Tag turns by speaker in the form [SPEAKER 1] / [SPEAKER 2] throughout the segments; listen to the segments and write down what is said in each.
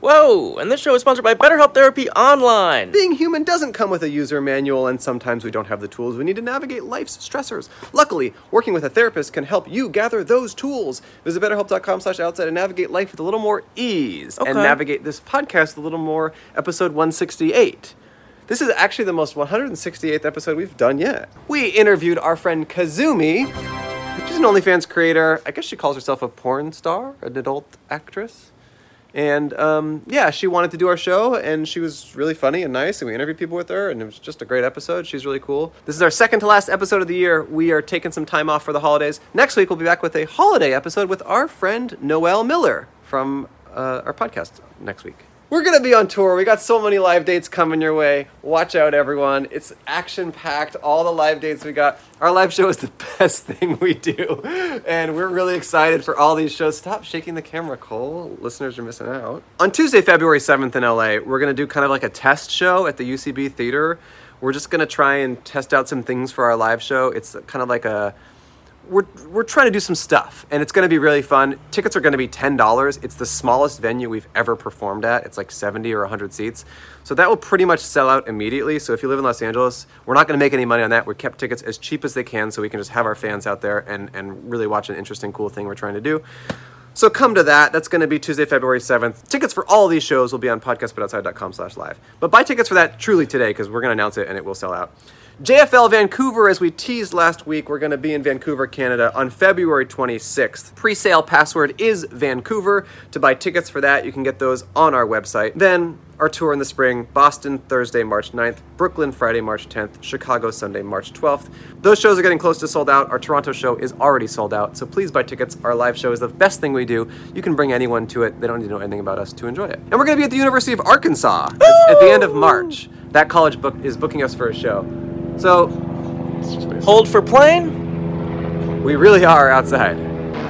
[SPEAKER 1] Whoa! And this show is sponsored by BetterHelp Therapy Online.
[SPEAKER 2] Being human doesn't come with a user manual, and sometimes we don't have the tools we need to navigate life's stressors. Luckily, working with a therapist can help you gather those tools. Visit betterhelp.com slash outside and navigate life with a little more ease.
[SPEAKER 1] Okay.
[SPEAKER 2] And navigate this podcast a little more, episode 168. This is actually the most 168th episode we've done yet. We interviewed our friend Kazumi. She's an OnlyFans creator. I guess she calls herself a porn star, an adult actress. And um, yeah, she wanted to do our show, and she was really funny and nice, and we interviewed people with her, and it was just a great episode. She's really cool. This is our second to last episode of the year. We are taking some time off for the holidays. Next week, we'll be back with a holiday episode with our friend Noelle Miller from uh, our podcast next week. We're gonna be on tour. We got so many live dates coming your way. Watch out, everyone. It's action packed. All the live dates we got. Our live show is the best thing we do. And we're really excited for all these shows. Stop shaking the camera, Cole. Listeners are missing out. On Tuesday, February 7th in LA, we're gonna do kind of like a test show at the UCB Theater. We're just gonna try and test out some things for our live show. It's kind of like a we're, we're trying to do some stuff and it's going to be really fun tickets are going to be $10 it's the smallest venue we've ever performed at it's like 70 or 100 seats so that will pretty much sell out immediately so if you live in los angeles we're not going to make any money on that we kept tickets as cheap as they can so we can just have our fans out there and, and really watch an interesting cool thing we're trying to do so come to that. That's going to be Tuesday, February 7th. Tickets for all these shows will be on podcastbutoutside.com slash live. But buy tickets for that truly today because we're going to announce it and it will sell out. JFL Vancouver, as we teased last week, we're going to be in Vancouver, Canada on February 26th. Pre-sale password is Vancouver. To buy tickets for that, you can get those on our website. Then our tour in the spring Boston Thursday, March 9th, Brooklyn Friday, March 10th, Chicago Sunday, March 12th. Those shows are getting close to sold out. Our Toronto show is already sold out, so please buy tickets. Our live show is the best thing we do. You can bring anyone to it, they don't need to know anything about us to enjoy it. And we're going to be at the University of Arkansas at, at the end of March. That college book is booking us for a show. So
[SPEAKER 1] Hold for plane?
[SPEAKER 2] we really are outside.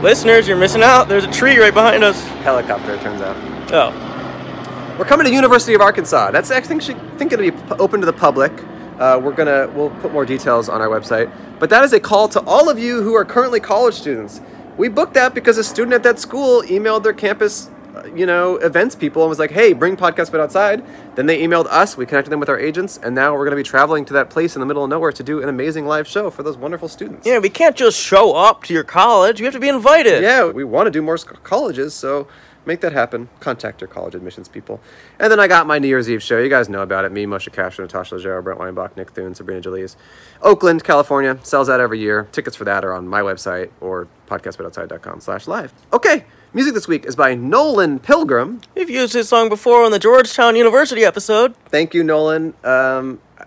[SPEAKER 1] Listeners, you're missing out. There's a tree right behind us.
[SPEAKER 2] Helicopter, it turns out.
[SPEAKER 1] Oh,
[SPEAKER 2] We're coming to University of Arkansas. That's I think, should- think going to be p- open to the public. Uh, we're gonna we'll put more details on our website. But that is a call to all of you who are currently college students. We booked that because a student at that school emailed their campus, uh, you know, events people and was like, "Hey, bring podcast but outside." Then they emailed us. We connected them with our agents, and now we're gonna be traveling to that place in the middle of nowhere to do an amazing live show for those wonderful students.
[SPEAKER 1] yeah, we can't just show up to your college. You have to be invited.
[SPEAKER 2] Yeah, we want to do more sc- colleges, so make that happen. Contact your college admissions people. And then I got my New Year's Eve show. You guys know about it. Me, Moshe Kasher, Natasha Leggero, Brent Weinbach, Nick Thune, Sabrina Jalise. Oakland, California. Sells out every year. Tickets for that are on my website or podcastbutoutside.com slash live. Okay, music this week is by Nolan Pilgrim.
[SPEAKER 1] We've used this song before on the Georgetown University episode.
[SPEAKER 2] Thank you, Nolan. Um, I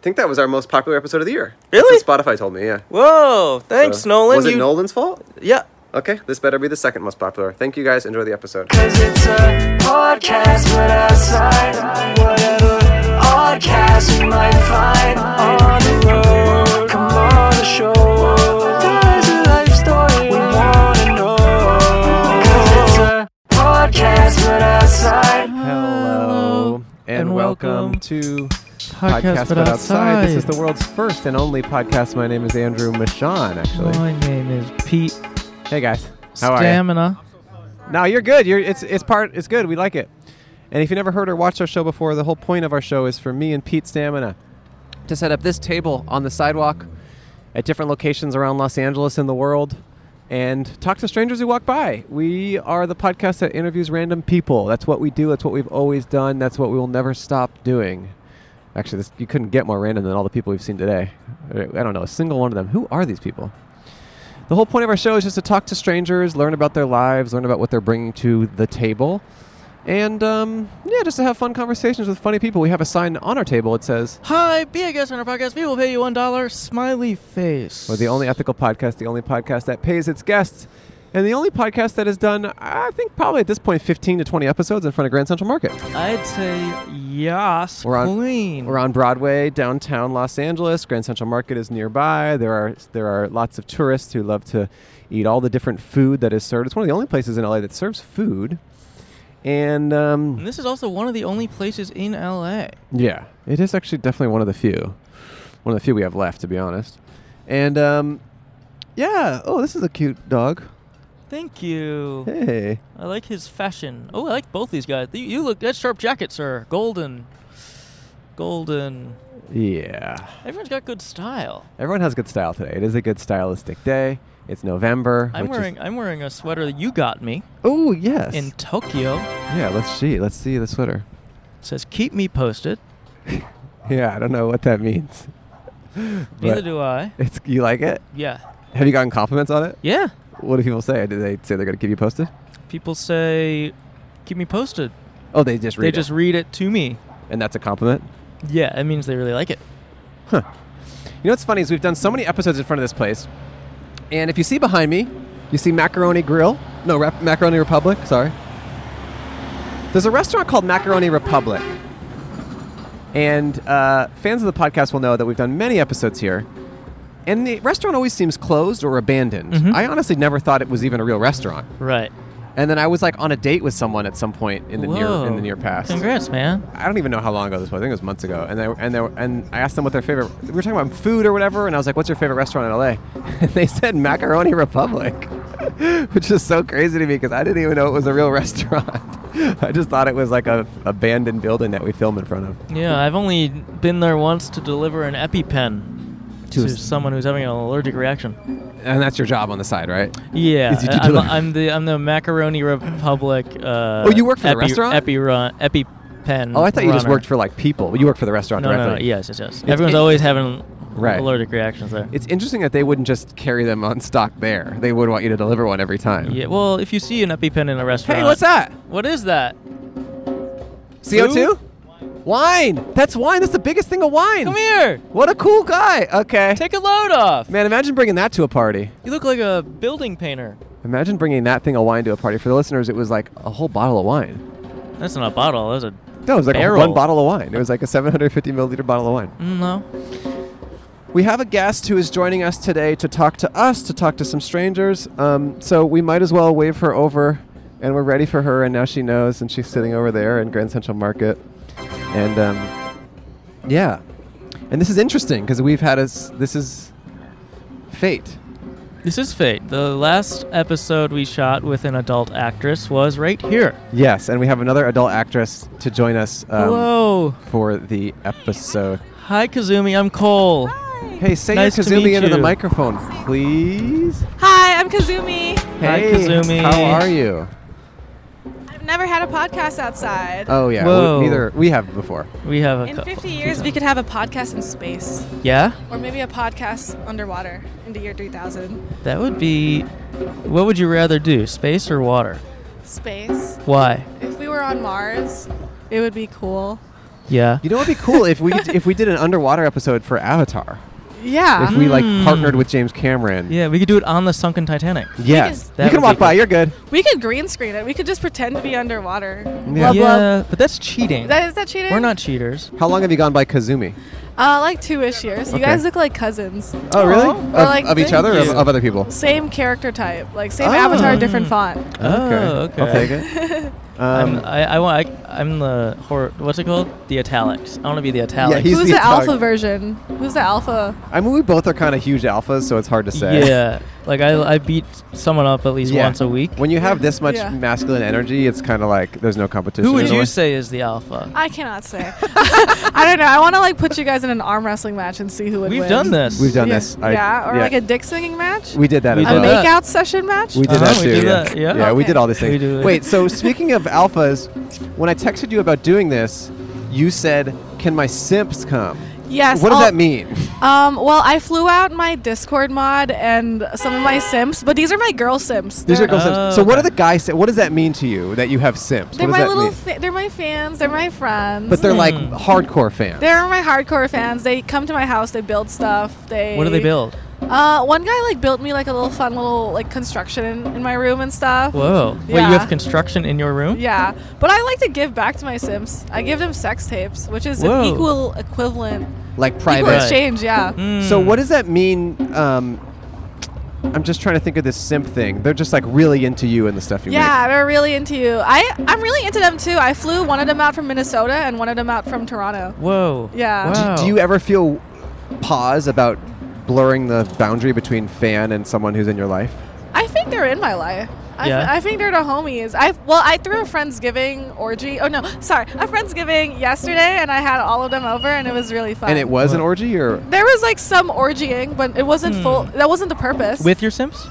[SPEAKER 2] think that was our most popular episode of the year. That's
[SPEAKER 1] Really?
[SPEAKER 2] what Spotify told me, yeah.
[SPEAKER 1] Whoa, thanks,
[SPEAKER 2] So-
[SPEAKER 1] Nolan.
[SPEAKER 2] Was it
[SPEAKER 1] you-
[SPEAKER 2] Nolan's fault?
[SPEAKER 1] Yeah.
[SPEAKER 2] Okay, this better be the second most popular. Thank you guys. Enjoy the episode.
[SPEAKER 3] Cause it's a podcast but outside Whatever podcast you might find On the road, come on the show Tell us your life story, we wanna know Cause it's a podcast but outside
[SPEAKER 2] Hello and, welcome, to Podcast, But, outside. This is the world's first and only podcast. My name is Andrew Michon, actually.
[SPEAKER 4] My name is Pete
[SPEAKER 2] Hey guys, how
[SPEAKER 4] Stamina.
[SPEAKER 2] are you? No, you're good. You're it's it's part it's good. We like it. And if you never heard or watched our show before, the whole point of our show is for me and Pete Stamina to set up this table on the sidewalk at different locations around Los Angeles and the world and talk to strangers who walk by. We are the podcast that interviews random people. That's what we do. That's what we've always done. That's what we will never stop doing. Actually, this, you couldn't get more random than all the people we've seen today. I don't know a single one of them. Who are these people? The whole point of our show is just to talk to strangers, learn about their lives, learn about what they're bringing to the table, and um, yeah, just to have fun conversations with funny people. We have a sign on our table. It says,
[SPEAKER 4] Hi, be a guest on our podcast. We will pay you one dollar. Smiley face.
[SPEAKER 2] We're the only ethical podcast, the only podcast that pays its guests, and the only podcast that has done, I think, probably at this point, 15 to 20 episodes in front of Grand Central Market.
[SPEAKER 4] I'd say yas
[SPEAKER 2] We're on-
[SPEAKER 4] queen.
[SPEAKER 2] We're on Broadway, downtown Los Angeles. Grand Central Market is nearby. There are there are lots of tourists who love to eat all the different food that is served. It's one of the only places in LA that serves food.
[SPEAKER 4] And
[SPEAKER 2] And um,
[SPEAKER 4] this is also one of the only places in LA.
[SPEAKER 2] yeah, it is actually definitely one of the few, one of the few we have left, to be honest. And um, yeah, oh, this is a cute dog.
[SPEAKER 5] Thank you.
[SPEAKER 2] Hey.
[SPEAKER 5] I like his fashion. Oh, I like both these guys. You, you look that sharp jacket, sir. Golden. Golden.
[SPEAKER 2] Yeah.
[SPEAKER 5] Everyone's got good style.
[SPEAKER 2] Everyone has good style today. It is a good stylistic day. It's November.
[SPEAKER 5] I'm wearing I'm wearing a sweater that you got me
[SPEAKER 2] Oh yes.
[SPEAKER 5] in Tokyo. It
[SPEAKER 2] yeah. Let's see. Let's see the sweater.
[SPEAKER 5] says keep me posted.
[SPEAKER 2] Yeah. I don't know what that means.
[SPEAKER 5] Neither
[SPEAKER 2] But
[SPEAKER 5] do I.
[SPEAKER 2] It's you like it?
[SPEAKER 5] Yeah.
[SPEAKER 2] Have you gotten compliments on it?
[SPEAKER 5] Yeah.
[SPEAKER 2] What do people say? Do they say they're gonna keep you posted?
[SPEAKER 5] People say keep me posted.
[SPEAKER 2] Oh, they just read
[SPEAKER 5] they
[SPEAKER 2] it.
[SPEAKER 5] just read it to me.
[SPEAKER 2] and that's a compliment.
[SPEAKER 5] Yeah, it means they really like it.
[SPEAKER 2] You know what's funny is we've done so many episodes in front of this place, and if you see behind me, you see Macaroni Grill. No, Rep- Macaroni Republic. Sorry. There's a restaurant called Macaroni Republic, and uh, fans of the podcast will know that we've done many episodes here. And the restaurant always seems closed or abandoned.
[SPEAKER 5] Mm-hmm.
[SPEAKER 2] I honestly never thought it was even a real restaurant.
[SPEAKER 5] Right.
[SPEAKER 2] And then I was like on a date with someone at some point in the near in
[SPEAKER 5] Whoa.
[SPEAKER 2] the near past.
[SPEAKER 5] Congrats, man.
[SPEAKER 2] I don't even know how long ago this was. I think it was months ago. And they and they and I asked them what their favorite. We were talking about food or whatever, and I was like, "What's your favorite restaurant in LA?" And they said Macaroni Republic, which is so crazy to me because I didn't even know it was a real restaurant. I just thought it was like a abandoned building that we film in front of.
[SPEAKER 5] Yeah, I've only been there once to deliver an EpiPen
[SPEAKER 2] To
[SPEAKER 5] to,
[SPEAKER 2] a s-
[SPEAKER 5] someone who's having an allergic reaction.
[SPEAKER 2] And that's your job on the side, right?
[SPEAKER 5] Yeah, uh,
[SPEAKER 2] Is you to
[SPEAKER 5] I'm,
[SPEAKER 2] deliver-
[SPEAKER 5] I'm the I'm the Macaroni Republic. Uh,
[SPEAKER 2] Oh, you work for the restaurant?
[SPEAKER 5] Epi run, EpiPen.
[SPEAKER 2] Oh, I thought you just
[SPEAKER 5] runner.
[SPEAKER 2] worked for like people. You work for the restaurant
[SPEAKER 5] No, no,
[SPEAKER 2] directly.
[SPEAKER 5] no. Yes, yes, yes. Everyone's
[SPEAKER 2] it-
[SPEAKER 5] always having
[SPEAKER 2] Right.
[SPEAKER 5] allergic reactions there.
[SPEAKER 2] It's interesting that they wouldn't just carry them on stock there. They would want you to deliver one every time.
[SPEAKER 5] yeah. Well, if you see an EpiPen in a restaurant,
[SPEAKER 2] Hey, what's that?
[SPEAKER 5] What is that?
[SPEAKER 2] CO2? Wine. That's wine. That's the biggest thing of wine.
[SPEAKER 5] Come here.
[SPEAKER 2] What a cool guy. Okay.
[SPEAKER 5] Take a load off.
[SPEAKER 2] Man, imagine bringing that to a party.
[SPEAKER 5] You look like a building painter.
[SPEAKER 2] Imagine bringing that thing of wine to a party. For the listeners, it was like a whole bottle of wine.
[SPEAKER 5] That's not a bottle. That's a
[SPEAKER 2] No, it was like a-
[SPEAKER 5] Barrel.
[SPEAKER 2] one bottle of wine. It was like a 750 milliliter bottle of wine.
[SPEAKER 5] mm, no.
[SPEAKER 2] We have a guest who is joining us today to talk to us, to talk to some strangers. Um, so we might as well wave her over, and we're ready for her. And now she knows, and she's sitting over there in Grand Central Market. And um, yeah, and this is interesting because we've had us. This is fate.
[SPEAKER 5] This is fate. The last episode we shot with an adult actress was right here.
[SPEAKER 2] Yes, and we have another adult actress to join us um,
[SPEAKER 5] Hello.
[SPEAKER 2] for the episode.
[SPEAKER 5] Hi, Kazumi. I'm Cole.
[SPEAKER 6] Ah,
[SPEAKER 2] Hey, say
[SPEAKER 5] Nice to
[SPEAKER 2] your Kazumi
[SPEAKER 5] meet
[SPEAKER 2] into the
[SPEAKER 5] you.
[SPEAKER 2] microphone, please.
[SPEAKER 6] Hi, I'm Kazumi.
[SPEAKER 5] Hi, Kazumi.
[SPEAKER 2] How are you?
[SPEAKER 6] I've never had a podcast outside.
[SPEAKER 2] Oh yeah,
[SPEAKER 5] Whoa.
[SPEAKER 2] we, neither we have before.
[SPEAKER 5] We have a
[SPEAKER 6] in
[SPEAKER 5] couple.
[SPEAKER 6] 50 years, we could have a podcast in space,
[SPEAKER 5] Yeah?
[SPEAKER 6] or maybe a podcast underwater in the year 3000.
[SPEAKER 5] That would be. What would you rather do, space or water?
[SPEAKER 6] Space.
[SPEAKER 5] Why?
[SPEAKER 6] If we were on Mars, it would be cool.
[SPEAKER 5] Yeah.
[SPEAKER 2] You know what'd be cool if we if we did an underwater episode for Avatar.
[SPEAKER 6] Yeah.
[SPEAKER 2] If we like partnered with James Cameron.
[SPEAKER 5] Mm. Yeah, we could do it on the sunken Titanic.
[SPEAKER 2] Yes.
[SPEAKER 5] That
[SPEAKER 2] you can
[SPEAKER 5] would be
[SPEAKER 2] walk by.
[SPEAKER 5] cool.
[SPEAKER 2] You're good.
[SPEAKER 6] we could green screen it. We could just pretend to be underwater.
[SPEAKER 2] Yeah.
[SPEAKER 6] Blub, blub.
[SPEAKER 5] Yeah, but that's cheating.
[SPEAKER 6] That, is that cheating?
[SPEAKER 5] We're not cheaters.
[SPEAKER 2] How long have you gone by Kazumi?
[SPEAKER 6] Uh, like two-ish years. You
[SPEAKER 2] Okay.
[SPEAKER 6] guys look like cousins.
[SPEAKER 2] Oh, really?
[SPEAKER 6] Aw.
[SPEAKER 2] Of,
[SPEAKER 6] We're like,
[SPEAKER 2] of each
[SPEAKER 6] thank
[SPEAKER 2] other, or of,
[SPEAKER 5] you.
[SPEAKER 2] of other people.
[SPEAKER 6] Same character type, like same
[SPEAKER 2] Oh.
[SPEAKER 6] avatar, different font.
[SPEAKER 5] Oh,
[SPEAKER 2] I'll
[SPEAKER 5] okay.
[SPEAKER 2] take it.
[SPEAKER 5] I'm, uh,
[SPEAKER 2] Um,
[SPEAKER 5] I, I, want- I, am the. Hor- what's it called? The italics. I want to be the italics.
[SPEAKER 2] He's
[SPEAKER 6] Who's
[SPEAKER 2] the
[SPEAKER 6] the alpha
[SPEAKER 2] dog.
[SPEAKER 6] version? Who's the alpha?
[SPEAKER 2] I mean, we both are kind of huge alphas, so it's hard to say.
[SPEAKER 5] Yeah, like I, I beat someone up at least
[SPEAKER 2] Yeah.
[SPEAKER 5] once a week.
[SPEAKER 2] When you have this much
[SPEAKER 6] Yeah.
[SPEAKER 2] masculine energy, it's kind of like there's no competition.
[SPEAKER 5] Who would
[SPEAKER 2] in a way.
[SPEAKER 5] you say is the alpha?
[SPEAKER 6] I cannot say. I don't know. I want to like put you guys in an arm wrestling match and see who would
[SPEAKER 5] We've
[SPEAKER 6] win.
[SPEAKER 5] done this.
[SPEAKER 2] We've done
[SPEAKER 6] yeah.
[SPEAKER 2] this. I-
[SPEAKER 6] yeah, or like a dick singing match.
[SPEAKER 2] We did that.
[SPEAKER 5] We
[SPEAKER 2] as
[SPEAKER 6] a
[SPEAKER 5] did
[SPEAKER 2] well.
[SPEAKER 5] that.
[SPEAKER 6] makeout session match.
[SPEAKER 2] We did
[SPEAKER 5] Uh-huh,
[SPEAKER 2] that
[SPEAKER 5] we
[SPEAKER 2] too.
[SPEAKER 5] did
[SPEAKER 2] yeah,
[SPEAKER 5] that, yeah.
[SPEAKER 2] Yeah, we did
[SPEAKER 6] Okay.
[SPEAKER 2] all these
[SPEAKER 5] We
[SPEAKER 2] things.
[SPEAKER 5] do it.
[SPEAKER 2] Wait, so speaking of alphas, when I texted you about doing this, you said, "Can my simps come?"
[SPEAKER 6] Yes.
[SPEAKER 2] what does
[SPEAKER 6] I'll-
[SPEAKER 2] that mean?
[SPEAKER 6] Um, well, I flew out my Discord mod and some of my Sims, but these are my girl Sims.
[SPEAKER 2] These are
[SPEAKER 6] They're-
[SPEAKER 2] girl
[SPEAKER 5] Oh,
[SPEAKER 2] simps. So what
[SPEAKER 5] okay.
[SPEAKER 2] are the guys? What does that mean to you that you have simps?
[SPEAKER 6] They're
[SPEAKER 2] what does
[SPEAKER 6] my
[SPEAKER 2] that
[SPEAKER 6] little.
[SPEAKER 2] mean?
[SPEAKER 6] Fa- they're my fans. They're my friends.
[SPEAKER 2] But they're like
[SPEAKER 5] Hmm.
[SPEAKER 2] hardcore fans.
[SPEAKER 6] They're my hardcore fans. They come to my house. They build stuff. They.
[SPEAKER 5] What do they build?
[SPEAKER 6] Uh, one guy like built me like a little fun little like construction in, in my room and stuff.
[SPEAKER 5] Whoa! Wait, you
[SPEAKER 6] Yeah.
[SPEAKER 5] have construction in your room?
[SPEAKER 6] Yeah, but I like to give back to my Sims. I give them sex tapes, which is
[SPEAKER 5] Whoa.
[SPEAKER 6] an equal equivalent,
[SPEAKER 2] like
[SPEAKER 6] equal
[SPEAKER 2] private.
[SPEAKER 5] Right.
[SPEAKER 6] exchange. Yeah.
[SPEAKER 5] Mm.
[SPEAKER 2] So what does that mean? Um, I'm just trying to think of this simp thing. They're just like really into you and the stuff you
[SPEAKER 6] Yeah, they're really into you. I I'm really into them too. I flew one of them out from Minnesota and one of them out from Toronto.
[SPEAKER 5] Whoa!
[SPEAKER 6] Yeah.
[SPEAKER 2] make.
[SPEAKER 5] Wow.
[SPEAKER 2] Do you ever feel pause about blurring the boundary between fan and someone who's in your life?
[SPEAKER 6] I think they're in my life. I,
[SPEAKER 5] Yeah.
[SPEAKER 6] f- I think they're the homies. I well, I threw a friendsgiving orgy. Oh no, sorry, a friendsgiving yesterday, and I had all of them over, and it was really fun.
[SPEAKER 2] And it was an
[SPEAKER 5] What?
[SPEAKER 2] orgy, or
[SPEAKER 6] there was like some orgying, but it wasn't full. That wasn't the purpose.
[SPEAKER 5] With your Sims?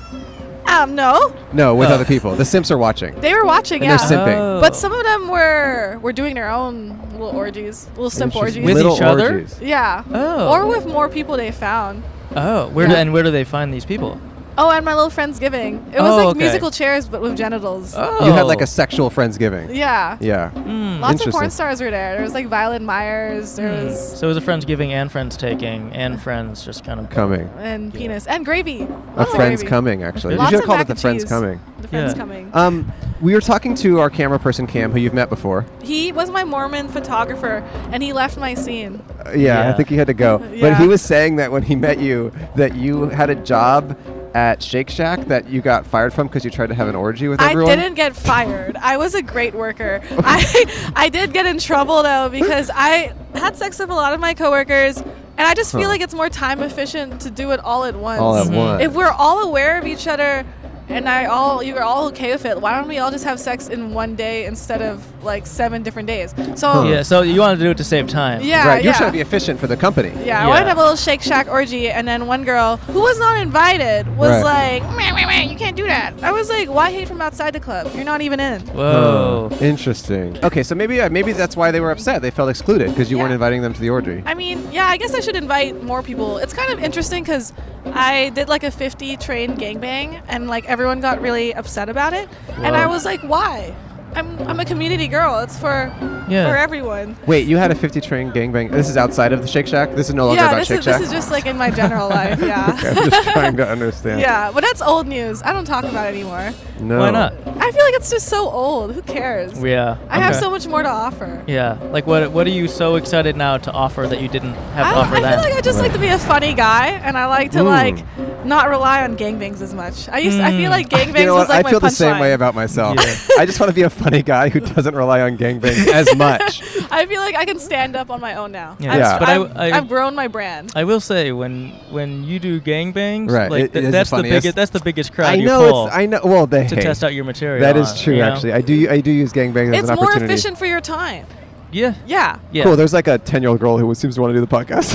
[SPEAKER 6] um, no,
[SPEAKER 2] no, with
[SPEAKER 5] Oh.
[SPEAKER 2] other people. The Simps are watching.
[SPEAKER 6] they were watching.
[SPEAKER 2] And
[SPEAKER 6] yeah,
[SPEAKER 2] they're simping.
[SPEAKER 5] Oh.
[SPEAKER 6] but some of them were were doing their own little orgies, little simp
[SPEAKER 2] Interesting.
[SPEAKER 6] orgies.
[SPEAKER 5] With
[SPEAKER 2] Little
[SPEAKER 5] each other?
[SPEAKER 2] orgies.
[SPEAKER 6] yeah,
[SPEAKER 5] Oh.
[SPEAKER 6] or with more people they found.
[SPEAKER 5] Oh, where do,
[SPEAKER 6] Yeah.
[SPEAKER 5] and where do they find these people?
[SPEAKER 6] Oh, and my little friendsgiving. It was
[SPEAKER 5] Oh,
[SPEAKER 6] like
[SPEAKER 5] okay.
[SPEAKER 6] musical chairs, but with genitals.
[SPEAKER 5] Oh.
[SPEAKER 2] You had like a sexual friendsgiving.
[SPEAKER 6] Yeah.
[SPEAKER 2] Yeah.
[SPEAKER 5] Mm.
[SPEAKER 6] Lots of
[SPEAKER 2] Interesting. Hmm.
[SPEAKER 6] porn stars were there. There was like Violet Myers. There was
[SPEAKER 5] Hmm. So it was a friends giving and friends taking and friends just kind of
[SPEAKER 2] Coming.
[SPEAKER 6] and penis and gravy.
[SPEAKER 2] A
[SPEAKER 6] Lots of
[SPEAKER 2] friends
[SPEAKER 6] gravy.
[SPEAKER 2] coming, actually.
[SPEAKER 5] Lots
[SPEAKER 2] you should
[SPEAKER 6] Oh, of
[SPEAKER 2] have called it
[SPEAKER 6] mac
[SPEAKER 2] the
[SPEAKER 6] and
[SPEAKER 2] friends
[SPEAKER 6] cheese.
[SPEAKER 2] coming.
[SPEAKER 6] The friends
[SPEAKER 5] Yeah.
[SPEAKER 6] coming.
[SPEAKER 2] Um, we were talking to our camera person Cam, who you've met before.
[SPEAKER 6] he was my Mormon photographer, and he left my scene.
[SPEAKER 2] Uh, yeah, I
[SPEAKER 5] Yeah.
[SPEAKER 2] think he had to go. But
[SPEAKER 6] Yeah.
[SPEAKER 2] he was saying that when he met you, that you had a job at Shake Shack that you got fired from because you tried to have an orgy with everyone.
[SPEAKER 6] I didn't get fired. I was a great worker. I I did get in trouble though because I had sex with a lot of my coworkers, and I just feel
[SPEAKER 2] Huh.
[SPEAKER 6] like it's more time efficient to do it all at once.
[SPEAKER 2] All at
[SPEAKER 5] Mhm.
[SPEAKER 2] once.
[SPEAKER 6] Mm-hmm. if we're all aware of each other and I all you're all okay with it, why don't we all just have sex in one day instead of like seven different days? So
[SPEAKER 5] Yeah, so you wanted to do it to save time.
[SPEAKER 6] yeah,
[SPEAKER 2] right, you're
[SPEAKER 6] yeah.
[SPEAKER 2] trying to be efficient for the company.
[SPEAKER 6] yeah, I
[SPEAKER 5] Yeah.
[SPEAKER 6] wanted to have a little Shake Shack orgy, and then one girl who was not invited was
[SPEAKER 2] Right.
[SPEAKER 6] like, meh, meh, meh, "You can't do that." I was like, "Why hate from outside the club? You're not even in."
[SPEAKER 5] Whoa.
[SPEAKER 2] Huh. interesting. Okay, so maybe uh, maybe that's why they were upset. They felt excluded because you
[SPEAKER 6] Yeah.
[SPEAKER 2] weren't inviting them to the orgy.
[SPEAKER 6] I mean, yeah, I guess I should invite more people. It's kind of interesting because I did like a 50 train gangbang and like everyone got really upset about it. And
[SPEAKER 5] Wow.
[SPEAKER 6] I was like, why? I'm, I'm a community girl. It's for
[SPEAKER 5] Yeah.
[SPEAKER 6] for everyone.
[SPEAKER 2] Wait, you had a 50 train gangbang. This is outside of the Shake Shack. This is no longer
[SPEAKER 6] yeah,
[SPEAKER 2] about
[SPEAKER 6] this
[SPEAKER 2] Shake
[SPEAKER 6] is,
[SPEAKER 2] Shack.
[SPEAKER 6] this is just like in my general life. Yeah.
[SPEAKER 2] I'm just trying to understand.
[SPEAKER 6] yeah, but that's old news. I don't talk about it anymore.
[SPEAKER 2] No.
[SPEAKER 5] Why not?
[SPEAKER 6] I feel like it's just so old. Who cares?
[SPEAKER 5] Yeah.
[SPEAKER 6] I have
[SPEAKER 5] okay.
[SPEAKER 6] so much more to offer.
[SPEAKER 5] Yeah. Like what what are you so excited now to offer that you didn't have
[SPEAKER 6] I,
[SPEAKER 5] to offer
[SPEAKER 6] I
[SPEAKER 5] then?
[SPEAKER 6] feel like I just like to be a funny guy, and I like to
[SPEAKER 2] Mm.
[SPEAKER 6] like not rely on gangbangs as much. I used I feel like gangbangs
[SPEAKER 2] You know
[SPEAKER 6] was
[SPEAKER 2] what?
[SPEAKER 6] like
[SPEAKER 2] Mm. I
[SPEAKER 6] my
[SPEAKER 2] feel the same way
[SPEAKER 6] punchline.
[SPEAKER 2] about myself.
[SPEAKER 5] Yeah.
[SPEAKER 2] I just want to be a funny guy who doesn't rely on gangbangs as much.
[SPEAKER 6] I feel like I can stand up on my own now.
[SPEAKER 5] Yeah.
[SPEAKER 6] I've,
[SPEAKER 2] Yeah.
[SPEAKER 5] But I-
[SPEAKER 6] I've,
[SPEAKER 5] I-
[SPEAKER 6] I've grown my brand.
[SPEAKER 5] I will say when when you do gangbangs,
[SPEAKER 2] Right,
[SPEAKER 5] like
[SPEAKER 2] it- it is
[SPEAKER 5] th-
[SPEAKER 2] the
[SPEAKER 5] that's the
[SPEAKER 2] funniest.
[SPEAKER 5] biggest that's the biggest crowd
[SPEAKER 2] I
[SPEAKER 5] you
[SPEAKER 2] know.
[SPEAKER 5] pull
[SPEAKER 2] It's, I know. Well, they
[SPEAKER 5] to
[SPEAKER 2] hey,
[SPEAKER 5] test out your material.
[SPEAKER 2] That is
[SPEAKER 5] on,
[SPEAKER 2] true.
[SPEAKER 5] you know?
[SPEAKER 2] Actually, I do. I do use gangbangs as
[SPEAKER 6] It's
[SPEAKER 2] an
[SPEAKER 6] more
[SPEAKER 2] opportunity.
[SPEAKER 6] efficient for your time.
[SPEAKER 5] Yeah.
[SPEAKER 6] Yeah.
[SPEAKER 5] Yeah.
[SPEAKER 2] Cool. There's like a ten-year-old girl who seems to want to do the podcast.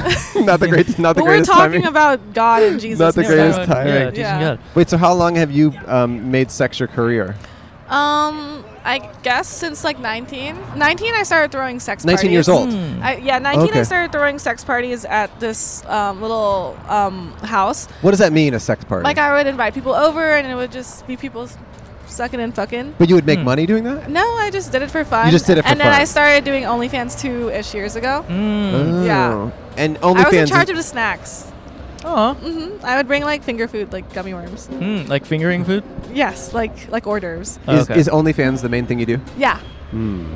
[SPEAKER 2] not the great. Not the
[SPEAKER 6] But we're
[SPEAKER 2] greatest
[SPEAKER 6] talking
[SPEAKER 2] timing.
[SPEAKER 6] about God and Jesus.
[SPEAKER 2] Not the
[SPEAKER 6] now.
[SPEAKER 5] Yeah,
[SPEAKER 2] greatest
[SPEAKER 5] yeah,
[SPEAKER 2] timing.
[SPEAKER 5] Yeah, decent
[SPEAKER 6] Yeah.
[SPEAKER 5] God.
[SPEAKER 2] Wait. So how long have you um, made sex your career?
[SPEAKER 6] Um, I guess since like 19. 19, I started throwing sex parties.
[SPEAKER 2] Nineteen years old.
[SPEAKER 5] Hmm.
[SPEAKER 6] I, yeah, 19,
[SPEAKER 2] Okay.
[SPEAKER 6] I started throwing sex parties at this um, little um, house.
[SPEAKER 2] What does that mean? A sex party?
[SPEAKER 6] Like, I would invite people over, and it would just be people s- sucking and fucking.
[SPEAKER 2] but you would make
[SPEAKER 5] Hmm.
[SPEAKER 2] money doing that?
[SPEAKER 6] No, I just did it for fun.
[SPEAKER 2] You just did it for
[SPEAKER 6] And then
[SPEAKER 2] fun.
[SPEAKER 6] I started doing OnlyFans two ish years ago.
[SPEAKER 5] Mm.
[SPEAKER 2] Oh.
[SPEAKER 6] Hmm. Yeah.
[SPEAKER 2] And
[SPEAKER 6] I was in
[SPEAKER 2] OnlyFans.
[SPEAKER 6] charge
[SPEAKER 2] is-
[SPEAKER 6] of the snacks.
[SPEAKER 5] Aw.
[SPEAKER 6] hmm I would bring like finger food, like gummy worms.
[SPEAKER 5] Mm, like fingering food?
[SPEAKER 6] Yes, like like hors d'oeuvres.
[SPEAKER 5] Oh,
[SPEAKER 2] Is,
[SPEAKER 5] okay.
[SPEAKER 2] is OnlyFans the main thing you do?
[SPEAKER 6] Yeah.
[SPEAKER 2] And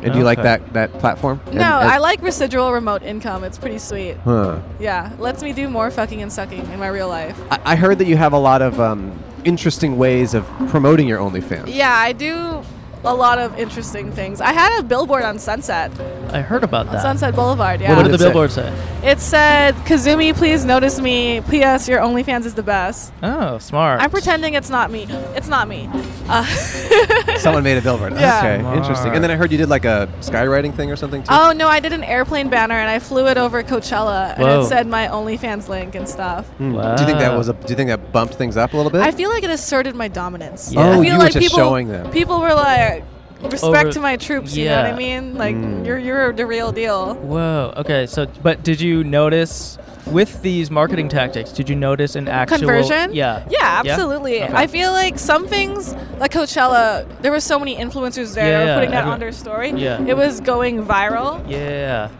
[SPEAKER 2] do you like
[SPEAKER 5] Okay.
[SPEAKER 2] that that platform? And-
[SPEAKER 6] No,
[SPEAKER 2] and-
[SPEAKER 6] I like residual remote income. It's pretty sweet.
[SPEAKER 2] Huh.
[SPEAKER 6] Yeah, lets me do more fucking and sucking in my real life.
[SPEAKER 2] I, I heard that you have a lot of um, interesting ways of promoting your OnlyFans.
[SPEAKER 6] Yeah, I do a lot of interesting things. I had a billboard on Sunset,
[SPEAKER 5] I heard about that.
[SPEAKER 6] Sunset Boulevard. Yeah.
[SPEAKER 5] What
[SPEAKER 2] did
[SPEAKER 5] did
[SPEAKER 2] it
[SPEAKER 5] the
[SPEAKER 2] say?
[SPEAKER 5] billboard say?
[SPEAKER 6] It said, "Kazumi, please notice me. P.S. Your OnlyFans is the best."
[SPEAKER 5] Oh, smart.
[SPEAKER 6] I'm pretending it's not me. It's not me. Uh,
[SPEAKER 2] Someone made a billboard.
[SPEAKER 6] Yeah.
[SPEAKER 2] Okay, interesting. And then I heard you did like a skywriting thing or something too.
[SPEAKER 6] Oh no, I did an airplane banner and I flew it over Coachella and
[SPEAKER 5] Whoa.
[SPEAKER 6] it said my OnlyFans link and stuff.
[SPEAKER 2] Hmm. Do you think that was a? Do you think that bumped things up a little bit?
[SPEAKER 6] I feel like it asserted my dominance.
[SPEAKER 5] Yeah.
[SPEAKER 6] I
[SPEAKER 5] Oh,
[SPEAKER 6] feel
[SPEAKER 2] you were
[SPEAKER 6] like
[SPEAKER 2] just
[SPEAKER 6] people,
[SPEAKER 2] showing them.
[SPEAKER 6] People were like, respect
[SPEAKER 5] Over-
[SPEAKER 6] to my troops. You know what I
[SPEAKER 5] yeah.
[SPEAKER 6] mean? Like
[SPEAKER 2] Mm.
[SPEAKER 6] you're you're the real deal.
[SPEAKER 5] Whoa. Okay. So, but did you notice with these marketing tactics? Did you notice an actual
[SPEAKER 6] Conversion?
[SPEAKER 5] Yeah.
[SPEAKER 6] Yeah, absolutely.
[SPEAKER 5] Okay.
[SPEAKER 6] I feel like some things, like Coachella, there were so many influencers there
[SPEAKER 5] Yeah,
[SPEAKER 6] that were
[SPEAKER 5] yeah,
[SPEAKER 6] putting that
[SPEAKER 5] everyone-
[SPEAKER 6] on their story.
[SPEAKER 5] Yeah.
[SPEAKER 6] It was going viral.
[SPEAKER 5] Yeah.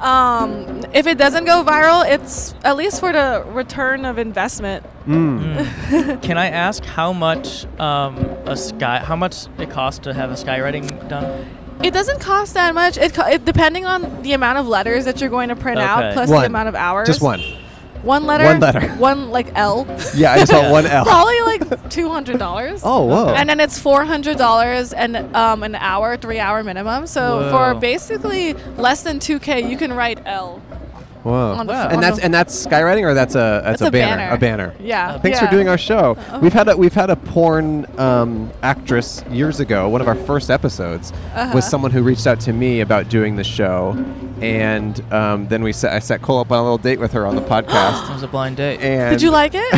[SPEAKER 6] Um, if it doesn't go viral, it's at least for the return of investment.
[SPEAKER 2] Mm.
[SPEAKER 5] Mm. Can I ask how much um, a sky? How much it costs to have a skywriting done?
[SPEAKER 6] It doesn't cost that much. It, co- it depending on the amount of letters that you're going to print out
[SPEAKER 5] Okay.
[SPEAKER 6] plus
[SPEAKER 2] One.
[SPEAKER 6] the amount of hours.
[SPEAKER 2] Just one.
[SPEAKER 6] One letter.
[SPEAKER 2] One letter.
[SPEAKER 6] One like L.
[SPEAKER 2] Yeah, I just want
[SPEAKER 5] Yeah.
[SPEAKER 2] one L.
[SPEAKER 6] Probably like two hundred dollars.
[SPEAKER 2] Oh, whoa.
[SPEAKER 6] And then it's four hundred dollars and um, an hour, three hour minimum. So
[SPEAKER 5] Whoa.
[SPEAKER 6] for basically less than two k, you can write L.
[SPEAKER 2] Whoa.
[SPEAKER 6] On the
[SPEAKER 5] Wow. Oh,
[SPEAKER 6] f-
[SPEAKER 2] and
[SPEAKER 6] on
[SPEAKER 2] that's
[SPEAKER 6] the-
[SPEAKER 2] and that's skywriting or that's a that's,
[SPEAKER 6] That's a
[SPEAKER 2] banner,
[SPEAKER 6] banner.
[SPEAKER 2] a banner.
[SPEAKER 6] Yeah.
[SPEAKER 2] Thanks
[SPEAKER 6] Yeah. Oh.
[SPEAKER 2] for doing our show. We've had a we've had a porn um, actress years ago. One of our first episodes
[SPEAKER 6] Uh-huh.
[SPEAKER 2] was someone who reached out to me about doing the show, and um, then we set, I set Cole up on a little date with her on the podcast.
[SPEAKER 5] It was a blind date.
[SPEAKER 2] And
[SPEAKER 6] Did you like it?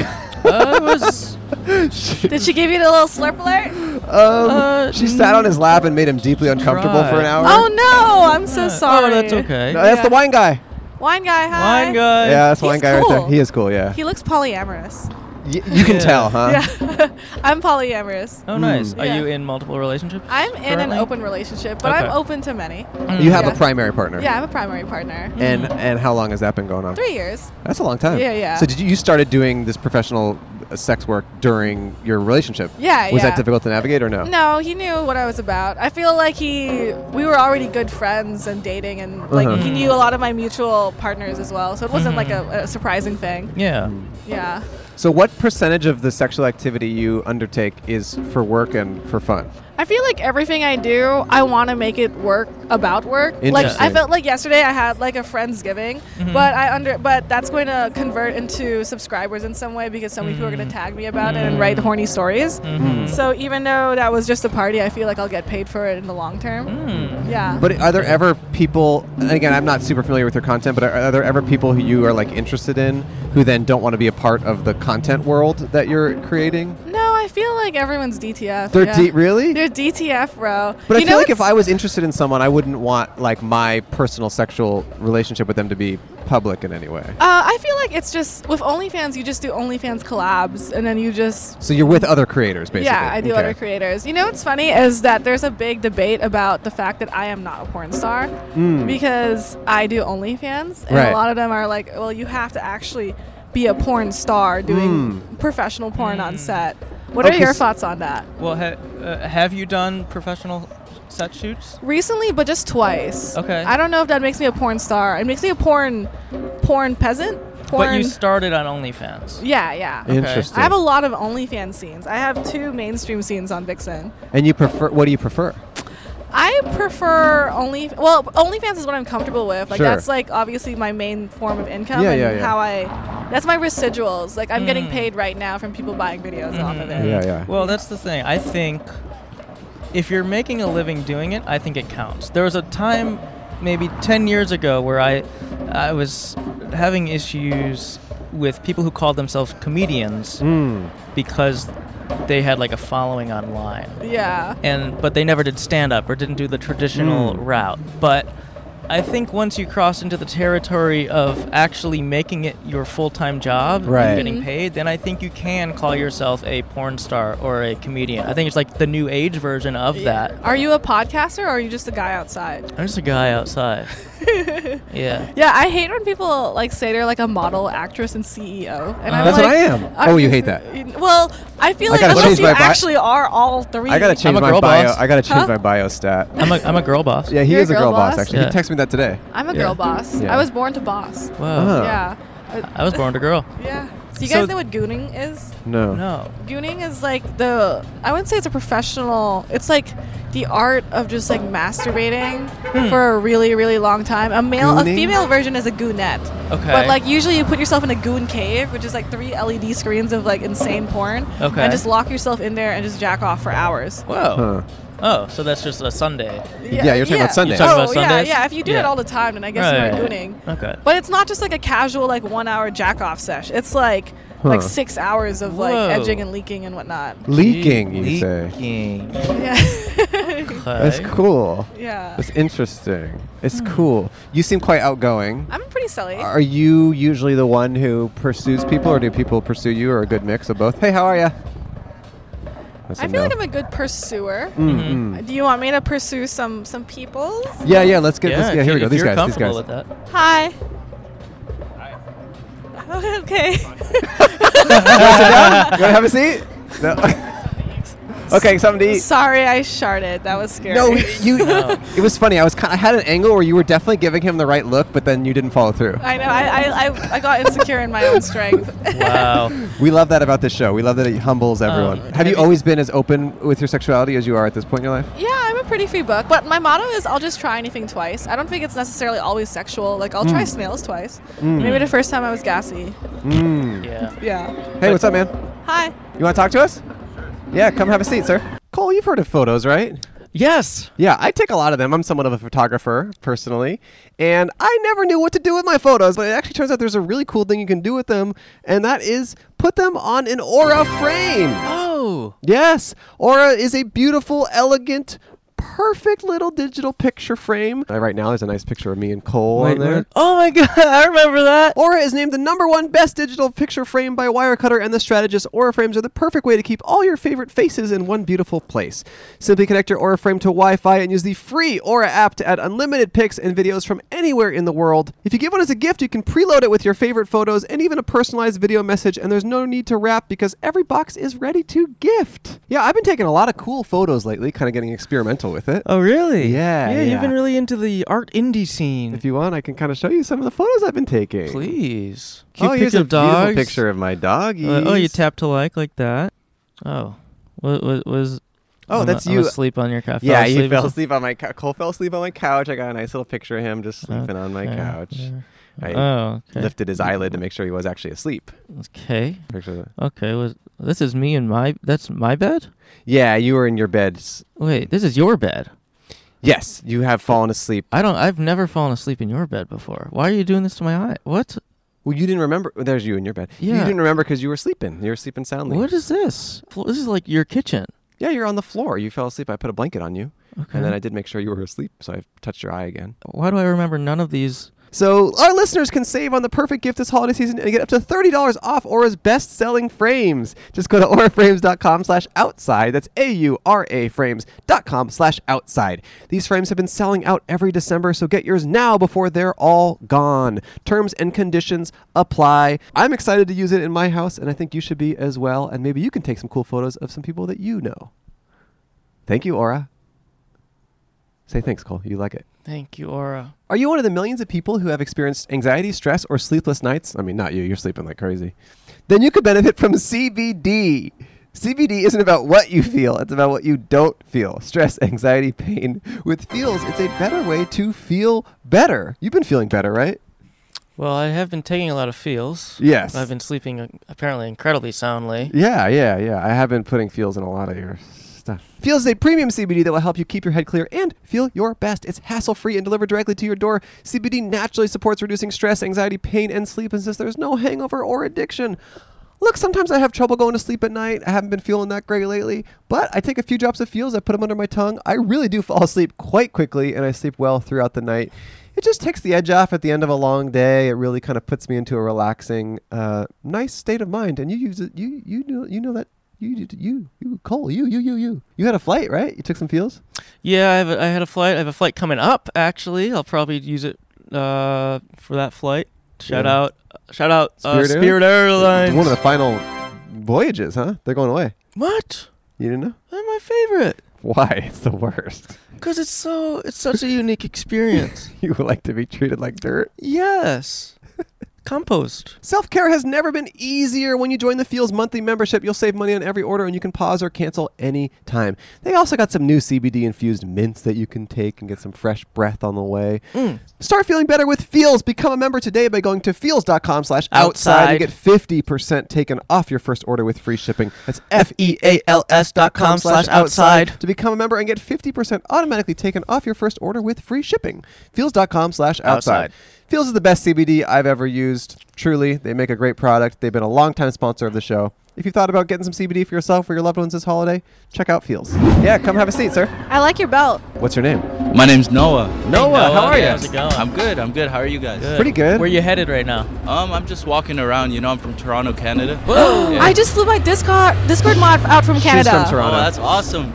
[SPEAKER 5] uh, it was.
[SPEAKER 6] Did she give you a little slurp alert?
[SPEAKER 2] Um,
[SPEAKER 5] Uh,
[SPEAKER 2] she sat on his lap and made him deeply uncomfortable for an
[SPEAKER 5] Right.
[SPEAKER 2] hour.
[SPEAKER 6] Oh no, I'm so
[SPEAKER 5] uh,
[SPEAKER 6] sorry.
[SPEAKER 5] Oh, that's okay.
[SPEAKER 2] No, that's the
[SPEAKER 6] yeah.
[SPEAKER 2] wine guy.
[SPEAKER 6] Wine guy, hi.
[SPEAKER 5] Wine guy.
[SPEAKER 2] yeah, that's the wine
[SPEAKER 6] he's
[SPEAKER 2] guy right there.
[SPEAKER 6] cool.
[SPEAKER 2] He is cool. Yeah,
[SPEAKER 6] He looks polyamorous.
[SPEAKER 2] Y- you can
[SPEAKER 5] Yeah.
[SPEAKER 2] tell, huh?
[SPEAKER 6] Yeah, I'm polyamorous.
[SPEAKER 5] Oh, nice. Are
[SPEAKER 6] Hmm. Yeah.
[SPEAKER 5] you in multiple relationships?
[SPEAKER 6] I'm in an
[SPEAKER 5] currently?
[SPEAKER 6] open relationship, but I'm
[SPEAKER 5] Okay.
[SPEAKER 6] open to many.
[SPEAKER 5] Mm.
[SPEAKER 2] You have a
[SPEAKER 6] Yeah.
[SPEAKER 2] primary partner.
[SPEAKER 6] Yeah, Mm. I'm a primary partner.
[SPEAKER 2] And and how long has that been going on?
[SPEAKER 6] Three years.
[SPEAKER 2] That's a long time.
[SPEAKER 6] Yeah, yeah.
[SPEAKER 2] So did you, you started doing this professional uh, sex work during your relationship?
[SPEAKER 6] Yeah,
[SPEAKER 2] Was that
[SPEAKER 6] yeah.
[SPEAKER 2] difficult to navigate or no?
[SPEAKER 6] No, he knew what I was about. I feel like he we were already good friends and dating and like
[SPEAKER 2] Uh-huh. Mm-hmm.
[SPEAKER 6] he knew a lot of my mutual partners as well. So it wasn't like a, a surprising thing.
[SPEAKER 5] Yeah.
[SPEAKER 6] Yeah.
[SPEAKER 2] So what percentage of the sexual activity you undertake is for work and for fun?
[SPEAKER 6] I feel like everything I do, I want to make it work about work. Like
[SPEAKER 2] Interesting. Mm-hmm.
[SPEAKER 6] I felt like yesterday I had like a friendsgiving, but I under but that's going to convert into subscribers in some way because so many people are
[SPEAKER 2] Mm.
[SPEAKER 6] going to tag me about it and write horny stories.
[SPEAKER 2] Mm-hmm.
[SPEAKER 6] So even though that was just a party, I feel like I'll get paid for it in the long term.
[SPEAKER 2] Mm.
[SPEAKER 6] Yeah.
[SPEAKER 2] But are there ever people, and again, I'm not super familiar with your content, but are, are there ever people who you are like interested in who then don't want to be a part of the content world that you're creating?
[SPEAKER 6] no, I feel like everyone's DTF.
[SPEAKER 2] They're
[SPEAKER 6] yeah.
[SPEAKER 2] D- really?
[SPEAKER 6] They're DTF, bro.
[SPEAKER 2] but
[SPEAKER 6] You
[SPEAKER 2] I feel
[SPEAKER 6] know
[SPEAKER 2] like if
[SPEAKER 6] what's-
[SPEAKER 2] I was interested in someone, I wouldn't want like my personal sexual relationship with them to be public in any way.
[SPEAKER 6] Uh, I feel like it's just with OnlyFans, you just do OnlyFans collabs, and then you just
[SPEAKER 2] So you're with other creators, basically.
[SPEAKER 6] Yeah, I do
[SPEAKER 2] Okay.
[SPEAKER 6] other creators. You know what's funny is that there's a big debate about the fact that I am not a porn star because I do OnlyFans, and
[SPEAKER 2] Hmm. Right.
[SPEAKER 6] a lot of them are like, well, you have to actually be a porn star doing professional porn on set. What
[SPEAKER 2] Hmm. Okay,
[SPEAKER 6] are your
[SPEAKER 2] s-
[SPEAKER 6] thoughts on that?
[SPEAKER 5] Well, ha- uh, have you done professional set shoots?
[SPEAKER 6] Recently, but just twice.
[SPEAKER 5] Okay.
[SPEAKER 6] I don't know if that makes me a porn star. It makes me a porn, porn peasant. Porn.
[SPEAKER 5] But you started on OnlyFans.
[SPEAKER 6] yeah, yeah.
[SPEAKER 2] Interesting.
[SPEAKER 6] I have a lot of OnlyFans scenes. I have two mainstream scenes on Vixen.
[SPEAKER 2] and you prefer? What do you prefer?
[SPEAKER 6] I prefer only well OnlyFans is what I'm comfortable with. Like
[SPEAKER 2] Sure.
[SPEAKER 6] that's like obviously my main form of income
[SPEAKER 2] Yeah,
[SPEAKER 6] and
[SPEAKER 2] yeah, yeah.
[SPEAKER 6] how I that's my residuals. Like I'm getting paid right now from people buying videos off of it.
[SPEAKER 2] Yeah, yeah.
[SPEAKER 5] Well, that's the thing. I think if you're making a living doing it, I think it counts. There was a time, maybe 10 years ago, where I, I was having issues with people who called themselves comedians because they had like a following online.
[SPEAKER 6] Yeah.
[SPEAKER 5] and but they never did stand up or didn't do the traditional
[SPEAKER 2] Hmm.
[SPEAKER 5] route. But I think once you cross into the territory of actually making it your full time job, and
[SPEAKER 2] Right.
[SPEAKER 6] Mm-hmm.
[SPEAKER 5] getting paid, then I think you can call yourself a porn star or a comedian. I think it's like the new age version of that.
[SPEAKER 6] Are you a podcaster or are you just a guy outside?
[SPEAKER 5] I'm just a guy outside. yeah.
[SPEAKER 6] Yeah, I hate when people like say they're like a model, actress, and CEO. And I'm
[SPEAKER 2] Uh, That's what
[SPEAKER 6] like,
[SPEAKER 2] I am.
[SPEAKER 6] are
[SPEAKER 2] Oh, you hate that.
[SPEAKER 6] Well, I feel
[SPEAKER 2] I
[SPEAKER 6] like
[SPEAKER 2] gotta
[SPEAKER 6] unless
[SPEAKER 2] change
[SPEAKER 6] you
[SPEAKER 2] my bi-
[SPEAKER 6] actually are all three.
[SPEAKER 2] I gotta change
[SPEAKER 5] a
[SPEAKER 2] my
[SPEAKER 5] girl
[SPEAKER 2] bio.
[SPEAKER 5] boss.
[SPEAKER 2] I gotta change
[SPEAKER 6] Huh?
[SPEAKER 2] my bio stat.
[SPEAKER 5] I'm a, I'm a girl boss.
[SPEAKER 2] Yeah, he
[SPEAKER 6] You're a
[SPEAKER 2] is a
[SPEAKER 6] girl
[SPEAKER 2] girl boss.
[SPEAKER 6] boss?
[SPEAKER 2] Actually,
[SPEAKER 5] Yeah.
[SPEAKER 2] he texted me that today.
[SPEAKER 6] I'm a
[SPEAKER 5] Yeah.
[SPEAKER 6] girl boss.
[SPEAKER 2] Yeah.
[SPEAKER 6] I was born to boss.
[SPEAKER 2] Huh.
[SPEAKER 5] Wow.
[SPEAKER 6] Yeah. Uh,
[SPEAKER 5] I was born a girl.
[SPEAKER 6] yeah. So you
[SPEAKER 5] So-
[SPEAKER 6] guys know what gooning is?
[SPEAKER 2] No.
[SPEAKER 5] No.
[SPEAKER 6] Gooning is like the I wouldn't say it's a professional. It's like the art of just like masturbating for a really really long time. A male
[SPEAKER 2] Hmm. Gooning?
[SPEAKER 6] a female version is a goonette.
[SPEAKER 5] Okay.
[SPEAKER 6] But like usually you put yourself in a goon cave, which is like three LED screens of like insane porn.
[SPEAKER 5] Okay.
[SPEAKER 6] And just lock yourself in there and just jack off for hours.
[SPEAKER 5] Whoa.
[SPEAKER 2] Huh.
[SPEAKER 5] Oh, so that's just a Sunday.
[SPEAKER 2] Yeah, you're talking about Sundays.
[SPEAKER 5] You're talking
[SPEAKER 6] oh
[SPEAKER 5] about
[SPEAKER 6] yeah,
[SPEAKER 5] Sundays?
[SPEAKER 6] yeah. If you do
[SPEAKER 5] Yeah.
[SPEAKER 6] it all the time, then I guess
[SPEAKER 5] Right.
[SPEAKER 6] you're gooning.
[SPEAKER 5] Okay.
[SPEAKER 6] But it's not just like a casual like one hour jack off sesh. It's like
[SPEAKER 2] Huh.
[SPEAKER 6] like six hours of like
[SPEAKER 5] Whoa.
[SPEAKER 6] edging and leaking and whatnot.
[SPEAKER 2] Leaking, you say.
[SPEAKER 5] Leaking.
[SPEAKER 6] Yeah.
[SPEAKER 2] That's
[SPEAKER 5] Okay.
[SPEAKER 2] cool.
[SPEAKER 6] yeah.
[SPEAKER 2] That's interesting. It's cool. You seem quite outgoing.
[SPEAKER 6] I'm pretty silly.
[SPEAKER 2] Are you usually the one who pursues people, or do people pursue you, or a good mix of both? Hey, how are you?
[SPEAKER 6] I feel like I'm a Mm-hmm. good pursuer.
[SPEAKER 2] Mm. Mm-hmm.
[SPEAKER 6] Do you want me to pursue some some people?
[SPEAKER 2] Yeah, yeah. Let's get.
[SPEAKER 5] Yeah,
[SPEAKER 2] let's, yeah
[SPEAKER 5] if
[SPEAKER 2] here we
[SPEAKER 5] you-
[SPEAKER 2] go.
[SPEAKER 5] if
[SPEAKER 2] These
[SPEAKER 5] you're
[SPEAKER 2] guys. These
[SPEAKER 5] comfortable
[SPEAKER 2] guys.
[SPEAKER 5] With that.
[SPEAKER 6] Hi. Okay.
[SPEAKER 2] you want to have a seat? No. Okay, something to eat.
[SPEAKER 6] Sorry, I sharted. That was scary.
[SPEAKER 2] No, you. It was funny. I was. ki- I had an angle where you were definitely giving him the right look, but then you didn't follow through.
[SPEAKER 6] I know. I, I, I, I got insecure in my own strength.
[SPEAKER 5] Wow.
[SPEAKER 2] We love that about this show. We love that it humbles everyone. have,
[SPEAKER 5] have
[SPEAKER 2] you
[SPEAKER 5] you-
[SPEAKER 2] always been as open with your sexuality as you are at this point in your life?
[SPEAKER 6] Yeah, I'm a pretty free book, but my motto is I'll just try anything twice. I don't think it's necessarily always sexual. Like I'll try snails twice. Maybe the first time I was gassy.
[SPEAKER 2] Mm.
[SPEAKER 5] yeah.
[SPEAKER 6] Yeah.
[SPEAKER 2] Hey, what's up, man?
[SPEAKER 6] Hi.
[SPEAKER 2] You want to talk to us? Yeah, come have a seat, sir. Cole, you've heard of photos, right?
[SPEAKER 5] Yes.
[SPEAKER 2] Yeah, I take a lot of them. I'm somewhat of a photographer personally, and I never knew what to do with my photos, but it actually turns out there's a really cool thing you can do with them, and that is put them on an Aura frame.
[SPEAKER 5] Oh.
[SPEAKER 2] Yes, Aura is a beautiful, elegant, perfect little digital picture frame. Uh, right now, there's a nice picture of me and Cole on
[SPEAKER 5] Wait,
[SPEAKER 2] there.
[SPEAKER 5] wait. Oh my god, I remember that.
[SPEAKER 2] Aura is named the number one best digital picture frame by Wirecutter, and the strategist Aura frames are the perfect way to keep all your favorite faces in one beautiful place. Simply connect your Aura frame to Wi Fi and use the free Aura app to add unlimited pics and videos from anywhere in the world. If you give one as a gift, you can preload it with your favorite photos and even a personalized video message, and there's no need to wrap because every box is ready to gift. Yeah, I've been taking a lot of cool photos lately, kind of getting experimental with it.
[SPEAKER 5] Oh really?
[SPEAKER 2] Yeah,
[SPEAKER 5] Yeah,
[SPEAKER 2] yeah.
[SPEAKER 5] you've been really into the art indie scene.
[SPEAKER 2] If you want, I can kind of show you some of the photos I've been taking.
[SPEAKER 5] Please. Cute
[SPEAKER 2] Oh,
[SPEAKER 5] pic
[SPEAKER 2] here's
[SPEAKER 5] of
[SPEAKER 2] a
[SPEAKER 5] dogs.
[SPEAKER 2] beautiful picture of my doggy.
[SPEAKER 5] Uh, oh, you tap to like like that. Oh. What was, was
[SPEAKER 2] Oh,
[SPEAKER 5] I'm a-
[SPEAKER 2] that's
[SPEAKER 5] I'm
[SPEAKER 2] you.
[SPEAKER 5] asleep on your couch.
[SPEAKER 2] Yeah, you
[SPEAKER 5] asleep.
[SPEAKER 2] fell asleep on my cou- Cole fell asleep on my couch. I got a nice little picture of him just sleeping on my
[SPEAKER 5] Okay,
[SPEAKER 2] couch. I
[SPEAKER 5] Oh, okay.
[SPEAKER 2] lifted his eyelid to make sure he was actually asleep.
[SPEAKER 5] Okay.
[SPEAKER 2] Picture that.
[SPEAKER 5] Okay. Was this is me and my that's my bed?
[SPEAKER 2] Yeah, you were in your bed. S-
[SPEAKER 5] Wait, this is your bed.
[SPEAKER 2] Yes, you have fallen asleep.
[SPEAKER 5] I don't. I've never fallen asleep in your bed before. Why are you doing this to my eye? What?
[SPEAKER 2] Well, you didn't remember. There's you in your bed. You
[SPEAKER 5] Yeah.
[SPEAKER 2] didn't remember because you were sleeping. You were sleeping soundly.
[SPEAKER 5] What is this? Flo- This is like your kitchen.
[SPEAKER 2] Yeah, you're on the floor. You fell asleep. I put a blanket on you.
[SPEAKER 5] Okay.
[SPEAKER 2] And then I did make sure you were asleep, so I touched your eye again.
[SPEAKER 5] Why do I remember none of these?
[SPEAKER 2] So our listeners can save on the perfect gift this holiday season and get up to $30 off Aura's best-selling frames. Just go to auraframes.com slash outside. That's A-U-R-A frames.com slash outside. These frames have been selling out every December, so get yours now before they're all gone. Terms and conditions apply. I'm excited to use it in my house, and I think you should be as well. And maybe you can take some cool photos of some people that you know. Thank you, Aura. Say thanks, Cole. You like it.
[SPEAKER 5] Thank you, Aura.
[SPEAKER 2] Are you one of the millions of people who have experienced anxiety, stress, or sleepless nights? I mean, not you, you're sleeping like crazy. Then you could benefit from CBD. CBD isn't about what you feel, it's about what you don't feel. Stress, anxiety, pain. With Feels, it's a better way to feel better. You've been feeling better, right?
[SPEAKER 5] Well, I have been taking a lot of feels.
[SPEAKER 2] Yes.
[SPEAKER 5] I've been sleeping uh, apparently incredibly soundly.
[SPEAKER 2] Yeah, yeah, yeah. I have been putting feels in a lot of your stuff. Feels is a premium CBD that will help you keep your head clear and feel your best. It's hassle free and delivered directly to your door. CBD naturally supports reducing stress, anxiety, pain, and sleep, and says there's no hangover or addiction. Look, sometimes I have trouble going to sleep at night. I haven't been feeling that great lately, but I take a few drops of feels, I put them under my tongue. I really do fall asleep quite quickly, and I sleep well throughout the night. It just takes the edge off at the end of a long day. It really kind of puts me into a relaxing, uh, nice state of mind. And you use it. You you know you know that you you you Cole you you you you you had a flight right? You took some feels.
[SPEAKER 5] Yeah, I, have a, I had a flight. I have a flight coming up. Actually, I'll probably use it uh, for that flight. Shout
[SPEAKER 2] Yeah.
[SPEAKER 5] out, shout out,
[SPEAKER 2] Spirit
[SPEAKER 5] uh,
[SPEAKER 2] Air-
[SPEAKER 5] Spirit Airlines.
[SPEAKER 2] One of the final voyages, huh? They're going away.
[SPEAKER 5] what?
[SPEAKER 2] You didn't know
[SPEAKER 5] They're my favorite
[SPEAKER 2] why? It's the worst.
[SPEAKER 5] because it's so it's such a unique experience.
[SPEAKER 2] You would like to be treated like dirt.
[SPEAKER 5] yes, compost.
[SPEAKER 2] Self care has never been easier. When you join the Feels monthly membership, you'll save money on every order and you can pause or cancel any time. They also got some new CBD infused mints that you can take and get some fresh breath on the way. Start feeling better with Feels. Become a member today by going to feels.com slash outside. You
[SPEAKER 5] Outside.
[SPEAKER 2] get 50% taken off your first order with free shipping. That's F E A L S dot com slash outside to become a member and get 50% automatically taken off your first order with free shipping. Feels.com slash outside.
[SPEAKER 5] Outside.
[SPEAKER 2] Feels is the best CBD I've ever used. Truly, they make a great product. They've been a long-time sponsor of the show. If you've thought about getting some CBD for yourself or your loved ones this holiday, check out Feels. Yeah, come have a seat, sir.
[SPEAKER 6] I like your belt.
[SPEAKER 2] What's your name?
[SPEAKER 7] My name's Noah.
[SPEAKER 2] Noah, how are
[SPEAKER 5] How's
[SPEAKER 2] you?
[SPEAKER 5] it going?
[SPEAKER 7] I'm good. I'm good. How are you guys?
[SPEAKER 2] Pretty good.
[SPEAKER 5] Where you headed right now?
[SPEAKER 7] Um, I'm just walking around. You know, I'm from Toronto, Canada.
[SPEAKER 5] Whoa!
[SPEAKER 7] Yeah.
[SPEAKER 6] I just flew my Discord Discord mod out from
[SPEAKER 2] She's
[SPEAKER 6] Canada.
[SPEAKER 2] from
[SPEAKER 7] Oh,
[SPEAKER 2] Toronto.
[SPEAKER 7] that's awesome.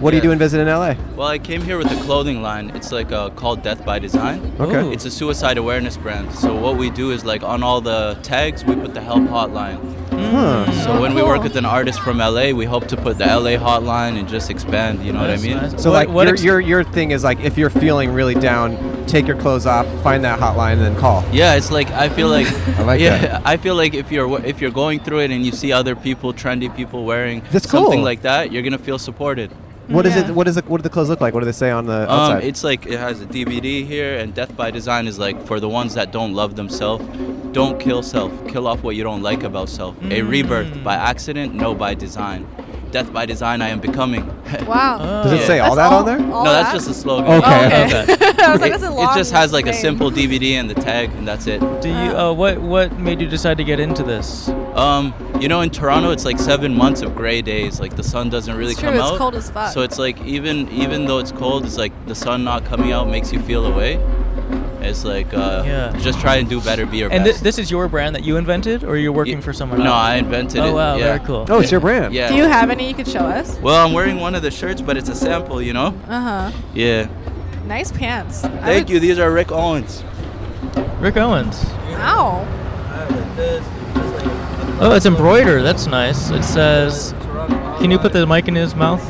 [SPEAKER 2] What
[SPEAKER 7] Yeah.
[SPEAKER 2] are you doing visiting LA?
[SPEAKER 7] Well, I came here with a clothing line. It's like uh, called Death by Design.
[SPEAKER 2] Okay.
[SPEAKER 5] Ooh.
[SPEAKER 7] It's a suicide awareness brand. So what we do is like on all the tags, we put the help hotline.
[SPEAKER 5] Mm.
[SPEAKER 2] Huh.
[SPEAKER 7] So when we
[SPEAKER 6] cool.
[SPEAKER 7] work with an artist from LA, we hope to put the LA hotline and just expand. You know what I
[SPEAKER 5] That's
[SPEAKER 7] mean?
[SPEAKER 5] nice.
[SPEAKER 2] So
[SPEAKER 5] What-
[SPEAKER 2] like
[SPEAKER 5] what
[SPEAKER 2] your,
[SPEAKER 5] ex-
[SPEAKER 2] your your thing is like if you're feeling really down, take your clothes off, find that hotline, and then call.
[SPEAKER 7] Yeah, it's like I feel like
[SPEAKER 2] I like
[SPEAKER 7] yeah,
[SPEAKER 2] that.
[SPEAKER 7] I feel like if you're if you're going through it and you see other people, trendy people wearing
[SPEAKER 2] That's
[SPEAKER 7] something
[SPEAKER 2] cool.
[SPEAKER 7] like that, you're gonna feel supported.
[SPEAKER 2] What is
[SPEAKER 6] Yeah.
[SPEAKER 2] it? What is it? What do the clothes look like? What do they say on the outside?
[SPEAKER 7] Um, it's like it has a DVD here, and Death by Design is like for the ones that don't love themselves. Don't kill self. Kill off what you don't like about self.
[SPEAKER 6] Mm.
[SPEAKER 7] A rebirth by accident, no by design. Death by design, I am becoming.
[SPEAKER 6] Wow.
[SPEAKER 2] Does it
[SPEAKER 7] yeah.
[SPEAKER 2] say all
[SPEAKER 6] That's
[SPEAKER 2] that on there?
[SPEAKER 6] all
[SPEAKER 7] no, that's
[SPEAKER 6] Oh, that?
[SPEAKER 7] just a slogan.
[SPEAKER 2] Okay,
[SPEAKER 6] Oh,
[SPEAKER 2] I
[SPEAKER 6] okay. I was like, that's a
[SPEAKER 7] It-
[SPEAKER 6] long
[SPEAKER 7] it just has like a
[SPEAKER 6] name.
[SPEAKER 7] simple DVD and the tag, and that's it.
[SPEAKER 5] Do you? Uh, what What made you decide to get into this?
[SPEAKER 7] Um, you know, in Toronto, it's like seven months of gray days. Like the sun doesn't really
[SPEAKER 6] It's true,
[SPEAKER 7] come
[SPEAKER 6] it's
[SPEAKER 7] out.
[SPEAKER 6] cold as fuck.
[SPEAKER 7] So it's like even even though it's cold, it's like the sun not coming out makes you feel away. It's like uh,
[SPEAKER 5] Yeah.
[SPEAKER 7] just try and do better, be your
[SPEAKER 5] And thi-
[SPEAKER 7] best.
[SPEAKER 5] this is your brand that you invented, or you're working
[SPEAKER 7] Yeah.
[SPEAKER 5] for someone
[SPEAKER 7] no,
[SPEAKER 5] else?
[SPEAKER 7] I invented it.
[SPEAKER 5] Oh wow,
[SPEAKER 7] yeah.
[SPEAKER 5] very cool.
[SPEAKER 2] Oh, it's your brand.
[SPEAKER 7] Yeah.
[SPEAKER 6] Do you have any you could show us?
[SPEAKER 7] well, I'm wearing one of the shirts, but it's a sample, you know.
[SPEAKER 6] Uh huh.
[SPEAKER 7] Yeah.
[SPEAKER 6] Nice pants.
[SPEAKER 7] Thank you. These are Rick Owens.
[SPEAKER 5] Rick Owens.
[SPEAKER 6] Wow.
[SPEAKER 5] Oh, it's embroidered. That's nice. It says. Can you put the mic in his mouth?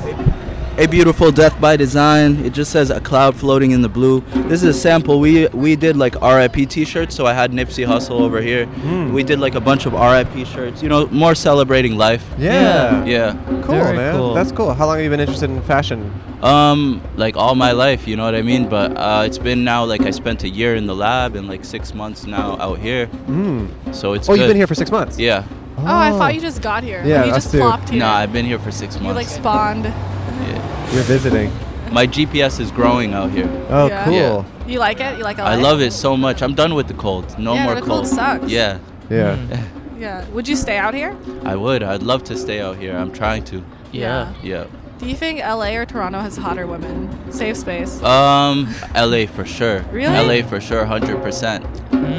[SPEAKER 7] A beautiful death by design. It just says a cloud floating in the blue. This is a sample. We we did like RIP t-shirts, so I had Nipsey Hussle over here.
[SPEAKER 2] Hmm.
[SPEAKER 7] We did like a bunch of RIP shirts. You know, more celebrating life.
[SPEAKER 2] Yeah.
[SPEAKER 7] Yeah.
[SPEAKER 2] Cool,
[SPEAKER 5] Very
[SPEAKER 2] man.
[SPEAKER 5] cool.
[SPEAKER 2] That's cool. How long have you been interested in fashion?
[SPEAKER 7] Um, like all my life, you know what I mean. But uh, it's been now like I spent a year in the lab and like six months now out here.
[SPEAKER 2] Mm.
[SPEAKER 7] So it's.
[SPEAKER 2] Oh, you've
[SPEAKER 7] good.
[SPEAKER 2] been here for six months.
[SPEAKER 7] Yeah.
[SPEAKER 6] Oh, I thought you just got here. Like,
[SPEAKER 2] Yeah,
[SPEAKER 6] you
[SPEAKER 2] us
[SPEAKER 6] just
[SPEAKER 2] too.
[SPEAKER 6] plopped here.
[SPEAKER 7] No, I've been here for six
[SPEAKER 6] you like
[SPEAKER 7] months.
[SPEAKER 6] spawned.
[SPEAKER 7] Yeah.
[SPEAKER 2] You're visiting.
[SPEAKER 7] My GPS is growing out here.
[SPEAKER 2] Oh,
[SPEAKER 6] Yeah.
[SPEAKER 2] cool.
[SPEAKER 7] Yeah.
[SPEAKER 6] You like it? You like LA?
[SPEAKER 7] I love it so much. I'm done with the cold. No
[SPEAKER 6] Yeah,
[SPEAKER 7] more
[SPEAKER 6] the cold sucks.
[SPEAKER 7] Yeah. Mm.
[SPEAKER 2] Yeah.
[SPEAKER 6] Yeah. Would you stay out here?
[SPEAKER 7] I would. I'd love to stay out here. I'm trying to.
[SPEAKER 5] Yeah.
[SPEAKER 7] Yeah.
[SPEAKER 6] Do you think LA or Toronto has hotter women? Safe space.
[SPEAKER 7] Um, LA for sure.
[SPEAKER 6] Really?
[SPEAKER 7] LA for sure, 100%.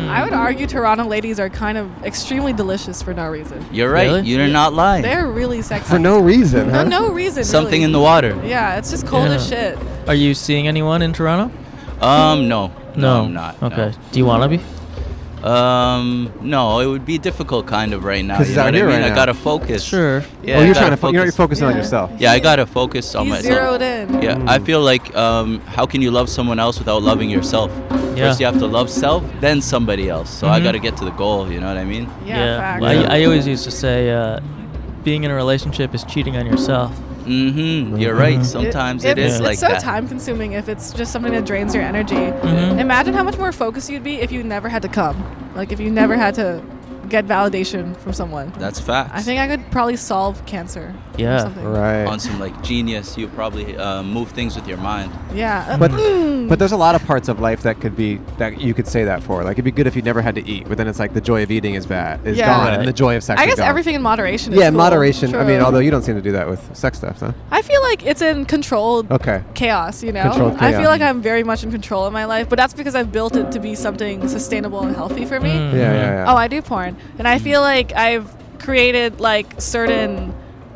[SPEAKER 6] I would argue Toronto ladies are kind of extremely delicious for no reason.
[SPEAKER 7] You're right.
[SPEAKER 5] Really?
[SPEAKER 7] You're not lying.
[SPEAKER 6] They're really sexy.
[SPEAKER 2] For no reason,
[SPEAKER 6] no,
[SPEAKER 2] huh? Oh,
[SPEAKER 6] no reason.
[SPEAKER 7] Something
[SPEAKER 6] really.
[SPEAKER 7] in the water.
[SPEAKER 6] Yeah, it's just cold
[SPEAKER 5] Yeah.
[SPEAKER 6] as shit.
[SPEAKER 5] Are you seeing anyone in Toronto?
[SPEAKER 7] Um, no. I'm not. no.
[SPEAKER 5] Okay. Do you want to be?
[SPEAKER 7] Um, no, it would be difficult kind of right now.
[SPEAKER 2] 'Cause
[SPEAKER 7] you
[SPEAKER 2] he's
[SPEAKER 7] know
[SPEAKER 2] out
[SPEAKER 7] what
[SPEAKER 2] here
[SPEAKER 7] I mean?
[SPEAKER 2] right
[SPEAKER 7] I
[SPEAKER 2] now.
[SPEAKER 7] gotta focus.
[SPEAKER 5] Sure.
[SPEAKER 7] Yeah.
[SPEAKER 2] oh,
[SPEAKER 7] I
[SPEAKER 2] you're
[SPEAKER 7] gotta
[SPEAKER 2] trying to. Fo- you're focusing on
[SPEAKER 6] Yeah.
[SPEAKER 2] yourself.
[SPEAKER 7] Yeah, I gotta focus on
[SPEAKER 6] He's
[SPEAKER 7] myself.
[SPEAKER 6] zeroed in.
[SPEAKER 7] Yeah, I feel like um, how can you love someone else without loving yourself?
[SPEAKER 5] Yeah.
[SPEAKER 7] First, you have to love self, then somebody else. So I
[SPEAKER 5] Mhm.
[SPEAKER 7] gotta get to the goal. You know what I mean?
[SPEAKER 6] Yeah, fact.
[SPEAKER 5] Well, I, I always used to say, uh, being in a relationship is cheating on yourself.
[SPEAKER 7] Mm-hmm. You're right. Sometimes it
[SPEAKER 6] it's,
[SPEAKER 7] is like
[SPEAKER 6] it's so
[SPEAKER 7] that. Mm-hmm.
[SPEAKER 6] time consuming if it's just something that drains your energy.
[SPEAKER 5] Mhm.
[SPEAKER 6] Imagine how much more focused you'd be if you never had to come. Like if you never had to get validation from someone.
[SPEAKER 7] That's facts.
[SPEAKER 6] I think I could probably solve cancer. Or
[SPEAKER 5] Yeah.
[SPEAKER 6] something.
[SPEAKER 2] Right.
[SPEAKER 7] on some like genius, you probably uh, move things with your mind.
[SPEAKER 6] Yeah.
[SPEAKER 2] But
[SPEAKER 6] Mm.
[SPEAKER 2] but there's a lot of parts of life that could be that you could say that for. Like it'd be good if you never had to eat, but then it's like the joy of eating is bad is
[SPEAKER 6] Yeah.
[SPEAKER 2] gone,
[SPEAKER 5] Right.
[SPEAKER 2] and the joy of sex.
[SPEAKER 6] I
[SPEAKER 2] is
[SPEAKER 6] guess
[SPEAKER 2] gone.
[SPEAKER 6] everything in moderation. Is
[SPEAKER 2] Yeah,
[SPEAKER 6] cool.
[SPEAKER 2] moderation. I mean,
[SPEAKER 6] True.
[SPEAKER 2] although you don't seem to do that with sex stuff, huh?
[SPEAKER 6] I feel like it's in controlled
[SPEAKER 2] Okay.
[SPEAKER 6] chaos. You know,
[SPEAKER 2] Controlled
[SPEAKER 6] I feel
[SPEAKER 2] chaos.
[SPEAKER 6] like I'm very much in control of my life, but that's because I've built it to be something sustainable and healthy for me.
[SPEAKER 5] Mm.
[SPEAKER 7] Mm-hmm.
[SPEAKER 2] Yeah, yeah, yeah.
[SPEAKER 6] Oh, I do porn, and I feel like I've created like certain.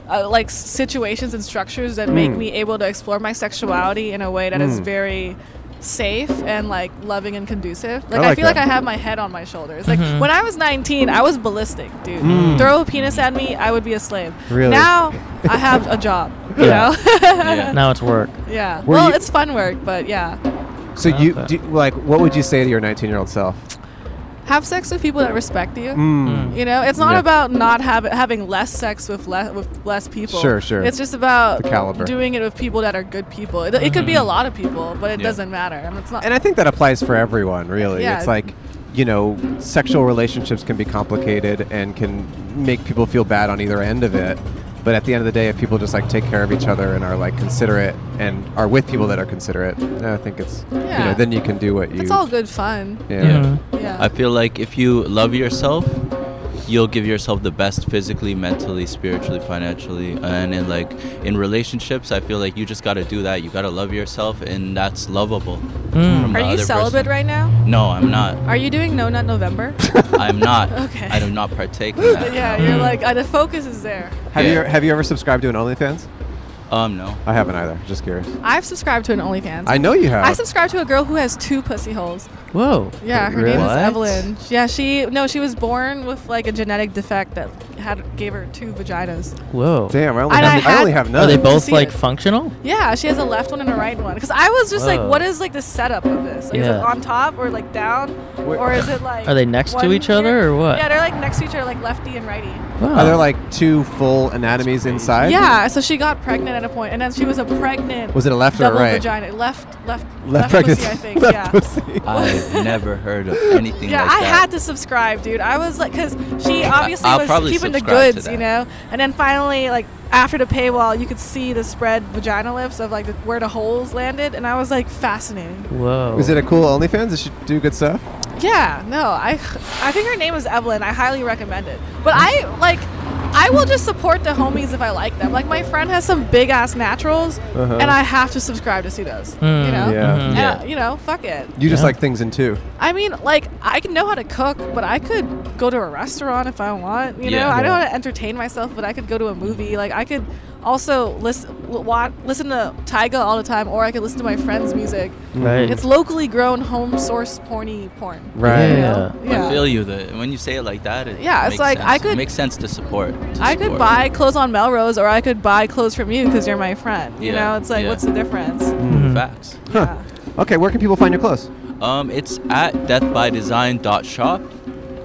[SPEAKER 6] Uh, like s- situations and structures that make
[SPEAKER 2] Mm.
[SPEAKER 6] me able to explore my sexuality in a way that is
[SPEAKER 2] Mm.
[SPEAKER 6] very safe and like loving and conducive. Like I,
[SPEAKER 2] like
[SPEAKER 6] feel
[SPEAKER 2] that.
[SPEAKER 6] like I have my head on my shoulders. Like
[SPEAKER 5] Mhm.
[SPEAKER 6] when I was 19, I was ballistic, dude. Throw a penis at me, I would be a slave.
[SPEAKER 2] Mm. Really?
[SPEAKER 6] Now I have a job. You
[SPEAKER 5] Yeah.
[SPEAKER 6] know?
[SPEAKER 7] Yeah.
[SPEAKER 5] Now it's work.
[SPEAKER 6] Yeah.
[SPEAKER 2] Were
[SPEAKER 6] well,
[SPEAKER 2] you-
[SPEAKER 6] it's fun work, but yeah.
[SPEAKER 2] so you
[SPEAKER 5] Okay.
[SPEAKER 2] do, like what would you say to your 19 year old self?
[SPEAKER 6] Have sex with people that respect you.
[SPEAKER 5] Hmm.
[SPEAKER 2] Mm.
[SPEAKER 6] You know, it's not
[SPEAKER 2] Yeah.
[SPEAKER 6] about not have, having less sex with less with less people.
[SPEAKER 2] Sure, sure.
[SPEAKER 6] It's just about
[SPEAKER 2] The caliber. Mm-hmm.
[SPEAKER 6] doing it with people that are good people. It, it could be a lot of people, but it
[SPEAKER 7] Yeah.
[SPEAKER 6] doesn't matter. I mean, it's not.
[SPEAKER 2] And I think that applies for everyone, really.
[SPEAKER 6] Yeah.
[SPEAKER 2] It's like, you know, sexual relationships can be complicated and can make people feel bad on either end of it. But at the end of the day, if people just like take care of each other and are like considerate and are with people that are considerate, then I think it's you
[SPEAKER 6] Yeah.
[SPEAKER 2] know then you can do what you.
[SPEAKER 6] it's all good fun.
[SPEAKER 2] Yeah.
[SPEAKER 5] Yeah.
[SPEAKER 6] Yeah.
[SPEAKER 7] I feel like if you love yourself, you'll give yourself the best physically, mentally, spiritually, financially, and in like in relationships. I feel like you just gotta do that. You gotta love yourself, and that's lovable.
[SPEAKER 5] Mm.
[SPEAKER 7] from
[SPEAKER 6] are
[SPEAKER 7] the
[SPEAKER 6] you
[SPEAKER 7] other
[SPEAKER 6] celibate
[SPEAKER 7] person.
[SPEAKER 6] right now?
[SPEAKER 7] No, I'm not.
[SPEAKER 6] Are you doing No Nut November?
[SPEAKER 7] I'm not.
[SPEAKER 6] Okay.
[SPEAKER 7] I do not partake in that.
[SPEAKER 6] yeah, you're like uh, the focus is there.
[SPEAKER 2] Have
[SPEAKER 7] Yeah.
[SPEAKER 2] you have you ever subscribed to an OnlyFans?
[SPEAKER 7] Um, no.
[SPEAKER 2] I haven't either. Just curious.
[SPEAKER 6] I've subscribed to an OnlyFans.
[SPEAKER 2] I know you have.
[SPEAKER 6] I subscribed to a girl who has two pussy holes.
[SPEAKER 5] Whoa.
[SPEAKER 6] Yeah, her
[SPEAKER 2] Really?
[SPEAKER 6] name is
[SPEAKER 5] What?
[SPEAKER 6] Evelyn. Yeah, she no, she was born with like a genetic defect that had gave her two vaginas.
[SPEAKER 5] Whoa.
[SPEAKER 2] Damn, I only,
[SPEAKER 6] And I
[SPEAKER 2] have, I
[SPEAKER 6] had-
[SPEAKER 2] only have none.
[SPEAKER 5] Are they both
[SPEAKER 6] see
[SPEAKER 5] like
[SPEAKER 6] it.
[SPEAKER 5] functional?
[SPEAKER 6] Yeah, she has a left one and a right one. Cause I was just
[SPEAKER 5] Whoa.
[SPEAKER 6] like, what is like the setup of this? Like, Is
[SPEAKER 5] Yeah.
[SPEAKER 6] it on top or like down,
[SPEAKER 2] Wait.
[SPEAKER 6] or is it like?
[SPEAKER 5] Are they next to
[SPEAKER 6] one
[SPEAKER 5] each other or what?
[SPEAKER 6] Yeah, they're like next to each other, like lefty and righty.
[SPEAKER 5] Wow.
[SPEAKER 2] Are there like two full anatomies inside?
[SPEAKER 6] yeah, so she got pregnant at a point, and then she was a pregnant.
[SPEAKER 2] Was it a left or a
[SPEAKER 6] double
[SPEAKER 2] right?
[SPEAKER 6] vagina? Left, left, left,
[SPEAKER 2] Left pregnant.
[SPEAKER 6] pussy, I think.
[SPEAKER 2] left
[SPEAKER 6] yeah.
[SPEAKER 2] pussy.
[SPEAKER 7] I've never heard of anything
[SPEAKER 6] Yeah,
[SPEAKER 7] like
[SPEAKER 6] I
[SPEAKER 7] that.
[SPEAKER 6] had to subscribe, dude. I was like, because she obviously
[SPEAKER 7] I'll
[SPEAKER 6] was
[SPEAKER 7] probably
[SPEAKER 6] keeping the
[SPEAKER 7] subscribe to
[SPEAKER 6] goods,
[SPEAKER 7] that.
[SPEAKER 6] you know. And then finally, like after the paywall, you could see the spread vagina lifts of like the, where the holes landed, and I was like fascinating.
[SPEAKER 5] Whoa.
[SPEAKER 2] Is it a cool OnlyFans? Does she do good stuff?
[SPEAKER 6] Yeah, no, I, I think her name is Evelyn. I highly recommend it. But I like, I will just support the homies if I like them. Like my friend has some big ass naturals,
[SPEAKER 2] Uh-huh.
[SPEAKER 6] and I have to subscribe to see those.
[SPEAKER 5] Mm,
[SPEAKER 6] you know.
[SPEAKER 2] yeah.
[SPEAKER 6] And,
[SPEAKER 7] Hmm, Yeah.
[SPEAKER 6] you know, fuck it.
[SPEAKER 2] You just
[SPEAKER 5] Yeah.
[SPEAKER 2] like things in two.
[SPEAKER 6] I mean, like I can know how to cook, but I could go to a restaurant if I want. You
[SPEAKER 7] Yeah.
[SPEAKER 6] know, I know
[SPEAKER 5] Yeah.
[SPEAKER 6] how to entertain myself, but I could go to a movie. Like I could also listen, wa- listen to Tyga all the time, or I could listen to my friends' music.
[SPEAKER 5] Right.
[SPEAKER 6] It's locally grown, home source, porny porn.
[SPEAKER 2] Right.
[SPEAKER 6] you
[SPEAKER 5] Yeah.
[SPEAKER 6] know?
[SPEAKER 7] I feel you. The, when you say it like that, it
[SPEAKER 6] Yeah, it's
[SPEAKER 7] makes
[SPEAKER 6] like,
[SPEAKER 7] sense.
[SPEAKER 6] I
[SPEAKER 7] it
[SPEAKER 6] could-
[SPEAKER 7] makes sense to support. to
[SPEAKER 6] I could
[SPEAKER 7] support.
[SPEAKER 6] buy clothes on Melrose, or I could buy clothes from you because you're my friend. You
[SPEAKER 7] Yeah,
[SPEAKER 6] know, it's like,
[SPEAKER 7] yeah.
[SPEAKER 6] what's the difference?
[SPEAKER 2] Hmm.
[SPEAKER 7] facts.
[SPEAKER 6] Yeah.
[SPEAKER 2] Okay, where can people find your clothes?
[SPEAKER 7] Um, it's at deathbydesign.shop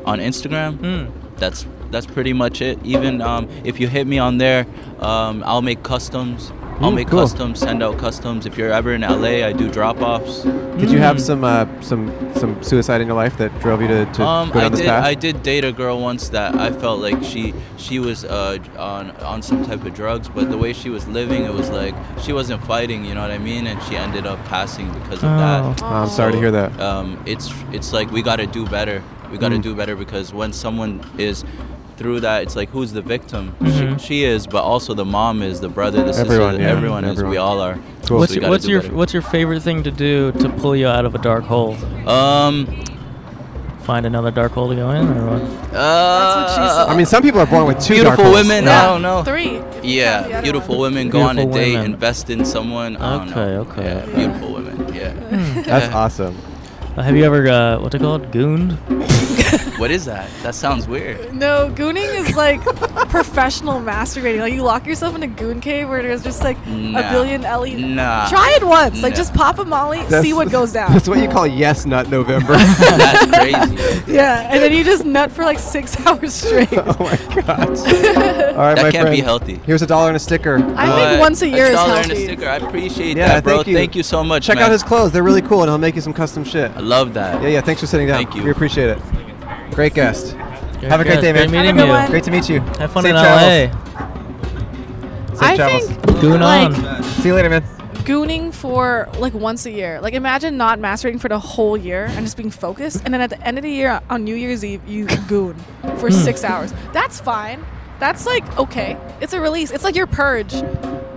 [SPEAKER 7] on Instagram.
[SPEAKER 5] Mm.
[SPEAKER 7] That's that's pretty much it. Even um, if you hit me on there, um, I'll make customs. I'll
[SPEAKER 2] Mm,
[SPEAKER 7] make
[SPEAKER 2] cool.
[SPEAKER 7] customs, send out customs. If you're ever in LA, I do drop offs.
[SPEAKER 2] Did you
[SPEAKER 5] Mm.
[SPEAKER 2] have some uh, some some suicide in your life that drove you to, to
[SPEAKER 7] Um,
[SPEAKER 2] go down
[SPEAKER 7] I
[SPEAKER 2] this
[SPEAKER 7] did.
[SPEAKER 2] path?
[SPEAKER 7] I did date a girl once that I felt like she she was uh, on on some type of drugs, but the way she was living, it was like she wasn't fighting. You know what I mean? And she ended up passing because of
[SPEAKER 5] Oh.
[SPEAKER 7] that.
[SPEAKER 2] Oh, I'm sorry to hear that.
[SPEAKER 7] Um, it's it's like we gotta do better. We gotta
[SPEAKER 5] Mm.
[SPEAKER 7] do better because when someone is through that, it's like who's the victim?
[SPEAKER 5] Mm-hmm.
[SPEAKER 7] She, she is, but also the mom is, the brother, the
[SPEAKER 2] Everyone,
[SPEAKER 7] sister,
[SPEAKER 2] yeah,
[SPEAKER 7] everyone, is.
[SPEAKER 2] everyone.
[SPEAKER 7] We all are.
[SPEAKER 2] Cool.
[SPEAKER 7] we
[SPEAKER 5] What's, your,
[SPEAKER 7] gotta
[SPEAKER 5] what's
[SPEAKER 7] do
[SPEAKER 5] your
[SPEAKER 7] better.
[SPEAKER 5] what's your favorite thing to do to pull you out of a dark hole?
[SPEAKER 7] um?
[SPEAKER 5] Find another dark hole to go in, or what?
[SPEAKER 7] Uh, That's
[SPEAKER 6] what she said.
[SPEAKER 2] I mean, some people are born with two dark
[SPEAKER 7] beautiful
[SPEAKER 2] holes.
[SPEAKER 7] women. uh,
[SPEAKER 5] Yeah.
[SPEAKER 7] I don't know.
[SPEAKER 6] Three. Count the
[SPEAKER 7] Yeah,
[SPEAKER 6] other
[SPEAKER 7] beautiful
[SPEAKER 6] one.
[SPEAKER 7] women go on a
[SPEAKER 5] Beautiful
[SPEAKER 7] date,
[SPEAKER 5] women.
[SPEAKER 7] invest in someone. I don't know.
[SPEAKER 5] Okay, okay,
[SPEAKER 7] Yeah,
[SPEAKER 5] okay.
[SPEAKER 7] beautiful women. Yeah.
[SPEAKER 2] That's awesome.
[SPEAKER 5] Uh, have you ever uh, what's it called? Gooned?
[SPEAKER 7] what is that? That sounds weird.
[SPEAKER 6] No, gooning is like professional masturbating. Like you lock yourself in a goon cave where there's just like
[SPEAKER 7] Nah.
[SPEAKER 6] a billion LED.
[SPEAKER 7] Nah.
[SPEAKER 6] Try it once. Like
[SPEAKER 7] Nah.
[SPEAKER 6] just pop a molly, see what goes down.
[SPEAKER 2] That's what you call yes, not November.
[SPEAKER 7] That's crazy.
[SPEAKER 6] yeah, and then you just nut for like six hours straight.
[SPEAKER 2] oh my god! All right,
[SPEAKER 7] That
[SPEAKER 2] my
[SPEAKER 7] can't
[SPEAKER 2] friend.
[SPEAKER 7] be healthy.
[SPEAKER 2] Here's a dollar and a sticker. Uh,
[SPEAKER 6] I think
[SPEAKER 7] But
[SPEAKER 6] once a year is
[SPEAKER 7] dollar and a
[SPEAKER 6] healthy.
[SPEAKER 7] sticker. I appreciate
[SPEAKER 2] Yeah,
[SPEAKER 7] that, bro.
[SPEAKER 2] thank you.
[SPEAKER 7] so much.
[SPEAKER 2] Check
[SPEAKER 7] man.
[SPEAKER 2] out his clothes; they're really cool, and he'll make you some custom shit.
[SPEAKER 7] I love that.
[SPEAKER 2] Yeah, yeah. Thanks for sitting down.
[SPEAKER 7] Thank you.
[SPEAKER 2] We appreciate it. Great guest. Have a great
[SPEAKER 5] guest.
[SPEAKER 2] day, man.
[SPEAKER 5] Great meeting
[SPEAKER 6] Have a good
[SPEAKER 5] you.
[SPEAKER 6] one.
[SPEAKER 2] Great to meet you.
[SPEAKER 5] Have fun
[SPEAKER 2] Safe
[SPEAKER 5] in
[SPEAKER 2] travels.
[SPEAKER 5] LA.
[SPEAKER 2] Safe
[SPEAKER 6] I
[SPEAKER 2] travels.
[SPEAKER 6] think
[SPEAKER 5] Goon
[SPEAKER 6] like
[SPEAKER 5] on.
[SPEAKER 2] See you later, man.
[SPEAKER 6] gooning for like once a year. Like imagine not masturbating for the whole year and just being focused, and then at the end of the year on New Year's Eve you goon for six hours. That's fine. That's like okay. It's a release. It's like your purge.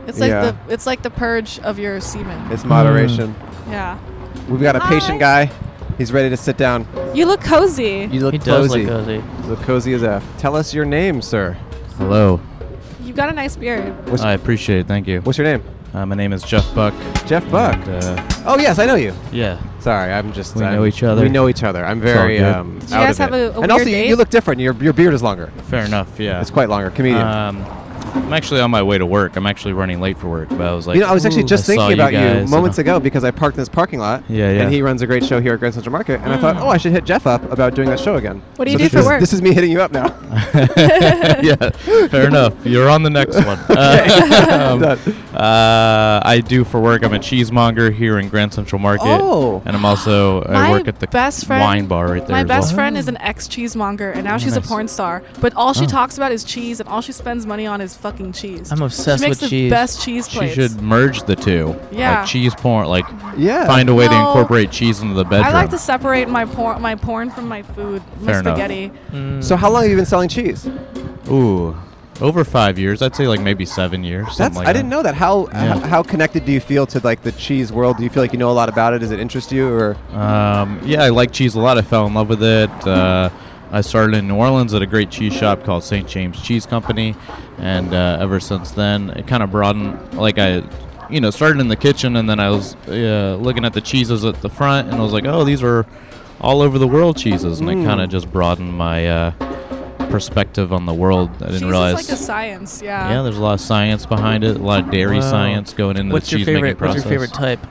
[SPEAKER 6] It's like
[SPEAKER 2] Yeah.
[SPEAKER 6] the it's like the purge of your semen.
[SPEAKER 2] It's moderation.
[SPEAKER 6] Yeah.
[SPEAKER 2] Mm. We've got a patient
[SPEAKER 6] Hi.
[SPEAKER 2] guy. He's ready to sit down.
[SPEAKER 6] You look cozy.
[SPEAKER 2] You look
[SPEAKER 5] He does
[SPEAKER 2] cozy.
[SPEAKER 5] look cozy.
[SPEAKER 2] You look cozy as f. Tell us your name, sir.
[SPEAKER 8] Hello.
[SPEAKER 6] You got a nice beard.
[SPEAKER 2] What's-
[SPEAKER 8] I appreciate it. Thank you.
[SPEAKER 2] What's your name?
[SPEAKER 8] Uh, my name is Jeff Buck.
[SPEAKER 2] Jeff Buck.
[SPEAKER 8] And, uh,
[SPEAKER 2] Oh yes, I know you.
[SPEAKER 8] yeah.
[SPEAKER 2] Sorry, I'm just.
[SPEAKER 8] We
[SPEAKER 2] I'm-
[SPEAKER 8] know each other.
[SPEAKER 2] We know each other. I'm very.
[SPEAKER 8] all good.
[SPEAKER 2] Um,
[SPEAKER 6] Do you
[SPEAKER 2] out
[SPEAKER 6] guys
[SPEAKER 2] of
[SPEAKER 6] have
[SPEAKER 2] it.
[SPEAKER 6] a- a
[SPEAKER 2] And also,
[SPEAKER 6] weird
[SPEAKER 2] you, you
[SPEAKER 6] date?
[SPEAKER 2] look different. Your your beard is longer.
[SPEAKER 8] Fair enough. Yeah.
[SPEAKER 2] It's quite longer. Comedian.
[SPEAKER 6] Uh,
[SPEAKER 8] Um, I'm actually on my way to work. I'm actually running late for work, but I was like,
[SPEAKER 2] you know, I was actually
[SPEAKER 8] "Ooh,
[SPEAKER 2] just
[SPEAKER 8] I saw
[SPEAKER 2] thinking about you,
[SPEAKER 8] guys,"
[SPEAKER 2] moments
[SPEAKER 8] and,
[SPEAKER 2] ago because I parked in this parking lot.
[SPEAKER 8] Yeah, yeah.
[SPEAKER 2] And he runs a great show here at Grand Central Market, and I thought, oh, I should hit Jeff up about doing that show again.
[SPEAKER 6] Mm. What do
[SPEAKER 2] So
[SPEAKER 6] you do
[SPEAKER 2] this
[SPEAKER 6] for
[SPEAKER 2] is-
[SPEAKER 6] work?
[SPEAKER 2] This is me hitting you up now.
[SPEAKER 8] yeah. Fair enough. You're on the next one.
[SPEAKER 2] I'm
[SPEAKER 8] Uh,
[SPEAKER 2] done.
[SPEAKER 8] um, uh, I do for work. I'm a cheesemonger here in Grand Central Market.
[SPEAKER 2] Oh.
[SPEAKER 8] And I'm also I
[SPEAKER 6] My
[SPEAKER 8] work at the
[SPEAKER 6] best friend-
[SPEAKER 8] wine bar right there.
[SPEAKER 6] My
[SPEAKER 8] as
[SPEAKER 6] best
[SPEAKER 8] well.
[SPEAKER 6] friend is an ex cheesemonger, and now she's a
[SPEAKER 8] nice.
[SPEAKER 6] porn star. But all she talks about is cheese, and all she spends money on is fucking cheese.
[SPEAKER 5] I'm obsessed
[SPEAKER 6] she makes
[SPEAKER 5] with
[SPEAKER 6] the
[SPEAKER 5] cheese.
[SPEAKER 6] Best cheese
[SPEAKER 8] She
[SPEAKER 6] plates.
[SPEAKER 8] should merge the two.
[SPEAKER 6] Yeah.
[SPEAKER 8] Like cheese porn. Like
[SPEAKER 2] yeah.
[SPEAKER 8] find a way to
[SPEAKER 6] No.
[SPEAKER 8] incorporate cheese into the bedroom.
[SPEAKER 6] I like to separate my porn, my porn from my food, my
[SPEAKER 8] Fair enough.
[SPEAKER 6] spaghetti.
[SPEAKER 2] So how long have you been selling cheese?
[SPEAKER 8] Ooh, over five years. I'd say like maybe seven years.
[SPEAKER 2] That's
[SPEAKER 8] something like
[SPEAKER 2] I didn't
[SPEAKER 8] that.
[SPEAKER 2] know that. How
[SPEAKER 8] Yeah.
[SPEAKER 2] h- how connected do you feel to like the cheese world? Do you feel like you know a lot about it? Does it interest you or
[SPEAKER 8] Um, yeah, I like cheese a lot. I fell in love with it. Uh, I started in New Orleans at a great cheese shop called St. James Cheese Company, and uh, ever since then, it kind of broadened. Like I, you know, started in the kitchen, and then I was uh, looking at the cheeses at the front, and I was like, oh, these were all over the world cheeses, and
[SPEAKER 5] Hmm.
[SPEAKER 8] it kind of just broadened my uh, perspective on the world. I didn't
[SPEAKER 6] Cheese
[SPEAKER 8] realize.
[SPEAKER 6] is like a science. Yeah.
[SPEAKER 8] yeah, there's a lot of science behind it, a lot of dairy
[SPEAKER 5] Wow.
[SPEAKER 8] science going into
[SPEAKER 5] what's
[SPEAKER 8] the
[SPEAKER 5] your
[SPEAKER 8] cheese making
[SPEAKER 5] favorite? What's
[SPEAKER 8] process.
[SPEAKER 5] your favorite type?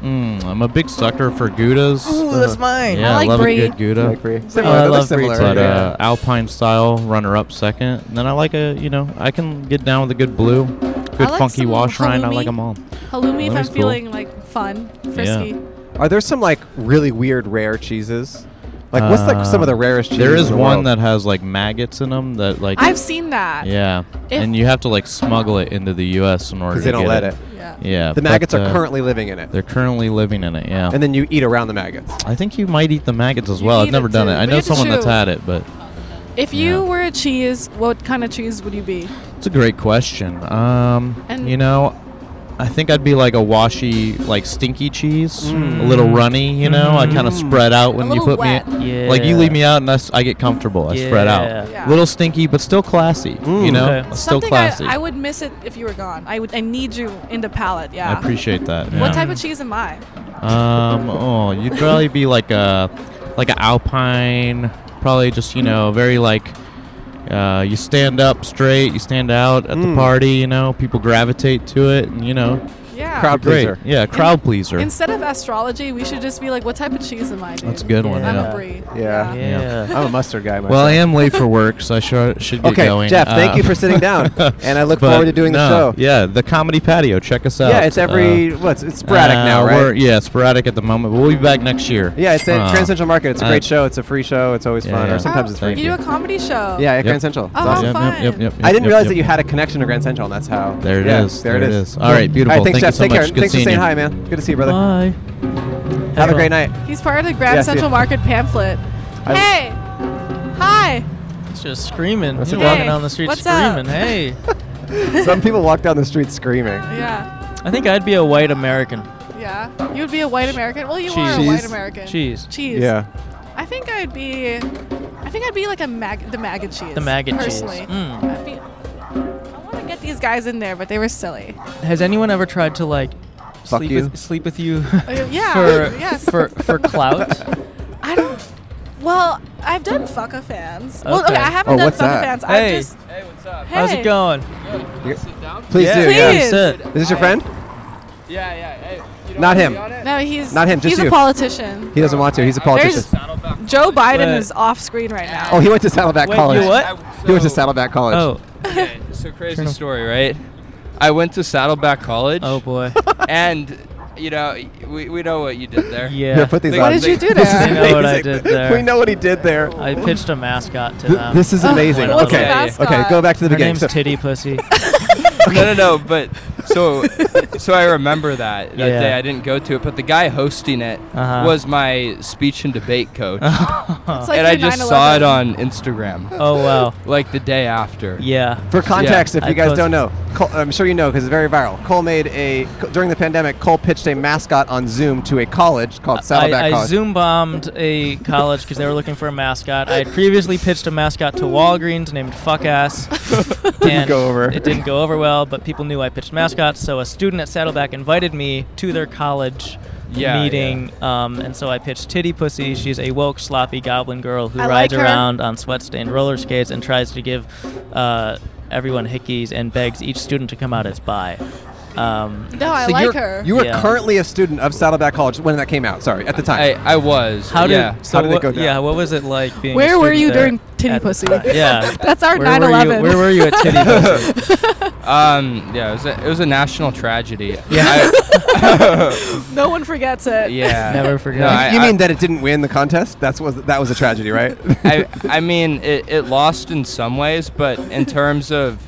[SPEAKER 8] Mm, I'm a big sucker for Goudas. Uh,
[SPEAKER 5] Ooh, that's mine.
[SPEAKER 8] yeah,
[SPEAKER 6] I like
[SPEAKER 8] love
[SPEAKER 6] brie.
[SPEAKER 8] a good Gouda.
[SPEAKER 2] Like Brie.
[SPEAKER 5] Oh, I
[SPEAKER 2] they're
[SPEAKER 5] love Brie
[SPEAKER 2] similar,
[SPEAKER 5] too,
[SPEAKER 8] But
[SPEAKER 2] yeah.
[SPEAKER 8] uh, Alpine style, runner up second. And then I like a, you know, I can get down with a good blue, good
[SPEAKER 6] like
[SPEAKER 8] funky
[SPEAKER 6] some
[SPEAKER 8] wash rind. I like
[SPEAKER 6] halloumi.
[SPEAKER 8] them all.
[SPEAKER 6] Halloumi, if I'm
[SPEAKER 8] Halloumi's cool.
[SPEAKER 6] feeling like fun, frisky.
[SPEAKER 8] uh,
[SPEAKER 2] Are there some like really weird rare cheeses? Like what's like some of the
[SPEAKER 8] Um,
[SPEAKER 2] rarest cheeses?
[SPEAKER 8] There
[SPEAKER 2] in
[SPEAKER 8] is
[SPEAKER 2] the
[SPEAKER 8] one
[SPEAKER 2] world?
[SPEAKER 8] that has like maggots in them that like.
[SPEAKER 6] I've seen that.
[SPEAKER 8] yeah,
[SPEAKER 6] If-
[SPEAKER 8] and you have to like smuggle it into the U.S. in order.
[SPEAKER 2] because
[SPEAKER 8] to
[SPEAKER 2] they don't
[SPEAKER 8] get
[SPEAKER 2] let it.
[SPEAKER 6] Yeah.
[SPEAKER 8] Yeah,
[SPEAKER 2] The
[SPEAKER 8] but,
[SPEAKER 2] maggots are
[SPEAKER 8] uh,
[SPEAKER 2] currently living in it,
[SPEAKER 8] They're currently living in it. Yeah,
[SPEAKER 2] and then you eat around the maggots.
[SPEAKER 8] I think you might eat the maggots as
[SPEAKER 6] You
[SPEAKER 8] well.
[SPEAKER 6] eat
[SPEAKER 8] I've never
[SPEAKER 6] it
[SPEAKER 8] done
[SPEAKER 6] too,
[SPEAKER 8] it. I
[SPEAKER 6] but
[SPEAKER 8] know
[SPEAKER 6] it's
[SPEAKER 8] someone that's
[SPEAKER 6] true.
[SPEAKER 8] had it, but
[SPEAKER 6] If you
[SPEAKER 8] Yeah.
[SPEAKER 6] were a cheese, what kind of cheese would you be?
[SPEAKER 8] It's a great question. Um,
[SPEAKER 6] And-
[SPEAKER 8] you know, I think I'd be like a washy, like stinky cheese, a little runny. You know, I kind of spread out when you
[SPEAKER 6] little
[SPEAKER 8] put
[SPEAKER 6] wet.
[SPEAKER 8] me.
[SPEAKER 5] Mm. Yeah.
[SPEAKER 8] Like you leave me out and I, s- I get comfortable. I spread out.
[SPEAKER 5] Yeah. Mm,
[SPEAKER 6] Yeah.
[SPEAKER 8] Little stinky, but still classy. You know,
[SPEAKER 5] Okay.
[SPEAKER 8] still
[SPEAKER 6] Something
[SPEAKER 8] classy.
[SPEAKER 6] I, I would miss it if you were gone. I would. I need you in the palate.
[SPEAKER 8] I
[SPEAKER 6] Yeah.
[SPEAKER 8] appreciate that.
[SPEAKER 6] What
[SPEAKER 8] yeah.
[SPEAKER 6] type of cheese am I?
[SPEAKER 8] Um, oh, you'd probably be like a like an alpine, probably just
[SPEAKER 5] Mm.
[SPEAKER 8] you know very like. Uh, you stand up straight. You stand out at the
[SPEAKER 5] Mm.
[SPEAKER 8] party. You know, people gravitate to it, and you know,
[SPEAKER 6] Yeah.
[SPEAKER 2] Crowd
[SPEAKER 8] great.
[SPEAKER 2] pleaser.
[SPEAKER 8] Yeah, crowd pleaser.
[SPEAKER 6] Instead of astrology, we should just be like, what type of cheese am I? Dude?
[SPEAKER 8] That's a good one.
[SPEAKER 5] Yeah.
[SPEAKER 6] I'm
[SPEAKER 8] Yeah.
[SPEAKER 6] a brie.
[SPEAKER 2] Yeah.
[SPEAKER 5] Yeah.
[SPEAKER 2] I'm a mustard guy. Myself.
[SPEAKER 8] Well, I am late for work, so I sure should get
[SPEAKER 2] Okay,
[SPEAKER 8] going.
[SPEAKER 2] Jeff, thank
[SPEAKER 8] Uh,
[SPEAKER 2] you for sitting down, and I look
[SPEAKER 8] but
[SPEAKER 2] forward to doing the
[SPEAKER 8] no,
[SPEAKER 2] show.
[SPEAKER 8] Yeah, the comedy patio. Check us out.
[SPEAKER 2] Yeah, it's every
[SPEAKER 8] Uh,
[SPEAKER 2] what's it's sporadic
[SPEAKER 8] uh,
[SPEAKER 2] now, right?
[SPEAKER 8] we're- yeah, sporadic at the moment. But we'll be back next year.
[SPEAKER 2] Yeah, it's at
[SPEAKER 8] Uh,
[SPEAKER 2] Grand Central Market. It's a
[SPEAKER 8] uh,
[SPEAKER 2] great show. It's a free show. It's always
[SPEAKER 8] Yeah,
[SPEAKER 2] fun,
[SPEAKER 8] yeah.
[SPEAKER 2] or sometimes
[SPEAKER 6] Oh,
[SPEAKER 2] it's free.
[SPEAKER 6] You do a comedy show.
[SPEAKER 2] Yeah, at
[SPEAKER 8] Yep.
[SPEAKER 2] Grand Central. It's
[SPEAKER 6] Oh,
[SPEAKER 2] awesome.
[SPEAKER 8] Yep, yep, yep, yep,
[SPEAKER 2] I didn't
[SPEAKER 8] yep,
[SPEAKER 2] realize
[SPEAKER 8] yep.
[SPEAKER 2] that you had a connection to Grand Central, and that's how.
[SPEAKER 8] There it
[SPEAKER 2] yeah,
[SPEAKER 8] is.
[SPEAKER 2] There, it is.
[SPEAKER 8] All right, beautiful.
[SPEAKER 2] All right, thanks, Jeff.
[SPEAKER 8] Thank you so
[SPEAKER 2] Take
[SPEAKER 8] much.
[SPEAKER 2] care.
[SPEAKER 8] Good
[SPEAKER 2] Thanks for
[SPEAKER 8] seeing
[SPEAKER 2] saying
[SPEAKER 8] you.
[SPEAKER 2] hi, man. Good to see you, brother.
[SPEAKER 5] Bye.
[SPEAKER 2] Have a great night.
[SPEAKER 6] He's part of the Grand
[SPEAKER 2] Yes,
[SPEAKER 6] Central
[SPEAKER 2] yeah.
[SPEAKER 6] Market pamphlet.
[SPEAKER 2] I-
[SPEAKER 6] hey. Hi.
[SPEAKER 5] It's just screaming. You're
[SPEAKER 2] a
[SPEAKER 5] walking
[SPEAKER 6] Hey,
[SPEAKER 5] down the street
[SPEAKER 6] what's
[SPEAKER 5] screaming.
[SPEAKER 6] up?
[SPEAKER 5] Hey.
[SPEAKER 2] Some people walk down the street screaming.
[SPEAKER 6] Yeah.
[SPEAKER 5] I think I'd be a white American.
[SPEAKER 6] Yeah. You would be a white American. Well, you are a
[SPEAKER 5] Cheese.
[SPEAKER 6] white American.
[SPEAKER 5] Cheese.
[SPEAKER 6] Cheese.
[SPEAKER 2] Yeah.
[SPEAKER 6] I think I'd be, I think I'd be like a mag, the maggot cheese.
[SPEAKER 5] The maggot cheese.
[SPEAKER 6] personally.
[SPEAKER 5] Mm.
[SPEAKER 6] I'd be, I want to get these guys in there, but they were silly.
[SPEAKER 5] Has anyone ever tried to like
[SPEAKER 2] Fuck
[SPEAKER 5] sleep
[SPEAKER 2] you.
[SPEAKER 5] with sleep with you
[SPEAKER 2] Uh,
[SPEAKER 6] Oh, yeah,
[SPEAKER 5] for
[SPEAKER 6] yes.
[SPEAKER 5] for for clout?
[SPEAKER 6] I don't. Well, I've done fuck a fans. Well, okay,
[SPEAKER 5] Okay.
[SPEAKER 6] I haven't
[SPEAKER 2] Oh,
[SPEAKER 6] done
[SPEAKER 2] what's
[SPEAKER 6] fuck a
[SPEAKER 2] that?
[SPEAKER 6] fans. I
[SPEAKER 5] hey,
[SPEAKER 6] just. Hey,
[SPEAKER 5] how's it going?
[SPEAKER 2] Please
[SPEAKER 5] Yeah.
[SPEAKER 2] do.
[SPEAKER 6] Please.
[SPEAKER 2] Yeah.
[SPEAKER 5] Sit.
[SPEAKER 2] Is this your friend?
[SPEAKER 9] Yeah, yeah. Hey, you don't
[SPEAKER 2] Not
[SPEAKER 9] wanna
[SPEAKER 2] him.
[SPEAKER 9] be on it?
[SPEAKER 6] No, he's
[SPEAKER 2] Not him, just
[SPEAKER 6] he's
[SPEAKER 2] you.
[SPEAKER 6] a politician.
[SPEAKER 2] He doesn't want to. He's a politician.
[SPEAKER 6] There's- Joe Biden
[SPEAKER 5] Wait.
[SPEAKER 6] is off screen right now.
[SPEAKER 2] Oh, he went to Saddleback
[SPEAKER 5] Wait,
[SPEAKER 2] College.
[SPEAKER 5] you what?
[SPEAKER 2] He went to Saddleback College.
[SPEAKER 5] Oh,
[SPEAKER 9] Okay, so crazy story, right? I went to Saddleback College,
[SPEAKER 5] oh boy.
[SPEAKER 9] and you know, we, we know what you did there.
[SPEAKER 5] Yeah.
[SPEAKER 2] Here, put these
[SPEAKER 9] What
[SPEAKER 2] on.
[SPEAKER 6] what did you do
[SPEAKER 2] This is
[SPEAKER 5] I
[SPEAKER 6] there?
[SPEAKER 5] know what I
[SPEAKER 2] amazing.
[SPEAKER 5] did there.
[SPEAKER 2] We know what he did there.
[SPEAKER 5] I pitched a mascot to
[SPEAKER 2] Th-
[SPEAKER 5] them.
[SPEAKER 2] this is
[SPEAKER 6] Oh,
[SPEAKER 2] amazing.
[SPEAKER 5] what's
[SPEAKER 9] the
[SPEAKER 2] okay.
[SPEAKER 6] mascot?
[SPEAKER 2] Okay, go back to the
[SPEAKER 5] Her
[SPEAKER 2] beginning.
[SPEAKER 5] name's
[SPEAKER 2] So,
[SPEAKER 5] Titty Pussy.
[SPEAKER 9] No, no, no. But so so I remember that that
[SPEAKER 5] Yeah.
[SPEAKER 9] day I didn't go to it, but the guy hosting it
[SPEAKER 5] Uh-huh.
[SPEAKER 9] was my speech and debate coach,
[SPEAKER 6] It's like
[SPEAKER 9] and I
[SPEAKER 6] your
[SPEAKER 9] just saw it
[SPEAKER 6] 9/11.
[SPEAKER 9] on Instagram
[SPEAKER 5] Oh wow.
[SPEAKER 9] like the day after.
[SPEAKER 5] Yeah.
[SPEAKER 2] for context, if
[SPEAKER 5] I
[SPEAKER 2] you guys
[SPEAKER 5] post-
[SPEAKER 2] don't know, Cole, I'm sure you know because it's very viral. Cole made a during the pandemic. Cole pitched a mascot on Zoom to a college called Saddleback
[SPEAKER 5] I, I
[SPEAKER 2] College.
[SPEAKER 5] zoom bombed a college because they were looking for a mascot. I had previously pitched a mascot to Walgreens named Fuck Ass. and
[SPEAKER 2] go over.
[SPEAKER 5] It didn't go over well, but people knew I pitched mascots. So a student at Saddleback invited me to their college
[SPEAKER 9] Yeah,
[SPEAKER 5] meeting, um, and so I pitched Titty Pussy. She's a woke, sloppy goblin girl who
[SPEAKER 6] I
[SPEAKER 5] rides
[SPEAKER 6] like her.
[SPEAKER 5] around on sweat-stained roller skates and tries to give uh, everyone hickeys and begs each student to come out as bi. Um,
[SPEAKER 6] No, I
[SPEAKER 2] So
[SPEAKER 6] like
[SPEAKER 2] you're-
[SPEAKER 6] her.
[SPEAKER 2] You were
[SPEAKER 5] Yeah.
[SPEAKER 2] currently a student of Saddleback College when that came out. Sorry, at the time.
[SPEAKER 9] I I was.
[SPEAKER 5] how did
[SPEAKER 9] yeah.
[SPEAKER 5] so
[SPEAKER 2] How did it
[SPEAKER 5] what-
[SPEAKER 2] go down?
[SPEAKER 5] Yeah, what was it like being? a
[SPEAKER 6] Where were
[SPEAKER 5] student
[SPEAKER 6] you
[SPEAKER 5] there
[SPEAKER 6] during Titty
[SPEAKER 5] at the
[SPEAKER 6] Pussy?
[SPEAKER 5] time? Yeah.
[SPEAKER 6] That's our
[SPEAKER 5] Where
[SPEAKER 6] 9
[SPEAKER 5] were you-
[SPEAKER 6] 11.
[SPEAKER 5] Where were you at Titty Pussy?
[SPEAKER 9] Um, yeah, it was a, it was a national tragedy.
[SPEAKER 5] Yeah.
[SPEAKER 6] No one forgets it.
[SPEAKER 9] yeah.
[SPEAKER 5] Never forget.
[SPEAKER 9] No, I-
[SPEAKER 2] you
[SPEAKER 9] I-
[SPEAKER 2] mean that it didn't win the contest? That's was that was a tragedy, right?
[SPEAKER 9] I, I mean, it, it lost in some ways, but in terms of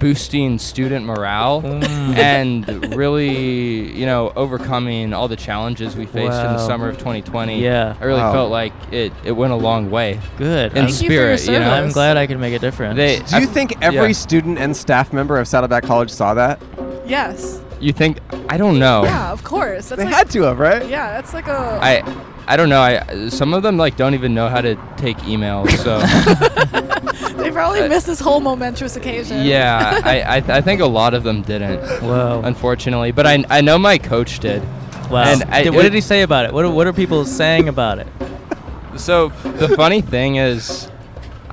[SPEAKER 9] boosting student morale
[SPEAKER 2] Mm.
[SPEAKER 9] and really, you know, overcoming all the challenges we faced in the
[SPEAKER 5] Wow.
[SPEAKER 9] summer of 2020,
[SPEAKER 5] Yeah.
[SPEAKER 9] I really
[SPEAKER 2] Wow.
[SPEAKER 9] felt like it, it went a long way.
[SPEAKER 5] Good. I'm,
[SPEAKER 9] In
[SPEAKER 6] Thank you for your
[SPEAKER 9] spirit, you know,
[SPEAKER 6] service.
[SPEAKER 5] I'm glad I could make a difference.
[SPEAKER 9] They,
[SPEAKER 2] Do you
[SPEAKER 9] I-
[SPEAKER 2] think every
[SPEAKER 9] yeah.
[SPEAKER 2] student and staff member of Saddleback College saw that?
[SPEAKER 6] Yes.
[SPEAKER 9] you think I don't know.
[SPEAKER 6] Yeah, of course. That's
[SPEAKER 2] They
[SPEAKER 6] like,
[SPEAKER 2] had to have, right?
[SPEAKER 6] yeah, that's like a.
[SPEAKER 9] Oh. I I I don't know. I some of them like don't even know how to take emails. So
[SPEAKER 6] They probably
[SPEAKER 9] I-
[SPEAKER 6] missed this whole momentous occasion.
[SPEAKER 9] yeah, I I, th- I think a lot of them didn't,
[SPEAKER 2] Oh.
[SPEAKER 5] Wow.
[SPEAKER 9] unfortunately. But I I know my coach did.
[SPEAKER 5] Wow.
[SPEAKER 9] and I-
[SPEAKER 5] Did- what
[SPEAKER 9] it-
[SPEAKER 5] did he say about it? What are, what are people saying about it?
[SPEAKER 9] So the funny thing is,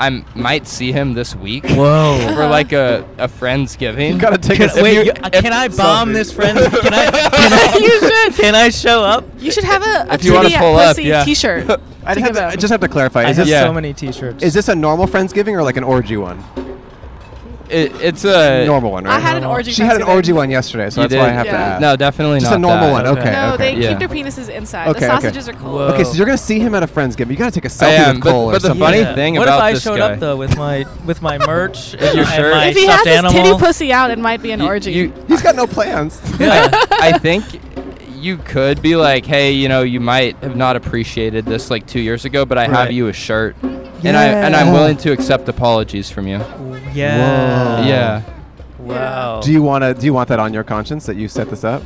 [SPEAKER 9] I might see him this week
[SPEAKER 5] Whoa.
[SPEAKER 9] for like a a friendsgiving.
[SPEAKER 2] Gotta take
[SPEAKER 5] Can,
[SPEAKER 2] a
[SPEAKER 5] wait, you- uh, can I bomb this friend? Can I, can, I,
[SPEAKER 6] you should.
[SPEAKER 5] can I show up?
[SPEAKER 6] You should have a, a
[SPEAKER 9] If you wanna
[SPEAKER 6] titty at
[SPEAKER 9] pull up,
[SPEAKER 6] pussy
[SPEAKER 9] yeah.
[SPEAKER 6] T-shirt.
[SPEAKER 2] I
[SPEAKER 6] to
[SPEAKER 2] just have
[SPEAKER 6] give
[SPEAKER 2] to,
[SPEAKER 6] out.
[SPEAKER 2] I just have to clarify.
[SPEAKER 5] I
[SPEAKER 2] Is
[SPEAKER 5] have
[SPEAKER 2] this,
[SPEAKER 9] Yeah.
[SPEAKER 5] so many T-shirts.
[SPEAKER 2] is this a normal Friendsgiving or like an orgy one?
[SPEAKER 9] It, it's a
[SPEAKER 2] normal one, right?
[SPEAKER 6] I had an orgy.
[SPEAKER 2] she had an
[SPEAKER 6] Thanksgiving.
[SPEAKER 2] orgy one yesterday, so
[SPEAKER 9] Uh, You
[SPEAKER 2] that's why I
[SPEAKER 9] did?
[SPEAKER 2] have to
[SPEAKER 6] Yeah.
[SPEAKER 2] ask.
[SPEAKER 9] No, definitely
[SPEAKER 2] just
[SPEAKER 9] not
[SPEAKER 2] a normal
[SPEAKER 9] that.
[SPEAKER 2] one.
[SPEAKER 5] Okay.
[SPEAKER 2] Okay.
[SPEAKER 6] No,
[SPEAKER 2] okay.
[SPEAKER 6] they
[SPEAKER 9] Yeah.
[SPEAKER 6] keep their penises inside.
[SPEAKER 2] Okay, okay.
[SPEAKER 6] the sausages are cold.
[SPEAKER 5] Whoa.
[SPEAKER 2] Okay, so you're gonna see him at a Friendsgiving. You gotta take a selfie
[SPEAKER 9] Oh. am,
[SPEAKER 2] with
[SPEAKER 9] but-
[SPEAKER 2] Cole or
[SPEAKER 9] but the
[SPEAKER 2] something.
[SPEAKER 9] funny thing
[SPEAKER 5] what
[SPEAKER 9] about
[SPEAKER 5] if I
[SPEAKER 9] this
[SPEAKER 5] showed
[SPEAKER 9] guy-
[SPEAKER 5] up though with my with my merch and,
[SPEAKER 9] your
[SPEAKER 5] my-
[SPEAKER 9] shirt?
[SPEAKER 5] and my
[SPEAKER 6] If he has
[SPEAKER 5] stuffed
[SPEAKER 6] his titty
[SPEAKER 5] animal?
[SPEAKER 6] pussy out, it might be an
[SPEAKER 9] You-
[SPEAKER 6] orgy.
[SPEAKER 9] you-
[SPEAKER 2] He's got no plans.
[SPEAKER 9] I, I think you could be like, hey, you know, you might have not appreciated this like two years ago, but I have
[SPEAKER 5] Right.
[SPEAKER 9] you a shirt, and I and I'm
[SPEAKER 2] Yeah.
[SPEAKER 9] willing to accept apologies from you.
[SPEAKER 5] yeah.
[SPEAKER 2] Whoa.
[SPEAKER 9] Yeah,
[SPEAKER 5] Wow.
[SPEAKER 2] do you wanna? Do you want that on your conscience that you set this up?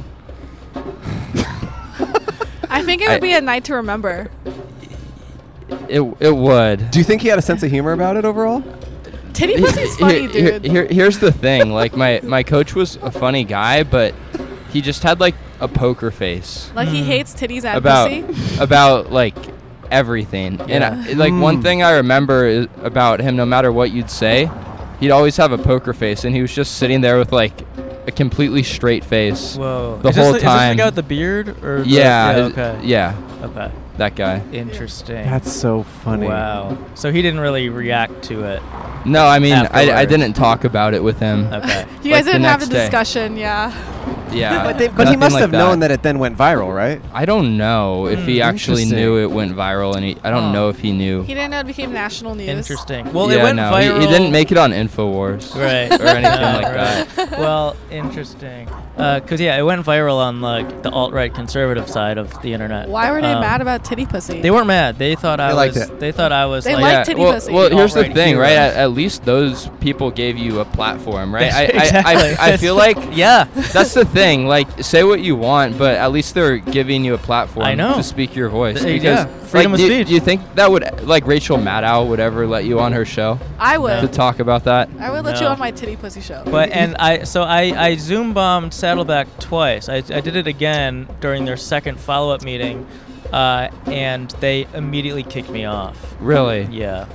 [SPEAKER 6] I think it
[SPEAKER 9] I-
[SPEAKER 6] would be a night to remember.
[SPEAKER 9] it it would.
[SPEAKER 2] Do you think he had a sense of humor about it overall?
[SPEAKER 6] Titty pussy's funny,
[SPEAKER 9] Here- here-
[SPEAKER 6] dude.
[SPEAKER 9] here- here's the thing. Like my my coach was a funny guy, but he just had like a poker face
[SPEAKER 6] like
[SPEAKER 5] Hmm.
[SPEAKER 6] he hates titties and
[SPEAKER 9] about
[SPEAKER 6] pussy.
[SPEAKER 9] about like everything. And I, like
[SPEAKER 5] Hmm.
[SPEAKER 9] one thing I remember is about him, no matter what you'd say, he'd always have a poker face, and he was just sitting there with like a completely straight face.
[SPEAKER 5] Whoa.
[SPEAKER 9] The
[SPEAKER 5] is this
[SPEAKER 9] whole
[SPEAKER 5] the, Is this
[SPEAKER 9] time.
[SPEAKER 5] the guy with the beard? Or the-
[SPEAKER 9] Yeah,
[SPEAKER 5] yeah.
[SPEAKER 9] is-
[SPEAKER 5] Okay.
[SPEAKER 9] yeah,
[SPEAKER 5] Okay.
[SPEAKER 9] that guy.
[SPEAKER 5] Interesting.
[SPEAKER 2] That's so funny.
[SPEAKER 5] wow. So he didn't really react to it.
[SPEAKER 9] No, I mean, I, I
[SPEAKER 5] Afterwards.
[SPEAKER 9] didn't talk about it with him.
[SPEAKER 5] Okay.
[SPEAKER 6] You guys
[SPEAKER 9] the
[SPEAKER 6] didn't have a
[SPEAKER 9] next day.
[SPEAKER 6] discussion, yeah.
[SPEAKER 9] Yeah,
[SPEAKER 2] But, they, but he
[SPEAKER 9] nothing
[SPEAKER 2] must
[SPEAKER 9] like
[SPEAKER 2] have known that it then went viral, right?
[SPEAKER 9] I don't know if he actually
[SPEAKER 2] Interesting.
[SPEAKER 9] knew it went viral, and he, I don't
[SPEAKER 5] Huh.
[SPEAKER 9] know if he knew.
[SPEAKER 6] He didn't know it became national news.
[SPEAKER 5] Interesting. Oh. Well,
[SPEAKER 9] yeah,
[SPEAKER 5] it went
[SPEAKER 9] no, he-
[SPEAKER 5] viral.
[SPEAKER 9] He, didn't make it on Infowars
[SPEAKER 5] Right.
[SPEAKER 9] or anything
[SPEAKER 5] Yeah,
[SPEAKER 9] like that.
[SPEAKER 5] right. Well, interesting. Because yeah, it went viral on like the alt-right conservative side of the internet.
[SPEAKER 6] Why were they
[SPEAKER 5] Um,
[SPEAKER 6] mad about titty pussy?
[SPEAKER 5] They weren't mad. They thought I
[SPEAKER 2] They liked
[SPEAKER 5] was.
[SPEAKER 2] it.
[SPEAKER 5] They thought I was.
[SPEAKER 6] They
[SPEAKER 5] like,
[SPEAKER 6] liked
[SPEAKER 9] yeah,
[SPEAKER 6] titty
[SPEAKER 9] well,
[SPEAKER 6] pussy.
[SPEAKER 9] well, here's the
[SPEAKER 5] Alt-right
[SPEAKER 9] thing, right?
[SPEAKER 5] heroes.
[SPEAKER 9] At, at least those people gave you a platform, right? I,
[SPEAKER 5] Exactly.
[SPEAKER 9] I, I, I feel like
[SPEAKER 5] yeah.
[SPEAKER 9] that's the thing. Like, say what you want, but at least they're giving you a platform
[SPEAKER 5] I know.
[SPEAKER 9] to speak your voice.
[SPEAKER 5] There you go.
[SPEAKER 9] because,
[SPEAKER 5] Freedom
[SPEAKER 9] like,
[SPEAKER 5] of
[SPEAKER 9] do-
[SPEAKER 5] speech.
[SPEAKER 9] Do you think that would like Rachel Maddow would ever let you on her show
[SPEAKER 6] I
[SPEAKER 9] to
[SPEAKER 6] would.
[SPEAKER 9] talk about that?
[SPEAKER 6] I would let you
[SPEAKER 5] No.
[SPEAKER 6] on my titty pussy show.
[SPEAKER 5] But and I so I I zoom bombed Saddleback twice. I, I did it again during their second follow up meeting, uh, and they immediately kicked me off.
[SPEAKER 9] Really?
[SPEAKER 5] Yeah,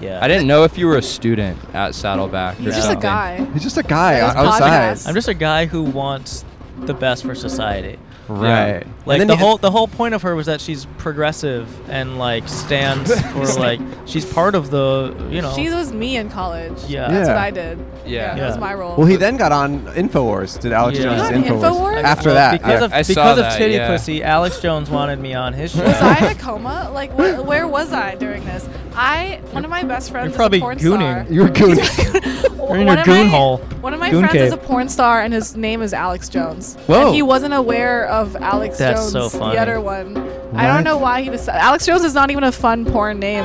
[SPEAKER 5] yeah.
[SPEAKER 9] I didn't know if you were a student at Saddleback.
[SPEAKER 6] He's
[SPEAKER 9] or
[SPEAKER 6] just a
[SPEAKER 9] something.
[SPEAKER 6] guy.
[SPEAKER 2] He's just a guy
[SPEAKER 6] Those
[SPEAKER 2] o- outside.
[SPEAKER 6] podcasts.
[SPEAKER 5] I'm just a guy who wants the best for society.
[SPEAKER 9] Right.
[SPEAKER 2] And
[SPEAKER 5] Like
[SPEAKER 2] then
[SPEAKER 5] the
[SPEAKER 2] he-
[SPEAKER 5] whole the whole point of her was that she's progressive and like stands for like she's part of the you know
[SPEAKER 6] She was me in college.
[SPEAKER 5] Yeah.
[SPEAKER 6] That's
[SPEAKER 2] Yeah.
[SPEAKER 6] what I did.
[SPEAKER 9] Yeah.
[SPEAKER 6] That was
[SPEAKER 5] Yeah.
[SPEAKER 6] my role.
[SPEAKER 2] Well, he then got on Infowars. Did Alex
[SPEAKER 5] Yeah.
[SPEAKER 2] Jones
[SPEAKER 5] He
[SPEAKER 6] got on
[SPEAKER 2] Infowars?
[SPEAKER 6] Infowars?
[SPEAKER 2] After
[SPEAKER 5] Well,
[SPEAKER 2] that,
[SPEAKER 5] oh, because
[SPEAKER 2] yeah.
[SPEAKER 5] of
[SPEAKER 9] I saw
[SPEAKER 5] because of
[SPEAKER 9] that,
[SPEAKER 5] titty
[SPEAKER 9] yeah.
[SPEAKER 5] pussy Alex Jones wanted me on his show.
[SPEAKER 6] was I in a coma? Like, wh- where was I during this? I one of my best friends is
[SPEAKER 5] probably
[SPEAKER 6] a porn
[SPEAKER 5] gooning.
[SPEAKER 6] star.
[SPEAKER 2] you were gooning.
[SPEAKER 6] You're
[SPEAKER 5] in your goon
[SPEAKER 6] my,
[SPEAKER 5] hole.
[SPEAKER 6] One of my
[SPEAKER 5] Goon
[SPEAKER 6] friends is a
[SPEAKER 5] cave.
[SPEAKER 6] porn star, and his name is Alex Jones.
[SPEAKER 2] Whoa.
[SPEAKER 6] And he wasn't aware of Alex
[SPEAKER 5] That's
[SPEAKER 6] Jones,
[SPEAKER 5] so funny.
[SPEAKER 6] the other one. I
[SPEAKER 2] What?
[SPEAKER 6] don't know why he decided. Alex Jones is not even a fun porn name,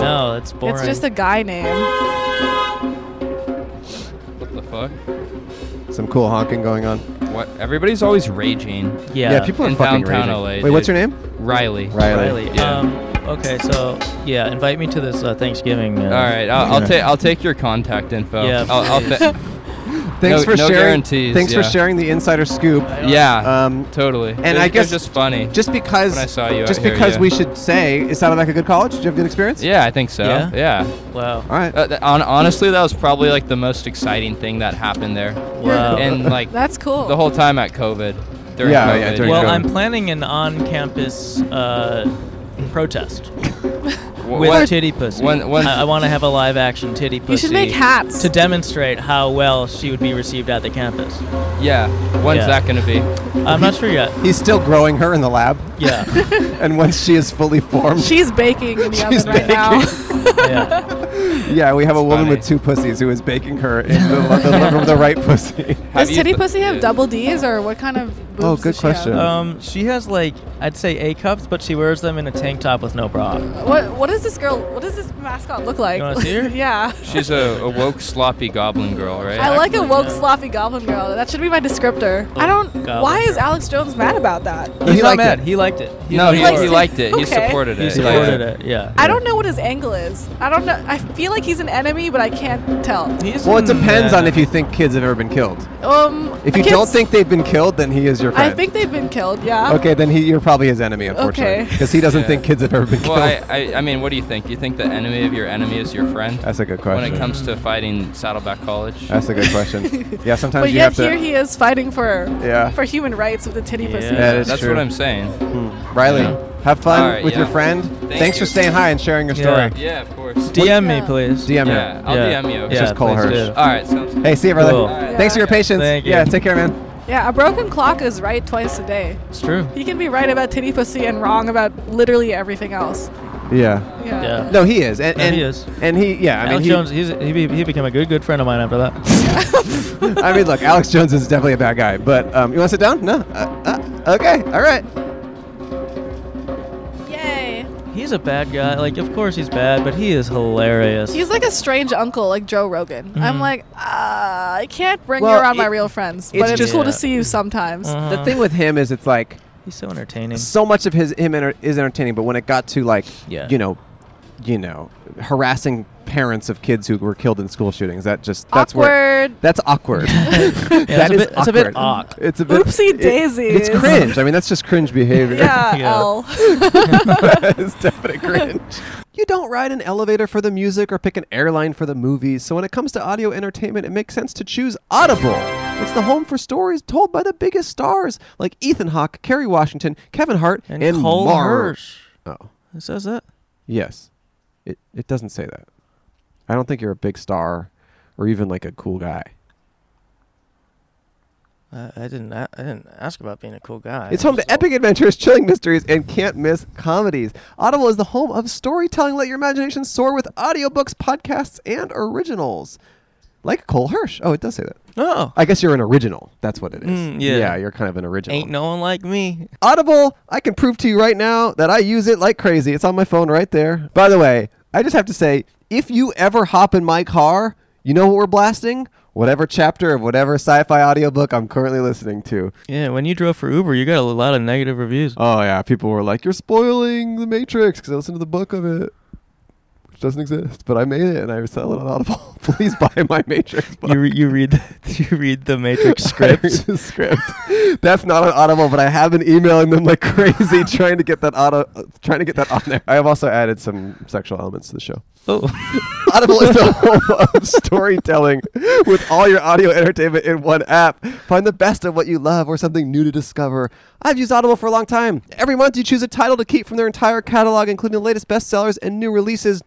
[SPEAKER 2] No.
[SPEAKER 5] no, that's boring.
[SPEAKER 6] It's just a guy name.
[SPEAKER 9] What the fuck?
[SPEAKER 2] Some cool honking going on.
[SPEAKER 9] What? Everybody's always raging.
[SPEAKER 5] yeah.
[SPEAKER 2] Yeah, people are
[SPEAKER 9] In
[SPEAKER 2] fucking
[SPEAKER 9] downtown
[SPEAKER 2] raging.
[SPEAKER 9] LA,
[SPEAKER 2] Wait,
[SPEAKER 9] dude.
[SPEAKER 2] what's your name?
[SPEAKER 9] Riley.
[SPEAKER 5] Riley.
[SPEAKER 9] Yeah.
[SPEAKER 5] Um, okay, so yeah, invite me to this uh, Thanksgiving. Uh,
[SPEAKER 9] All right, I'll, I'll take I'll take your contact info.
[SPEAKER 5] Yeah,
[SPEAKER 9] I'll, I'll
[SPEAKER 5] please.
[SPEAKER 9] fa-
[SPEAKER 2] Thanks
[SPEAKER 9] No-
[SPEAKER 2] for
[SPEAKER 9] no
[SPEAKER 2] sharing.
[SPEAKER 9] guarantees,
[SPEAKER 2] thanks for
[SPEAKER 9] yeah.
[SPEAKER 2] sharing the insider scoop.
[SPEAKER 9] yeah,
[SPEAKER 2] Um,
[SPEAKER 9] totally.
[SPEAKER 2] I
[SPEAKER 9] They're- they're
[SPEAKER 2] guess-
[SPEAKER 9] just funny.
[SPEAKER 2] just because,
[SPEAKER 9] When I saw you, I
[SPEAKER 2] just
[SPEAKER 9] hear
[SPEAKER 2] because
[SPEAKER 9] you.
[SPEAKER 2] we should say, is Saddleback a good college? Did you have a good experience?
[SPEAKER 9] yeah, I think so.
[SPEAKER 5] Yeah?
[SPEAKER 9] Yeah.
[SPEAKER 5] Wow.
[SPEAKER 2] All right.
[SPEAKER 9] Uh, th- on, honestly, that was probably like the most exciting thing that happened there,
[SPEAKER 6] Oh.
[SPEAKER 5] Wow.
[SPEAKER 9] and like
[SPEAKER 6] That's cool.
[SPEAKER 9] the whole time at COVID. During
[SPEAKER 2] Yeah,
[SPEAKER 9] COVID.
[SPEAKER 2] yeah, during
[SPEAKER 5] well,
[SPEAKER 2] COVID.
[SPEAKER 5] I'm planning an on-campus uh, protest
[SPEAKER 9] W-
[SPEAKER 5] with
[SPEAKER 9] one-
[SPEAKER 5] titty pussy.
[SPEAKER 9] one- one-
[SPEAKER 5] I, want to have a live-action titty pussy.
[SPEAKER 6] you should make hats.
[SPEAKER 5] to demonstrate how well she would be received at the campus.
[SPEAKER 9] yeah. When's
[SPEAKER 5] Yeah.
[SPEAKER 9] that gonna be?
[SPEAKER 5] I'm not sure yet.
[SPEAKER 2] He's still growing her in the lab,
[SPEAKER 5] Yeah.
[SPEAKER 2] and once she is fully formed,
[SPEAKER 6] She's baking in the
[SPEAKER 2] She's
[SPEAKER 6] oven right now.
[SPEAKER 5] yeah.
[SPEAKER 2] Yeah, we have a woman
[SPEAKER 9] funny.
[SPEAKER 2] with two pussies who is baking her in the, the, the, the right pussy.
[SPEAKER 6] Does
[SPEAKER 9] you
[SPEAKER 6] titty
[SPEAKER 9] th-
[SPEAKER 6] pussy have
[SPEAKER 9] yeah.
[SPEAKER 6] double D's or what kind of? Boobs
[SPEAKER 2] Oh, good
[SPEAKER 6] does she have?
[SPEAKER 2] question.
[SPEAKER 5] Um, she has like I'd say A cups, but she wears them in a tank top with no bra.
[SPEAKER 6] What What does this girl? What does this mascot look like?
[SPEAKER 5] You wanna see her?
[SPEAKER 6] yeah.
[SPEAKER 9] She's a, a woke, sloppy goblin girl, right?
[SPEAKER 6] I like a woke,
[SPEAKER 5] yeah.
[SPEAKER 6] sloppy goblin girl. That should be my descriptor. I don't.
[SPEAKER 5] goblin
[SPEAKER 6] why is
[SPEAKER 5] girl.
[SPEAKER 6] Alex Jones mad about that?
[SPEAKER 5] He's
[SPEAKER 2] he
[SPEAKER 5] not
[SPEAKER 2] liked
[SPEAKER 5] mad.
[SPEAKER 2] it.
[SPEAKER 5] He liked it. He
[SPEAKER 9] no, he,
[SPEAKER 6] likes
[SPEAKER 9] he
[SPEAKER 6] it.
[SPEAKER 9] liked it. He
[SPEAKER 6] Okay.
[SPEAKER 9] supported it.
[SPEAKER 5] He supported it. Uh, Yeah.
[SPEAKER 6] I don't know what his angle is. I don't know. I feel like he's an enemy, but I can't tell.
[SPEAKER 5] He's
[SPEAKER 2] Well, it
[SPEAKER 5] in,
[SPEAKER 2] depends
[SPEAKER 5] uh,
[SPEAKER 2] on if you think kids have ever been killed.
[SPEAKER 6] Um.
[SPEAKER 2] If you
[SPEAKER 6] kids-
[SPEAKER 2] don't think they've been killed, then he is your
[SPEAKER 6] I
[SPEAKER 2] friend.
[SPEAKER 6] think they've been killed. Yeah.
[SPEAKER 2] okay, then he, you're probably his enemy, unfortunately,
[SPEAKER 6] Okay.
[SPEAKER 2] because he doesn't
[SPEAKER 9] Yeah.
[SPEAKER 2] think kids have ever been
[SPEAKER 9] Well,
[SPEAKER 2] killed.
[SPEAKER 9] I, I, I mean, what do you think? Do you think the enemy of your enemy is your friend
[SPEAKER 2] That's a good
[SPEAKER 9] when
[SPEAKER 2] question.
[SPEAKER 9] it comes to fighting Saddleback College?
[SPEAKER 2] That's a good question. yeah, sometimes
[SPEAKER 6] But
[SPEAKER 2] you
[SPEAKER 6] yet
[SPEAKER 2] have
[SPEAKER 6] here
[SPEAKER 2] to.
[SPEAKER 6] he is fighting for
[SPEAKER 2] Yeah.
[SPEAKER 6] for human rights with the titty pussy.
[SPEAKER 5] Yeah.
[SPEAKER 2] that is
[SPEAKER 9] That's
[SPEAKER 2] true.
[SPEAKER 9] what I'm saying.
[SPEAKER 2] Riley,
[SPEAKER 9] Yeah.
[SPEAKER 2] have fun
[SPEAKER 9] All right,
[SPEAKER 2] with your
[SPEAKER 9] yeah.
[SPEAKER 2] friend.
[SPEAKER 9] Thank
[SPEAKER 2] Thanks for
[SPEAKER 9] you.
[SPEAKER 2] staying high and sharing your
[SPEAKER 5] Yeah.
[SPEAKER 2] story.
[SPEAKER 9] Yeah, of course.
[SPEAKER 5] DM me,
[SPEAKER 6] Yeah.
[SPEAKER 5] please.
[SPEAKER 2] DM
[SPEAKER 9] Yeah,
[SPEAKER 2] her.
[SPEAKER 9] I'll
[SPEAKER 5] Yeah.
[SPEAKER 9] DM you.
[SPEAKER 5] Yeah,
[SPEAKER 2] Just call
[SPEAKER 5] please
[SPEAKER 2] Hirsch.
[SPEAKER 5] do.
[SPEAKER 9] All right, sounds good.
[SPEAKER 2] Hey, see you, brother.
[SPEAKER 5] Cool.
[SPEAKER 9] right.
[SPEAKER 2] Thanks for your
[SPEAKER 6] Yeah.
[SPEAKER 2] patience.
[SPEAKER 5] Thank you.
[SPEAKER 2] yeah, take care, man.
[SPEAKER 6] Yeah, a broken clock is right twice a day.
[SPEAKER 5] It's true.
[SPEAKER 6] He can be right about titty pussy and wrong about literally everything else.
[SPEAKER 2] Yeah.
[SPEAKER 6] Yeah.
[SPEAKER 5] Yeah.
[SPEAKER 2] No, he is. And,
[SPEAKER 5] No,
[SPEAKER 2] and
[SPEAKER 5] he is.
[SPEAKER 2] And he, yeah, I mean,
[SPEAKER 5] Alex
[SPEAKER 2] he,
[SPEAKER 5] Jones, he's, he, be, he became a good good friend of mine after that.
[SPEAKER 2] I mean, look, Alex Jones is definitely a bad guy, but um, you want to sit down? No. Uh, uh, okay. All right.
[SPEAKER 9] Uh-huh.
[SPEAKER 6] Yay.
[SPEAKER 5] he's a bad guy. Like, of course he's bad, but he is hilarious.
[SPEAKER 6] He's like a strange uncle, like Joe Rogan.
[SPEAKER 2] Mm-hmm.
[SPEAKER 6] I'm like, uh, I can't bring
[SPEAKER 2] Well,
[SPEAKER 6] you around my
[SPEAKER 2] it-
[SPEAKER 6] real friends,
[SPEAKER 2] it's
[SPEAKER 6] but it's
[SPEAKER 2] just-
[SPEAKER 6] cool to
[SPEAKER 5] Yeah.
[SPEAKER 6] see you sometimes.
[SPEAKER 5] Uh-huh.
[SPEAKER 2] The thing with him is, it's like
[SPEAKER 5] he's so entertaining.
[SPEAKER 2] so much of his him enter- is entertaining, but when it got to like,
[SPEAKER 5] Yeah.
[SPEAKER 2] you know, you know, harassing parents of kids who were killed in school shootings, that just that's where
[SPEAKER 6] Awkward.
[SPEAKER 2] that's awkward.
[SPEAKER 5] Yeah, it's
[SPEAKER 2] That
[SPEAKER 5] a
[SPEAKER 2] is
[SPEAKER 5] bit, it's a bit
[SPEAKER 2] awkward.
[SPEAKER 5] awk.
[SPEAKER 2] It's a bit
[SPEAKER 6] Oopsie
[SPEAKER 2] it-
[SPEAKER 6] daisies.
[SPEAKER 2] it's cringe. I mean, that's just cringe behavior.
[SPEAKER 6] Yeah,
[SPEAKER 5] Yeah.
[SPEAKER 6] L.
[SPEAKER 2] it's definite cringe. You don't ride an elevator for the music or pick an airline for the movies, so when it comes to audio entertainment, it makes sense to choose Audible. It's the home for stories told by the biggest stars like Ethan Hawke, Kerry Washington, Kevin Hart, and,
[SPEAKER 5] And Cole
[SPEAKER 2] more.
[SPEAKER 5] Hirsch.
[SPEAKER 2] Oh,
[SPEAKER 5] It says that.
[SPEAKER 2] yes. It, it doesn't say that. I don't think you're a big star or even like a cool guy.
[SPEAKER 5] I, I didn't. a- I didn't ask about being a cool guy.
[SPEAKER 2] It's home to epic adventures, chilling mysteries, and can't miss comedies. Audible is the home of storytelling. Let your imagination soar with audiobooks, podcasts, and originals. Like Cole Hirsch. Oh, it does say that.
[SPEAKER 5] Oh,
[SPEAKER 2] I guess you're an original. That's what it is.
[SPEAKER 5] Mm, yeah.
[SPEAKER 2] you're kind of an original.
[SPEAKER 5] ain't no one like me.
[SPEAKER 2] Audible, I can prove to you right now that I use it like crazy. It's on my phone right there. By the way, I just have to say if you ever hop in my car, you know what we're blasting? Whatever chapter of whatever sci fi audiobook I'm currently listening to.
[SPEAKER 5] Yeah, when you drove for Uber, you got a lot of negative reviews.
[SPEAKER 2] Oh yeah, people were like, "You're spoiling the Matrix" because I listened to the book of it, which doesn't exist. But I made it and I sell it on Audible. Please buy my Matrix book.
[SPEAKER 5] You re- you read the, you read the Matrix
[SPEAKER 2] I read
[SPEAKER 5] script.
[SPEAKER 2] the script. That's not on Audible, but I have been emailing them like crazy, trying to get that auto, uh, trying to get that on there. I have also added some sexual elements to the show.
[SPEAKER 5] oh,
[SPEAKER 2] Audible is the home of storytelling with all your audio entertainment in one app. Find the best of what you love or something new to discover. I've used Audible for a long time. Every month you choose a title to keep from their entire catalog, including the latest bestsellers and new releases.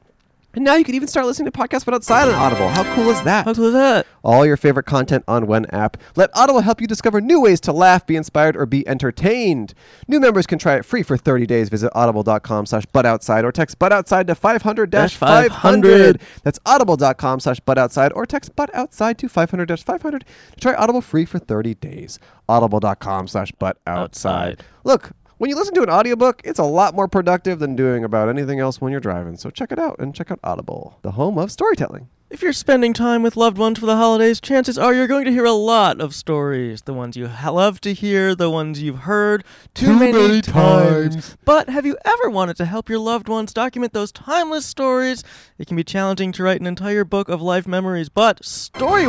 [SPEAKER 2] And now you can even start listening to podcasts without silent Audible. How cool is that?
[SPEAKER 5] how cool is that?
[SPEAKER 2] all your favorite content on one app. Let Audible help you discover new ways to laugh, be inspired, or be entertained. New members can try it free for 30 days. Visit audible.com slash buttoutside or text buttoutside to 500-500.
[SPEAKER 5] 500.
[SPEAKER 2] That's audible.com slash buttoutside or text buttoutside to 500-500 to try Audible free for 30 days. audible.com slash buttoutside.
[SPEAKER 5] Outside.
[SPEAKER 2] Look, when you listen to an audiobook, it's a lot more productive than doing about anything else when you're driving. So check it out and check out Audible, the home of storytelling.
[SPEAKER 5] If you're spending time with loved ones for the holidays, chances are you're going to hear a lot of stories. The ones you ha- love to hear, the ones you've heard too, many, times. But have you ever wanted to help your loved ones document those timeless stories? It can be challenging to write an entire book of life memories, but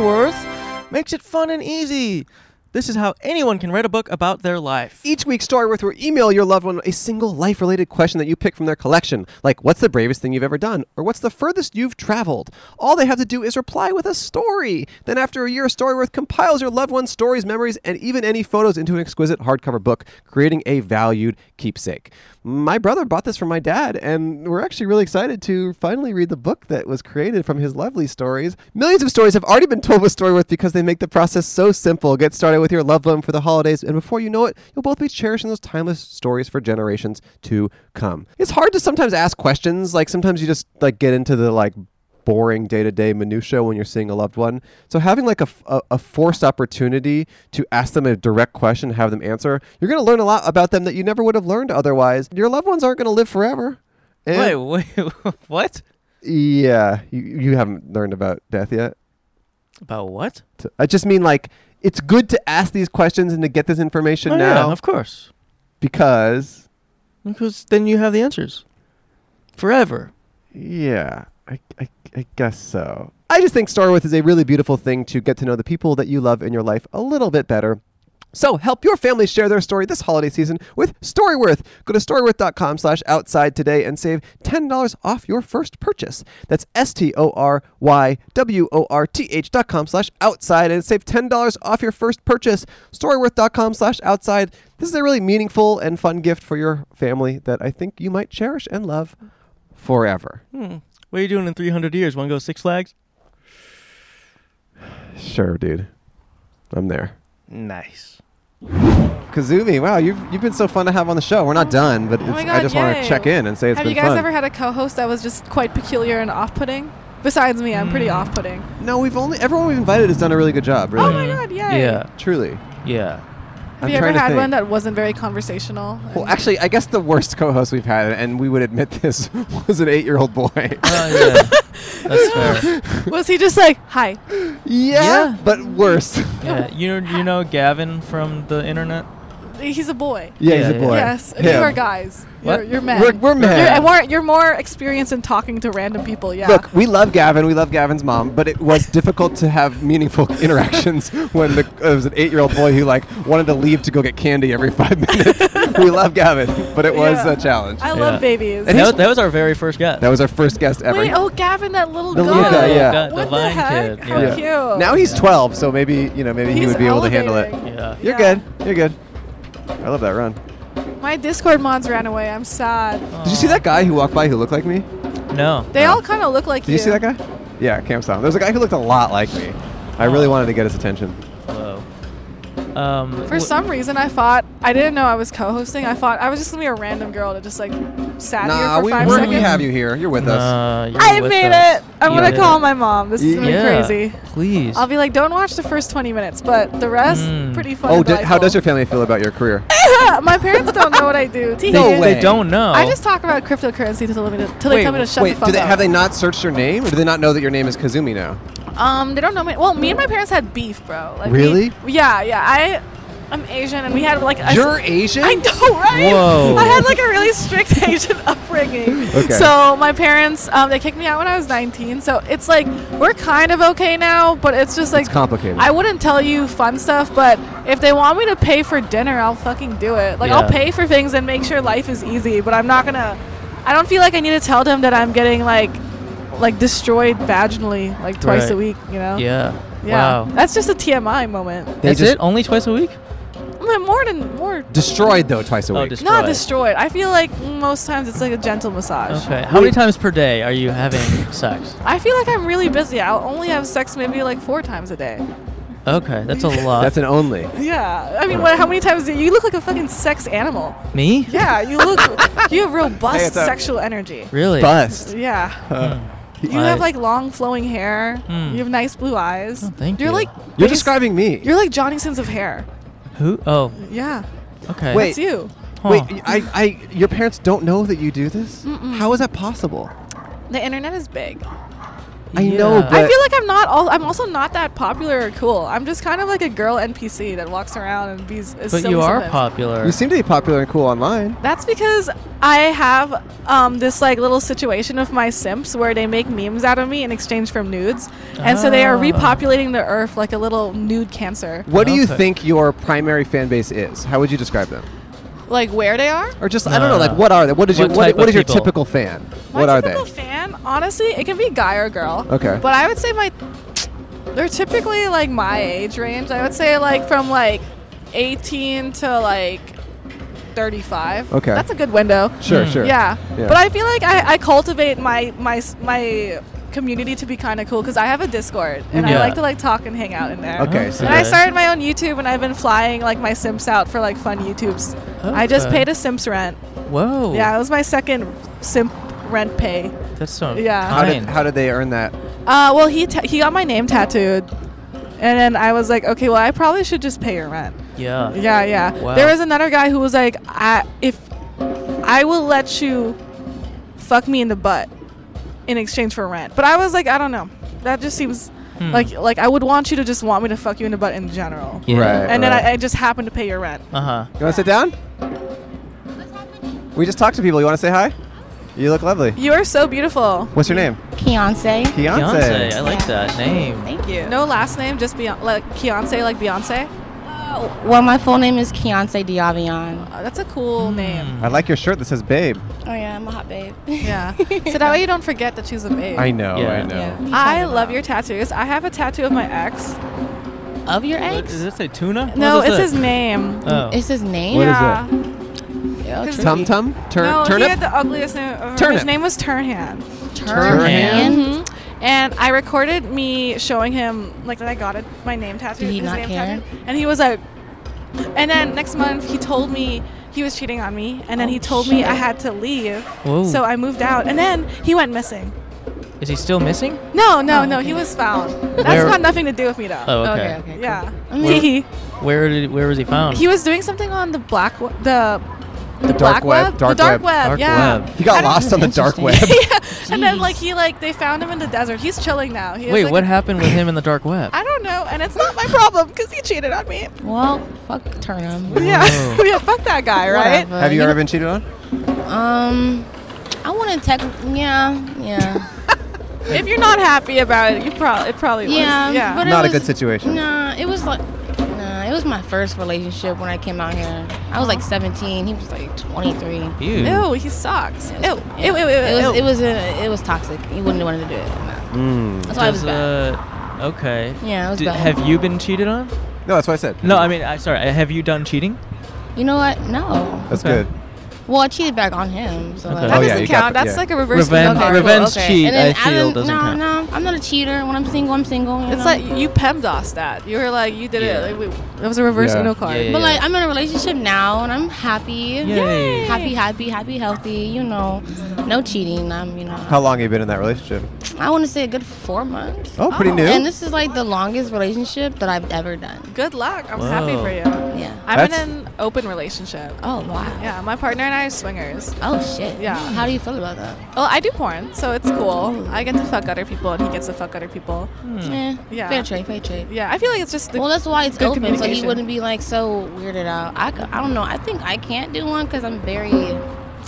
[SPEAKER 5] Storyworth makes it fun and easy. This is how anyone can write a book about their life.
[SPEAKER 2] Each week, Storyworth will email your loved one a single life related question that you pick from their collection, like what's the bravest thing you've ever done, or what's the furthest you've traveled. All they have to do is reply with a story. Then, after a year, Storyworth compiles your loved one's stories, memories, and even any photos into an exquisite hardcover book, creating a valued keepsake. My brother bought this from my dad, and we're actually really excited to finally read the book that was created from his lovely stories. Millions of stories have already been told with Storyworth because they make the process so simple. Get started with your loved one for the holidays, and before you know it, you'll both be cherishing those timeless stories for generations to come. It's hard to sometimes ask questions. Like sometimes you just like get into the like boring day-to-day minutia when you're seeing a loved one. So having like a, f- a- a forced opportunity to ask them a direct question, have them answer, you're going to learn a lot about them that you never would have learned otherwise. Your loved ones aren't going to live forever. And-
[SPEAKER 5] Wait, wait, what?
[SPEAKER 2] Yeah, you, you haven't learned about death yet.
[SPEAKER 5] About what?
[SPEAKER 2] T- I just mean like it's good to ask these questions and to get this information
[SPEAKER 5] Oh,
[SPEAKER 2] now
[SPEAKER 5] yeah, of course.
[SPEAKER 2] because
[SPEAKER 5] Because then you have the answers. Forever.
[SPEAKER 2] Yeah, I, I, I guess so. I just think Star Wars is a really beautiful thing to get to know the people that you love in your life a little bit better. So help your family share their story this holiday season with Storyworth. Go to storyworth.com slash outside today and save $10 off your first purchase. That's S-T-O-R-Y-W-O-R-T-H dot com slash outside and save $10 off your first purchase. Storyworth.com slash outside. This is a really meaningful and fun gift for your family that I think you might cherish and love forever.
[SPEAKER 5] What are you doing in 300 years? Want to go Six Flags?
[SPEAKER 2] Sure, dude. I'm there.
[SPEAKER 5] Nice.
[SPEAKER 2] Kazumi, wow, you've, you've been so fun to have on the show. We're not done, but it's,
[SPEAKER 6] Oh my
[SPEAKER 2] I
[SPEAKER 6] God,
[SPEAKER 2] just want to
[SPEAKER 6] yay.
[SPEAKER 2] check in and say it's
[SPEAKER 6] Have
[SPEAKER 2] been
[SPEAKER 6] you guys
[SPEAKER 2] fun.
[SPEAKER 6] ever had a co-host that was just quite peculiar and off-putting? Besides me, I'm pretty
[SPEAKER 2] Mm.
[SPEAKER 6] off-putting.
[SPEAKER 2] no, we've only everyone we've invited has done a really good job, really.
[SPEAKER 6] Oh my god, yay.
[SPEAKER 5] Yeah,
[SPEAKER 2] Truly.
[SPEAKER 5] yeah.
[SPEAKER 6] Have
[SPEAKER 2] I'm
[SPEAKER 6] you
[SPEAKER 2] trying
[SPEAKER 6] ever
[SPEAKER 2] to
[SPEAKER 6] had
[SPEAKER 2] think.
[SPEAKER 6] one that wasn't very conversational?
[SPEAKER 2] well, actually, I guess the worst co-host we've had, and we would admit this, was an eight-year-old boy.
[SPEAKER 5] Oh, yeah. That's fair.
[SPEAKER 6] was he just like, hi?
[SPEAKER 2] yeah,
[SPEAKER 5] Yeah.
[SPEAKER 2] but worse.
[SPEAKER 5] Yeah, you know, you know Gavin from the internet.
[SPEAKER 6] He's a boy.
[SPEAKER 2] yeah, he's
[SPEAKER 5] Yeah,
[SPEAKER 2] a boy.
[SPEAKER 6] Yes, and you
[SPEAKER 2] Him.
[SPEAKER 6] are guys.
[SPEAKER 5] What?
[SPEAKER 6] You're, you're men.
[SPEAKER 2] We're- we're men.
[SPEAKER 6] You're, and more, you're more experienced in talking to random people, yeah.
[SPEAKER 2] Look, we love Gavin. We love Gavin's mom, but it was difficult to have meaningful interactions when the, it was an eight-year-old boy who like wanted to leave to go get candy every five minutes. we love Gavin, but it was
[SPEAKER 6] Yeah.
[SPEAKER 2] a challenge.
[SPEAKER 6] I love
[SPEAKER 5] Yeah.
[SPEAKER 6] babies.
[SPEAKER 5] That was, that was our very first guest.
[SPEAKER 2] that was our first guest ever.
[SPEAKER 6] Wait, oh, Gavin, that little
[SPEAKER 2] The
[SPEAKER 6] guy.
[SPEAKER 2] little guy, yeah.
[SPEAKER 5] The
[SPEAKER 6] What the
[SPEAKER 5] Vine kid,
[SPEAKER 6] heck? How
[SPEAKER 5] yeah.
[SPEAKER 6] cute.
[SPEAKER 2] Now he's 12, so maybe you know maybe he
[SPEAKER 6] He's
[SPEAKER 2] would be able to handle it.
[SPEAKER 6] elevating.
[SPEAKER 5] yeah.
[SPEAKER 2] You're
[SPEAKER 6] Yeah.
[SPEAKER 2] good. You're good. I love that run.
[SPEAKER 6] My Discord mods ran away. I'm sad.
[SPEAKER 2] Did you see that guy who walked by who looked like me?
[SPEAKER 5] No.
[SPEAKER 6] They all kind of look like
[SPEAKER 2] Did you see that guy? Yeah, Cam saw him. There was a guy who looked a lot like me. I
[SPEAKER 6] Oh.
[SPEAKER 2] really wanted to get his attention.
[SPEAKER 5] Whoa. Um,
[SPEAKER 6] For
[SPEAKER 5] wh-
[SPEAKER 6] some reason, I thought I didn't know I was co-hosting. I thought I was just gonna be a random girl that just like sat here for five seconds.
[SPEAKER 2] you here. You're with
[SPEAKER 5] Nah, you're
[SPEAKER 6] I
[SPEAKER 5] Uh, with
[SPEAKER 6] made
[SPEAKER 5] us.
[SPEAKER 6] it. I'm
[SPEAKER 5] You
[SPEAKER 6] gonna
[SPEAKER 5] did
[SPEAKER 6] call
[SPEAKER 5] it.
[SPEAKER 6] my mom. This is gonna be
[SPEAKER 5] Yeah.
[SPEAKER 6] crazy.
[SPEAKER 5] Please.
[SPEAKER 6] I'll be like, don't watch the first 20 minutes, but the rest,
[SPEAKER 5] Mm.
[SPEAKER 6] pretty fun.
[SPEAKER 2] Oh,
[SPEAKER 6] and
[SPEAKER 2] d- how does your
[SPEAKER 6] delightful.
[SPEAKER 2] family feel about your career?
[SPEAKER 6] my parents don't know what I do?
[SPEAKER 5] they,
[SPEAKER 6] TK.
[SPEAKER 5] they don't know.
[SPEAKER 6] I just talk about cryptocurrency till they, tell me to, till they
[SPEAKER 5] Wait,
[SPEAKER 6] tell me to shut
[SPEAKER 2] Wait,
[SPEAKER 6] the fuck
[SPEAKER 2] do they
[SPEAKER 6] up.
[SPEAKER 2] have they not searched your name, or do they not know that your name is Kazumi now?
[SPEAKER 6] Um, they don't know me. Well, me and my parents had beef, bro. Like we-
[SPEAKER 2] Really?
[SPEAKER 6] yeah, yeah. I, I'm Asian, and we had like a
[SPEAKER 2] You're Asian.
[SPEAKER 6] I know, right?
[SPEAKER 5] Whoa.
[SPEAKER 6] I had like a really strict Asian upbringing.
[SPEAKER 2] Okay.
[SPEAKER 6] So my parents, um, they kicked me out when I was 19. So it's like we're kind of okay now, but it's just like
[SPEAKER 2] complicated.
[SPEAKER 6] I wouldn't tell you fun stuff, but if they want me to pay for dinner, I'll fucking do it. Like
[SPEAKER 5] Yeah.
[SPEAKER 6] I'll pay for things and make sure life is easy, but I'm not gonna. I don't feel like I need to tell them that I'm getting like, like destroyed vaginally like twice
[SPEAKER 5] Right.
[SPEAKER 6] a week. You know?
[SPEAKER 5] Yeah.
[SPEAKER 6] Yeah.
[SPEAKER 5] Wow.
[SPEAKER 6] That's just a TMI moment.
[SPEAKER 2] They
[SPEAKER 5] That's
[SPEAKER 2] just
[SPEAKER 5] it? Only twice a week?
[SPEAKER 6] More than more
[SPEAKER 2] destroyed though twice a
[SPEAKER 5] Oh,
[SPEAKER 2] week.
[SPEAKER 5] destroyed.
[SPEAKER 6] Not destroyed. I feel like most times it's like a gentle massage.
[SPEAKER 5] Okay. How many times per day are you having sex?
[SPEAKER 6] I feel like I'm really busy. I'll only have sex maybe like four times a day.
[SPEAKER 5] Okay, that's a lot.
[SPEAKER 2] That's an only.
[SPEAKER 6] Yeah. I mean, what, how many times? Do you, you look like a fucking sex animal.
[SPEAKER 5] Me?
[SPEAKER 6] Yeah, you look. you have robust
[SPEAKER 2] Hey, it's a-
[SPEAKER 6] sexual energy.
[SPEAKER 5] Really?
[SPEAKER 2] Bust.
[SPEAKER 6] Yeah.
[SPEAKER 5] Hmm.
[SPEAKER 6] You
[SPEAKER 5] I-
[SPEAKER 6] have like long flowing hair.
[SPEAKER 5] Hmm.
[SPEAKER 6] You have nice blue eyes.
[SPEAKER 5] Oh, thank
[SPEAKER 6] you're
[SPEAKER 5] you.
[SPEAKER 6] like.
[SPEAKER 2] You're
[SPEAKER 6] basi-
[SPEAKER 2] describing me.
[SPEAKER 6] You're like Johnny Sins of hair.
[SPEAKER 5] Who? Oh,
[SPEAKER 6] Yeah.
[SPEAKER 5] okay.
[SPEAKER 2] Wait.
[SPEAKER 6] It's you.
[SPEAKER 5] Huh.
[SPEAKER 2] Wait, I, I, your parents don't know that you do this. How is that possible?
[SPEAKER 6] The internet is big.
[SPEAKER 2] I know,
[SPEAKER 5] Yeah.
[SPEAKER 2] but
[SPEAKER 6] I feel like I'm not all. I'm also not that popular or cool. I'm just kind of like a girl NPC that walks around and be. Is
[SPEAKER 5] But
[SPEAKER 6] silly
[SPEAKER 5] you are
[SPEAKER 6] sometimes.
[SPEAKER 5] popular.
[SPEAKER 2] you seem to be popular and cool online.
[SPEAKER 6] That's because I have um, this like little situation with my simps where they make memes out of me in exchange for nudes, and so they are
[SPEAKER 5] Ah.
[SPEAKER 6] repopulating the earth like a little nude cancer.
[SPEAKER 2] What do you
[SPEAKER 5] Okay.
[SPEAKER 2] think your primary fan base is? How would you describe them?
[SPEAKER 6] Like where they are?
[SPEAKER 2] Or just I don't know,
[SPEAKER 5] No.
[SPEAKER 2] like what are they? What is your
[SPEAKER 5] Uh, What
[SPEAKER 2] what,
[SPEAKER 5] type
[SPEAKER 2] what
[SPEAKER 5] of
[SPEAKER 2] is your
[SPEAKER 5] people?
[SPEAKER 2] typical fan?
[SPEAKER 6] My
[SPEAKER 2] what are they?
[SPEAKER 6] typical fan, honestly, it can be guy or girl.
[SPEAKER 2] Okay.
[SPEAKER 6] But I would say my they're typically like my age range. I would say like from like 18 to like 35.
[SPEAKER 2] Okay.
[SPEAKER 6] That's a good window.
[SPEAKER 2] Sure,
[SPEAKER 5] Hmm.
[SPEAKER 2] sure.
[SPEAKER 6] Yeah.
[SPEAKER 2] Yeah.
[SPEAKER 6] But I feel like I, I cultivate my my s- my community to be kind of cool because I have a Discord and
[SPEAKER 5] Yeah.
[SPEAKER 6] I like to like talk and hang out in there.
[SPEAKER 2] Okay, so
[SPEAKER 6] And I
[SPEAKER 5] Okay.
[SPEAKER 6] started my own YouTube and I've been flying like my Sims out for like fun YouTubes. I just
[SPEAKER 5] Okay.
[SPEAKER 6] paid a Sims rent.
[SPEAKER 5] Whoa.
[SPEAKER 6] Yeah, it was my second Simp rent pay.
[SPEAKER 5] That's so
[SPEAKER 6] Yeah.
[SPEAKER 2] How
[SPEAKER 5] kind.
[SPEAKER 2] did, how did they earn that?
[SPEAKER 6] Uh, well, he ta- he got my name tattooed, and then I was like, okay, well, I probably should just pay your rent.
[SPEAKER 5] yeah.
[SPEAKER 6] Yeah, yeah.
[SPEAKER 5] Wow.
[SPEAKER 6] There was another guy who was like, I, if I will let you fuck me in the butt in exchange for rent, but I was like, I don't know. That just seems
[SPEAKER 5] Hmm.
[SPEAKER 6] like like I would want you to just want me to fuck you in the butt in general.
[SPEAKER 5] Yeah.
[SPEAKER 2] Right.
[SPEAKER 6] And then
[SPEAKER 2] right.
[SPEAKER 6] I, I just happened to pay your rent.
[SPEAKER 5] Uh huh.
[SPEAKER 2] You want to sit down? We just talked to people. You want to say hi? You look lovely.
[SPEAKER 6] You are so beautiful.
[SPEAKER 2] What's your name?
[SPEAKER 3] Beyonce.
[SPEAKER 5] Beyonce. I
[SPEAKER 2] Beyonce.
[SPEAKER 5] like that name.
[SPEAKER 3] Thank you.
[SPEAKER 6] No last name, just Beyonce, like Beyonce, like Beyonce.
[SPEAKER 3] Uh, Well, my full name is Beyonce Diavion.
[SPEAKER 6] Oh, that's a cool
[SPEAKER 5] Hmm.
[SPEAKER 6] name.
[SPEAKER 2] I like your shirt that says babe.
[SPEAKER 3] Oh yeah, I'm a hot babe.
[SPEAKER 6] Yeah. so that way you don't forget that she's a babe.
[SPEAKER 2] I know,
[SPEAKER 5] Yeah.
[SPEAKER 2] I know.
[SPEAKER 6] I love your tattoos. I have a tattoo of my ex.
[SPEAKER 3] Of your
[SPEAKER 5] What-
[SPEAKER 3] ex?
[SPEAKER 5] Does it say tuna? What
[SPEAKER 6] No,
[SPEAKER 5] is
[SPEAKER 6] it's
[SPEAKER 5] that?
[SPEAKER 6] his name.
[SPEAKER 5] Oh.
[SPEAKER 3] It's his name.
[SPEAKER 2] What is
[SPEAKER 6] yeah.
[SPEAKER 3] Yeah,
[SPEAKER 6] His-
[SPEAKER 3] tricky.
[SPEAKER 2] Tum Tum? Turn,
[SPEAKER 6] no, he had
[SPEAKER 2] turnip?
[SPEAKER 6] the ugliest name. Ever.
[SPEAKER 2] Turnip.
[SPEAKER 6] His name was Turnhan.
[SPEAKER 3] Turhan.
[SPEAKER 6] hmm
[SPEAKER 2] Mm-hmm.
[SPEAKER 6] And I recorded me showing him like that I got it, my name tattoo,
[SPEAKER 3] Did he
[SPEAKER 6] his
[SPEAKER 3] not
[SPEAKER 6] name
[SPEAKER 3] care?
[SPEAKER 6] tattoo, and he was like. And then next month he told me he was cheating on me, and then
[SPEAKER 3] Oh,
[SPEAKER 6] he told me
[SPEAKER 3] shit.
[SPEAKER 6] I had to leave,
[SPEAKER 5] Whoa.
[SPEAKER 6] so I moved out, and then he went missing.
[SPEAKER 5] Is he still missing?
[SPEAKER 6] No, no,
[SPEAKER 3] Oh,
[SPEAKER 6] no,
[SPEAKER 3] okay.
[SPEAKER 6] he was found. That's
[SPEAKER 5] Where-
[SPEAKER 6] got nothing to do with me though.
[SPEAKER 5] Oh, okay.
[SPEAKER 3] Okay. Okay. cool.
[SPEAKER 6] Yeah.
[SPEAKER 3] I mean,
[SPEAKER 6] He
[SPEAKER 5] Where did where was he found?
[SPEAKER 6] he was doing something on the black w- the
[SPEAKER 2] The
[SPEAKER 6] black web,
[SPEAKER 2] Dark,
[SPEAKER 6] the dark web,
[SPEAKER 5] Dark
[SPEAKER 6] yeah.
[SPEAKER 5] web.
[SPEAKER 2] He got
[SPEAKER 6] I don't-
[SPEAKER 2] lost on the dark web.
[SPEAKER 3] Interesting.
[SPEAKER 6] and then
[SPEAKER 3] Jeez.
[SPEAKER 6] like he like they found him in the desert. He's chilling now. He has,
[SPEAKER 5] Wait,
[SPEAKER 6] like,
[SPEAKER 5] what
[SPEAKER 6] a-
[SPEAKER 5] happened with him in the dark web?
[SPEAKER 6] I don't know, and it's not my problem because he cheated on me.
[SPEAKER 3] well, fuck Turnham.
[SPEAKER 6] Yeah,
[SPEAKER 5] Whoa.
[SPEAKER 6] yeah, fuck that guy, right?
[SPEAKER 3] Whatever.
[SPEAKER 2] Have you ever been cheated on?
[SPEAKER 3] Um, I want to tech. Yeah, yeah,
[SPEAKER 6] If you're not happy about it, you probably it probably
[SPEAKER 3] yeah.
[SPEAKER 6] was. Yeah,
[SPEAKER 3] But
[SPEAKER 2] Not
[SPEAKER 3] it
[SPEAKER 2] a good
[SPEAKER 3] was-
[SPEAKER 2] situation.
[SPEAKER 3] Nah, it was like. Nah, it was my first relationship when I came out here. I was like 17. He was like 23. It was-
[SPEAKER 5] Ew.
[SPEAKER 6] ew, he sucks. Ew,
[SPEAKER 5] Oh,
[SPEAKER 3] yeah.
[SPEAKER 6] ew, ew, ew,
[SPEAKER 3] It was
[SPEAKER 6] ew.
[SPEAKER 3] it was, a, it was toxic. He wouldn't want to do it. No.
[SPEAKER 2] Mm.
[SPEAKER 3] That's why it was
[SPEAKER 5] Does,
[SPEAKER 3] bad.
[SPEAKER 5] uh, okay.
[SPEAKER 3] Yeah, it was
[SPEAKER 5] Did-
[SPEAKER 3] bad.
[SPEAKER 5] Have you been cheated on?
[SPEAKER 2] No, that's what I said.
[SPEAKER 5] No, I mean, I sorry. uh, Have you done cheating?
[SPEAKER 3] You know what? No.
[SPEAKER 2] That's
[SPEAKER 5] Okay.
[SPEAKER 2] good.
[SPEAKER 3] Well, I cheated back on him. So
[SPEAKER 5] Okay.
[SPEAKER 3] like,
[SPEAKER 6] that
[SPEAKER 2] Oh, yeah,
[SPEAKER 6] doesn't
[SPEAKER 2] you got
[SPEAKER 6] count.
[SPEAKER 2] that,
[SPEAKER 6] That's
[SPEAKER 2] yeah.
[SPEAKER 6] like a reverse
[SPEAKER 5] Revenge-
[SPEAKER 6] Pinocchio.
[SPEAKER 5] revenge cheat,
[SPEAKER 3] And then
[SPEAKER 5] I feel,
[SPEAKER 3] didn't-
[SPEAKER 5] doesn't
[SPEAKER 3] no,
[SPEAKER 5] count.
[SPEAKER 3] No, I'm not a cheater. When I'm single, I'm single. you
[SPEAKER 6] It's
[SPEAKER 3] know?
[SPEAKER 6] like you PEMDAS that. You were like you did
[SPEAKER 5] Yeah.
[SPEAKER 6] it. Like, we, that was a reverse
[SPEAKER 2] Yeah.
[SPEAKER 6] Uno card.
[SPEAKER 5] Yeah, yeah,
[SPEAKER 3] But like, I'm in a relationship now, and I'm happy.
[SPEAKER 5] Yay.
[SPEAKER 3] Happy, happy, happy, healthy. You know, no cheating. I'm, you know.
[SPEAKER 2] How long have you been in that relationship?
[SPEAKER 3] I want to say a good four months.
[SPEAKER 2] Oh, pretty new.
[SPEAKER 3] And this is like the longest relationship that I've ever done.
[SPEAKER 6] Good luck. I'm happy
[SPEAKER 5] Whoa.
[SPEAKER 6] for you.
[SPEAKER 3] Yeah.
[SPEAKER 6] I'm
[SPEAKER 2] That's-
[SPEAKER 6] in an open relationship.
[SPEAKER 3] Oh wow.
[SPEAKER 6] Yeah, my partner and I are swingers.
[SPEAKER 3] Oh shit.
[SPEAKER 6] Yeah.
[SPEAKER 3] How do you feel about that?
[SPEAKER 6] Well, I do porn, so
[SPEAKER 3] Mm.
[SPEAKER 6] it's cool. I get to fuck other people, and he gets to fuck other people.
[SPEAKER 3] Eh,
[SPEAKER 6] Hmm. Yeah.
[SPEAKER 3] Fair trade. Fair trade.
[SPEAKER 6] Yeah, I feel like it's just the
[SPEAKER 3] well, that's why it's
[SPEAKER 6] good
[SPEAKER 3] open, so he
[SPEAKER 6] communication.
[SPEAKER 3] wouldn't be like so weirded out. I, c- I don't know. I think I can't do one because I'm very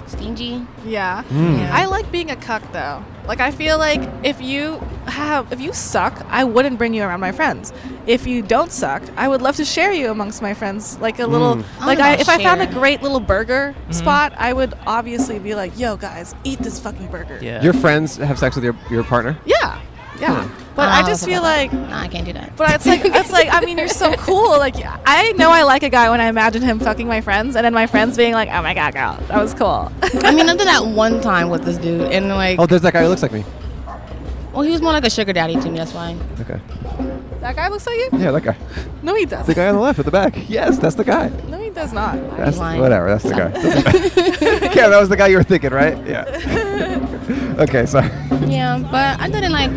[SPEAKER 3] stingy.
[SPEAKER 6] yeah.
[SPEAKER 3] Yeah.
[SPEAKER 6] I like being a cuck though. Like I feel like if you have if you suck, I wouldn't bring you around my friends. If you don't suck, I would love to share you amongst my friends. Like a little
[SPEAKER 3] I
[SPEAKER 6] like
[SPEAKER 3] don't
[SPEAKER 6] I
[SPEAKER 3] know
[SPEAKER 6] if I found a
[SPEAKER 3] share.
[SPEAKER 6] great little burger spot, I would obviously be like, "Yo guys, eat this fucking burger."
[SPEAKER 5] Yeah.
[SPEAKER 2] Your friends have sex with your, your partner?
[SPEAKER 6] Yeah. Yeah. But
[SPEAKER 3] don't
[SPEAKER 6] I
[SPEAKER 3] know
[SPEAKER 6] just
[SPEAKER 3] if
[SPEAKER 6] feel
[SPEAKER 3] about
[SPEAKER 6] like
[SPEAKER 3] that. nah, I can't do that.
[SPEAKER 6] But it's like it's like I mean you're so cool. Like I know I like a guy when I imagine him fucking my friends, and then my friends being like, "Oh my god, girl, that was cool."
[SPEAKER 3] I mean, I did that one time with this dude, and like,
[SPEAKER 2] Oh, there's that guy who looks like me.
[SPEAKER 3] well, he was more like a sugar daddy to me. That's why.
[SPEAKER 2] Okay.
[SPEAKER 6] that guy looks like you?
[SPEAKER 2] Yeah, that guy.
[SPEAKER 6] No, he
[SPEAKER 2] The
[SPEAKER 6] doesn't.
[SPEAKER 2] guy on the left at the back. Yes, that's the guy.
[SPEAKER 6] No, he does not.
[SPEAKER 2] That's
[SPEAKER 3] lying.
[SPEAKER 2] whatever. That's the guy. Doesn't matter. Karen, that was the guy you were thinking, right? Yeah. okay, sorry.
[SPEAKER 3] Yeah, but I did it like,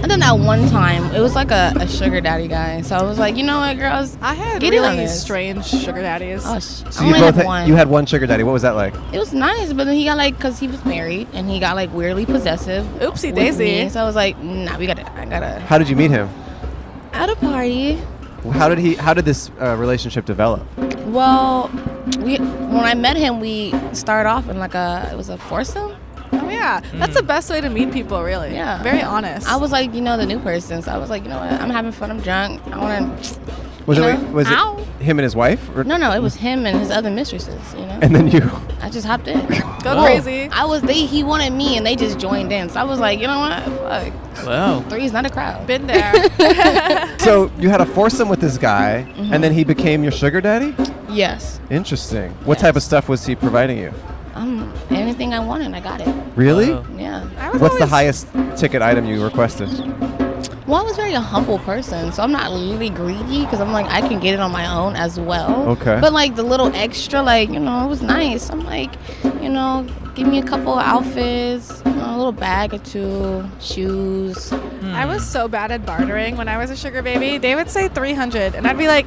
[SPEAKER 3] I did that one time. It was like a, a sugar daddy guy, so I was like, you know what, girls,
[SPEAKER 6] I had
[SPEAKER 3] Get in on
[SPEAKER 6] really
[SPEAKER 3] this.
[SPEAKER 6] strange sugar daddies.
[SPEAKER 3] Oh, sh-
[SPEAKER 2] So you
[SPEAKER 3] I only
[SPEAKER 2] both
[SPEAKER 3] had
[SPEAKER 2] had,
[SPEAKER 3] one.
[SPEAKER 2] you had one sugar daddy. What was that like?
[SPEAKER 3] it was nice, but then he got like, cause he was married, and he got like weirdly possessive.
[SPEAKER 6] Oopsie
[SPEAKER 3] with
[SPEAKER 6] daisy.
[SPEAKER 3] me. So I was like, nah, we gotta, I gotta.
[SPEAKER 2] How did you meet him?
[SPEAKER 3] At a party,
[SPEAKER 2] How did he? How did this uh, relationship develop?
[SPEAKER 3] well, we when I met him, we started off in like a, it was a foursome.
[SPEAKER 6] Oh yeah, that's the best way to meet people, really.
[SPEAKER 3] Mm. Yeah.
[SPEAKER 6] Very honest.
[SPEAKER 3] I was like, you know, the new person, so I was like, you know what, I'm having fun, I'm drunk, I wanna.
[SPEAKER 2] Was
[SPEAKER 3] You
[SPEAKER 2] it
[SPEAKER 3] know,
[SPEAKER 2] was it
[SPEAKER 3] ow.
[SPEAKER 2] him and his wife? Or,
[SPEAKER 3] No, no, it was him and his other mistresses. You know,
[SPEAKER 2] And then you.
[SPEAKER 3] I just hopped in. Oh,
[SPEAKER 6] go
[SPEAKER 5] Whoa.
[SPEAKER 6] crazy.
[SPEAKER 3] I was they. He wanted me, and they just joined in. So I was like, you know what? Fuck,
[SPEAKER 5] wow.
[SPEAKER 3] three's not a crowd.
[SPEAKER 6] Been there.
[SPEAKER 2] So you had a foursome with this guy,
[SPEAKER 3] Mm-hmm.
[SPEAKER 2] and then he became your sugar daddy.
[SPEAKER 3] yes.
[SPEAKER 2] Interesting. What type of stuff was he providing you?
[SPEAKER 3] Um, anything I wanted, I got it.
[SPEAKER 2] Really?
[SPEAKER 3] Uh,
[SPEAKER 5] Wow.
[SPEAKER 3] Yeah.
[SPEAKER 6] I was
[SPEAKER 2] What's the
[SPEAKER 6] always-
[SPEAKER 2] highest ticket item you requested?
[SPEAKER 3] Well, I was very a humble person, so I'm not really greedy because I'm like I can get it on my own as well.
[SPEAKER 2] Okay.
[SPEAKER 3] But like the little extra, like you know, it was nice. I'm like, you know, give me a couple of outfits. You a little bag or two, shoes.
[SPEAKER 6] I was so bad at bartering when I was a sugar baby. They would say 300, and I'd be like,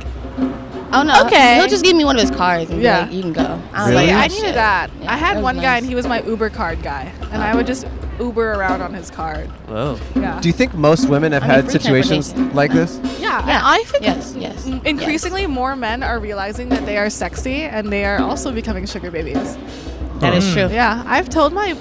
[SPEAKER 3] Oh no.
[SPEAKER 6] Okay.
[SPEAKER 3] He'll just give me one of his cards and
[SPEAKER 6] Yeah.
[SPEAKER 3] yeah. you can go. I
[SPEAKER 6] So,
[SPEAKER 3] don't
[SPEAKER 6] like,
[SPEAKER 3] know
[SPEAKER 6] I needed
[SPEAKER 3] shit.
[SPEAKER 6] that.
[SPEAKER 3] Yeah,
[SPEAKER 6] I
[SPEAKER 3] that
[SPEAKER 6] had
[SPEAKER 3] was
[SPEAKER 6] one guy, and
[SPEAKER 3] nice.
[SPEAKER 6] he was my Uber card guy, and I would just Uber around on his card.
[SPEAKER 7] Wow.
[SPEAKER 6] Yeah.
[SPEAKER 2] Do you think most women have
[SPEAKER 3] I mean,
[SPEAKER 2] had
[SPEAKER 3] free
[SPEAKER 2] situations
[SPEAKER 3] transportation.
[SPEAKER 2] like this?
[SPEAKER 6] yeah,
[SPEAKER 3] Yeah.
[SPEAKER 6] And I think
[SPEAKER 3] Yes, yes.
[SPEAKER 6] m- increasingly more men are realizing that they are sexy and they are also becoming sugar babies.
[SPEAKER 3] yes. That
[SPEAKER 2] Hmm.
[SPEAKER 3] is true.
[SPEAKER 6] Yeah, I've told my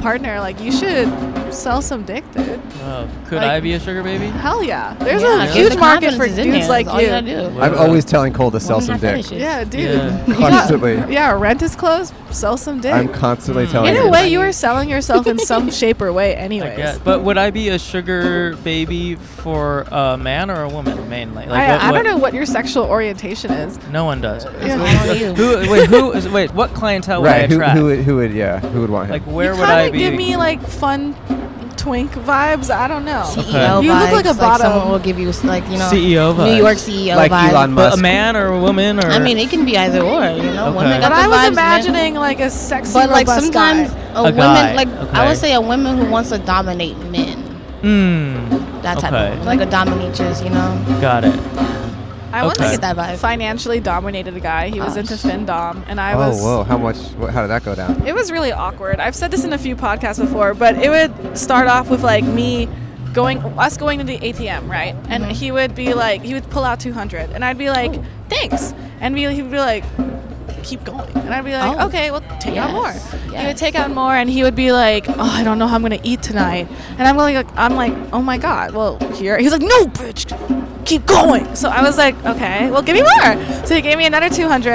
[SPEAKER 6] partner like you should sell some dick, dude.
[SPEAKER 5] Oh, could
[SPEAKER 6] Like-
[SPEAKER 5] I be a sugar baby?
[SPEAKER 6] Hell yeah. There's
[SPEAKER 3] Yeah,
[SPEAKER 6] a
[SPEAKER 3] because
[SPEAKER 6] huge
[SPEAKER 3] the
[SPEAKER 6] market
[SPEAKER 3] confidence
[SPEAKER 6] for
[SPEAKER 3] is in
[SPEAKER 6] dudes
[SPEAKER 3] there.
[SPEAKER 6] like
[SPEAKER 3] That's all you. gotta
[SPEAKER 6] you.
[SPEAKER 3] do.
[SPEAKER 2] I'm always telling Cole to sell
[SPEAKER 3] Women
[SPEAKER 2] some
[SPEAKER 3] have
[SPEAKER 2] dick.
[SPEAKER 3] fetishes.
[SPEAKER 6] Yeah, dude.
[SPEAKER 5] Yeah.
[SPEAKER 6] You got-
[SPEAKER 2] Constantly.
[SPEAKER 6] yeah, rent is closed. Sell some dick.
[SPEAKER 2] I'm constantly telling
[SPEAKER 6] in a
[SPEAKER 2] him.
[SPEAKER 6] way, you are selling yourself in some shape or way, anyways.
[SPEAKER 5] I guess. But would I be a sugar baby for a man or a woman mainly?
[SPEAKER 6] I,
[SPEAKER 5] what-
[SPEAKER 6] I
[SPEAKER 5] what-
[SPEAKER 6] don't know what your sexual orientation is.
[SPEAKER 5] No one does.
[SPEAKER 6] Yeah.
[SPEAKER 3] How are you?
[SPEAKER 5] who? Wait, who? Is, wait, what clientele
[SPEAKER 2] Right?
[SPEAKER 5] would
[SPEAKER 2] Who,
[SPEAKER 5] I attract?
[SPEAKER 2] who would? Who would? Yeah. Who would want him?
[SPEAKER 5] like, where
[SPEAKER 6] you
[SPEAKER 5] would I
[SPEAKER 6] kinda
[SPEAKER 5] be?
[SPEAKER 6] give me like fun twink vibes. I don't know.
[SPEAKER 3] CEO
[SPEAKER 6] You look
[SPEAKER 3] E vibes,
[SPEAKER 6] like a bottom.
[SPEAKER 3] someone will give you like you know
[SPEAKER 5] CEO vibes.
[SPEAKER 3] New York CEO
[SPEAKER 2] E Like
[SPEAKER 3] vibe.
[SPEAKER 2] Elon
[SPEAKER 5] but
[SPEAKER 2] Musk.
[SPEAKER 5] a man or a woman or
[SPEAKER 3] I mean, it can be either or. You know,
[SPEAKER 5] Okay.
[SPEAKER 3] women got
[SPEAKER 6] But
[SPEAKER 3] the
[SPEAKER 6] I was
[SPEAKER 3] vibes, men-
[SPEAKER 6] imagining like a sexy,
[SPEAKER 3] But like
[SPEAKER 6] robust
[SPEAKER 3] sometimes
[SPEAKER 6] guy.
[SPEAKER 3] a,
[SPEAKER 5] A
[SPEAKER 3] woman,
[SPEAKER 5] guy,
[SPEAKER 3] like I
[SPEAKER 5] okay.
[SPEAKER 3] would say, a woman who wants to dominate men.
[SPEAKER 5] Mm,
[SPEAKER 3] That type
[SPEAKER 5] Okay.
[SPEAKER 3] of woman, like a dominatrix, you know.
[SPEAKER 5] got it.
[SPEAKER 6] I once
[SPEAKER 3] I get that vibe.
[SPEAKER 6] financially dominated a guy. He was
[SPEAKER 3] Oh,
[SPEAKER 6] into
[SPEAKER 3] shit.
[SPEAKER 6] fin dom, and I
[SPEAKER 2] oh,
[SPEAKER 6] was.
[SPEAKER 2] whoa! How much? What, how did that go down?
[SPEAKER 6] It was really awkward. I've said this in a few podcasts before, but it would start off with like me going, us going to the ATM, right? And
[SPEAKER 3] Mm-hmm.
[SPEAKER 6] he would be like, he would pull out 200, and I'd be like,
[SPEAKER 3] Oh.
[SPEAKER 6] thanks, and we, he would be like, keep going, and I'd be like,
[SPEAKER 3] Oh.
[SPEAKER 6] okay, well, take
[SPEAKER 3] Yes.
[SPEAKER 6] out more. He would
[SPEAKER 3] Yes.
[SPEAKER 6] take out more, and he would be like, oh, I don't know how I'm gonna eat tonight, and I'm like, I'm like, oh my god, well here, he's like, no, bitch, keep going. So I was like, okay, well, give me more. So he gave me another 200.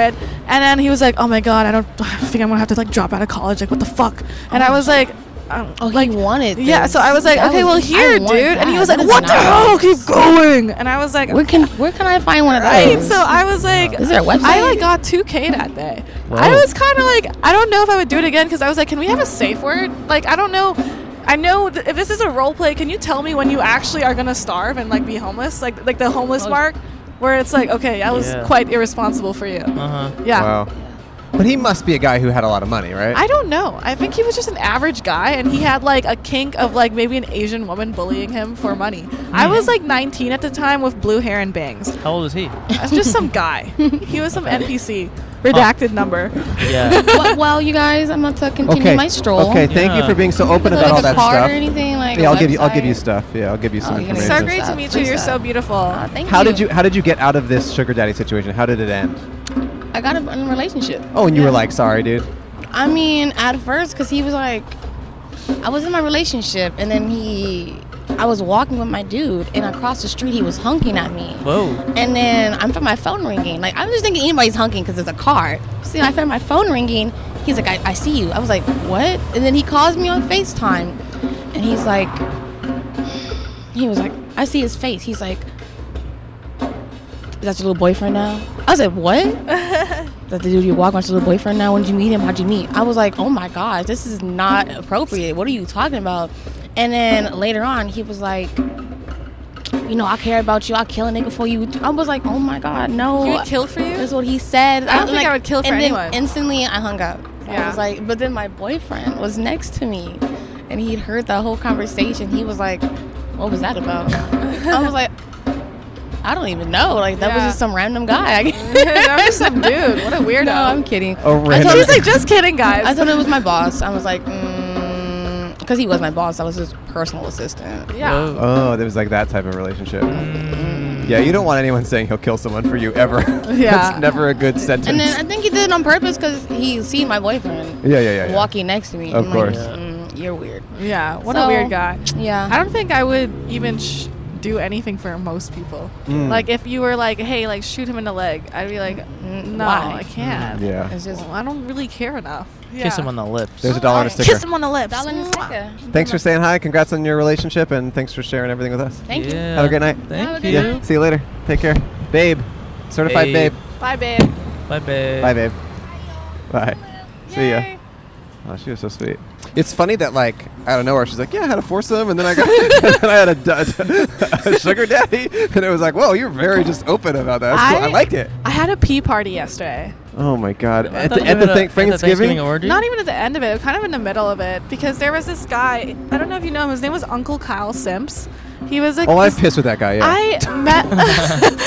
[SPEAKER 6] And then he was like, oh my God, I don't I think I'm going to have to like drop out of college. Like, what the fuck? And I was like, um,
[SPEAKER 3] Oh,
[SPEAKER 6] like,
[SPEAKER 3] he wanted.
[SPEAKER 6] yeah.
[SPEAKER 3] this.
[SPEAKER 6] So I was like,
[SPEAKER 3] That
[SPEAKER 6] okay, well,
[SPEAKER 3] was- I
[SPEAKER 6] here, dude.
[SPEAKER 3] want
[SPEAKER 6] And he
[SPEAKER 3] that.
[SPEAKER 6] was like,
[SPEAKER 3] That is
[SPEAKER 6] what the
[SPEAKER 3] nice.
[SPEAKER 6] hell? Keep going. And I was like,
[SPEAKER 3] Where can where can I find one of
[SPEAKER 6] right.
[SPEAKER 3] those?
[SPEAKER 6] So I was like,
[SPEAKER 3] Is there a website?
[SPEAKER 6] I like got 2K that day. I was kind of like, I don't know if I would do it again because I was like, can we have a safe word? Like, I don't know. I know th- if this is a role play, can you tell me when you actually are gonna starve and like be homeless, like like the homeless mark, where it's like, okay, that was
[SPEAKER 5] Yeah.
[SPEAKER 6] quite irresponsible for you.
[SPEAKER 5] Uh huh.
[SPEAKER 6] Yeah.
[SPEAKER 2] Wow. But he must be a guy who had a lot of money, right?
[SPEAKER 6] I don't know. I think he was just an average guy, and he had like a kink of like maybe an Asian woman bullying him for money. I was like 19 at the time with blue hair and bangs.
[SPEAKER 5] How old is he?
[SPEAKER 6] That's just some guy. He was some NPC. Redacted number.
[SPEAKER 5] Yeah.
[SPEAKER 3] well, well, you guys, I'm about to continue
[SPEAKER 2] okay.
[SPEAKER 3] my stroll.
[SPEAKER 2] Okay. Thank you
[SPEAKER 5] Yeah.
[SPEAKER 2] for being so
[SPEAKER 3] Is
[SPEAKER 2] open about
[SPEAKER 3] there, like
[SPEAKER 2] all
[SPEAKER 3] a
[SPEAKER 2] that
[SPEAKER 3] card
[SPEAKER 2] stuff.
[SPEAKER 3] or anything like.
[SPEAKER 2] yeah,
[SPEAKER 3] a
[SPEAKER 2] I'll give you. I'll give you
[SPEAKER 3] website?
[SPEAKER 2] stuff. Yeah, I'll give you some
[SPEAKER 3] Oh, you're gonna
[SPEAKER 2] information.
[SPEAKER 6] So
[SPEAKER 3] Amazing.
[SPEAKER 6] great to
[SPEAKER 3] Stop,
[SPEAKER 6] meet you.
[SPEAKER 3] please
[SPEAKER 6] You're so
[SPEAKER 3] stop.
[SPEAKER 6] beautiful.
[SPEAKER 3] Aw, Oh, thank
[SPEAKER 2] How did you How did you get out of this sugar daddy situation? How did it end?
[SPEAKER 3] I got in a relationship.
[SPEAKER 2] Oh, and you were like, sorry, dude.
[SPEAKER 3] I mean, at first, because he was like, I was in my relationship, and then he, I was walking with my dude, and across the street, he was honking at me.
[SPEAKER 5] Whoa.
[SPEAKER 3] And then I'm from my phone ringing. Like, I'm just thinking anybody's honking because it's a car. See, I found my phone ringing. He's like, I, I see you. I was like, what? And then he calls me on FaceTime, and he's like, he was like, I see his face. He's like, is that your little boyfriend now? I was like, what? Is that the dude you walk with your little boyfriend now? When did you meet him? How'd you meet? I was like, oh my gosh, this is not appropriate. What are you talking about? And then later on, he was like, you know, I care about you. I'll kill a nigga for you. I was like, oh my god, no.
[SPEAKER 6] You would kill for you?
[SPEAKER 3] That's what he said.
[SPEAKER 6] I don't think I would kill for
[SPEAKER 3] and
[SPEAKER 6] anyone.
[SPEAKER 3] Then instantly, I hung up.
[SPEAKER 6] Yeah.
[SPEAKER 3] I was like, but then my boyfriend was next to me, and he'd heard the whole conversation. He was like, what was that about? I was like, I don't even know. Like that was
[SPEAKER 6] Yeah.
[SPEAKER 3] just some random guy.
[SPEAKER 6] that was some dude. What a weirdo.
[SPEAKER 3] no, I'm kidding.
[SPEAKER 2] Oh,
[SPEAKER 3] I
[SPEAKER 2] random.
[SPEAKER 3] told,
[SPEAKER 6] She's like, just kidding, guys.
[SPEAKER 3] I told him it was my boss. I was like, because he was my boss. I was his personal assistant.
[SPEAKER 6] yeah.
[SPEAKER 2] Oh, there was like that type of relationship. Yeah, you don't want anyone saying he'll kill someone for you ever.
[SPEAKER 6] Yeah.
[SPEAKER 2] That's never a good sentence.
[SPEAKER 3] And then I think he did it on purpose because he seen my boyfriend
[SPEAKER 2] yeah, yeah, yeah. yeah.
[SPEAKER 3] walking next to me.
[SPEAKER 2] Of
[SPEAKER 3] I'm
[SPEAKER 2] course.
[SPEAKER 3] Like, mm, you're weird.
[SPEAKER 6] Yeah. What a
[SPEAKER 3] So-
[SPEAKER 6] weird guy.
[SPEAKER 3] Yeah.
[SPEAKER 6] I don't think I would even sh- do anything for most people.
[SPEAKER 2] Mm.
[SPEAKER 6] Like, if you were like, hey, like, shoot him in the leg, I'd be like, no,
[SPEAKER 3] why?
[SPEAKER 6] I can't.
[SPEAKER 2] Mm, Yeah.
[SPEAKER 3] It's just
[SPEAKER 6] Well, I don't really care enough. Yeah.
[SPEAKER 5] Kiss him on the lips.
[SPEAKER 2] There's a dollar and a
[SPEAKER 3] Alright.
[SPEAKER 2] sticker.
[SPEAKER 6] him on the lips.
[SPEAKER 3] Dollar and a
[SPEAKER 6] Mwah.
[SPEAKER 3] sticker.
[SPEAKER 2] Thanks for saying hi. Congrats on your relationship, and thanks for sharing everything with us.
[SPEAKER 3] Thank you.
[SPEAKER 5] Yeah.
[SPEAKER 2] Have a great night.
[SPEAKER 5] Thank
[SPEAKER 3] Have a
[SPEAKER 5] you.
[SPEAKER 3] good night.
[SPEAKER 2] See you later. Take care, babe. Certified babe.
[SPEAKER 5] Babe.
[SPEAKER 6] Bye, babe.
[SPEAKER 5] Bye, babe.
[SPEAKER 2] Bye, babe. Bye. See ya.
[SPEAKER 6] Yay.
[SPEAKER 2] Oh, she was so sweet. It's funny that like out of nowhere she's like, yeah, I had a foursome, and then I got, and then I had a, du- a sugar daddy, and it was like, whoa, you're very just open about that. That's cool. I,
[SPEAKER 6] I-
[SPEAKER 2] like it.
[SPEAKER 6] I had a pee party yesterday.
[SPEAKER 2] Oh my God!
[SPEAKER 5] I
[SPEAKER 2] At
[SPEAKER 5] thought
[SPEAKER 2] the,
[SPEAKER 5] you
[SPEAKER 2] at
[SPEAKER 5] had
[SPEAKER 2] the
[SPEAKER 5] a-
[SPEAKER 2] thank-
[SPEAKER 5] had a
[SPEAKER 2] Thanksgiving,
[SPEAKER 5] orgy?
[SPEAKER 6] Not even at the end of it, kind of in the middle of it, because there was this guy. I don't know if you know him. His name was Uncle Kyle Simps. He was like.
[SPEAKER 2] Oh, I've pissed with that guy. Yeah.
[SPEAKER 6] I met. no,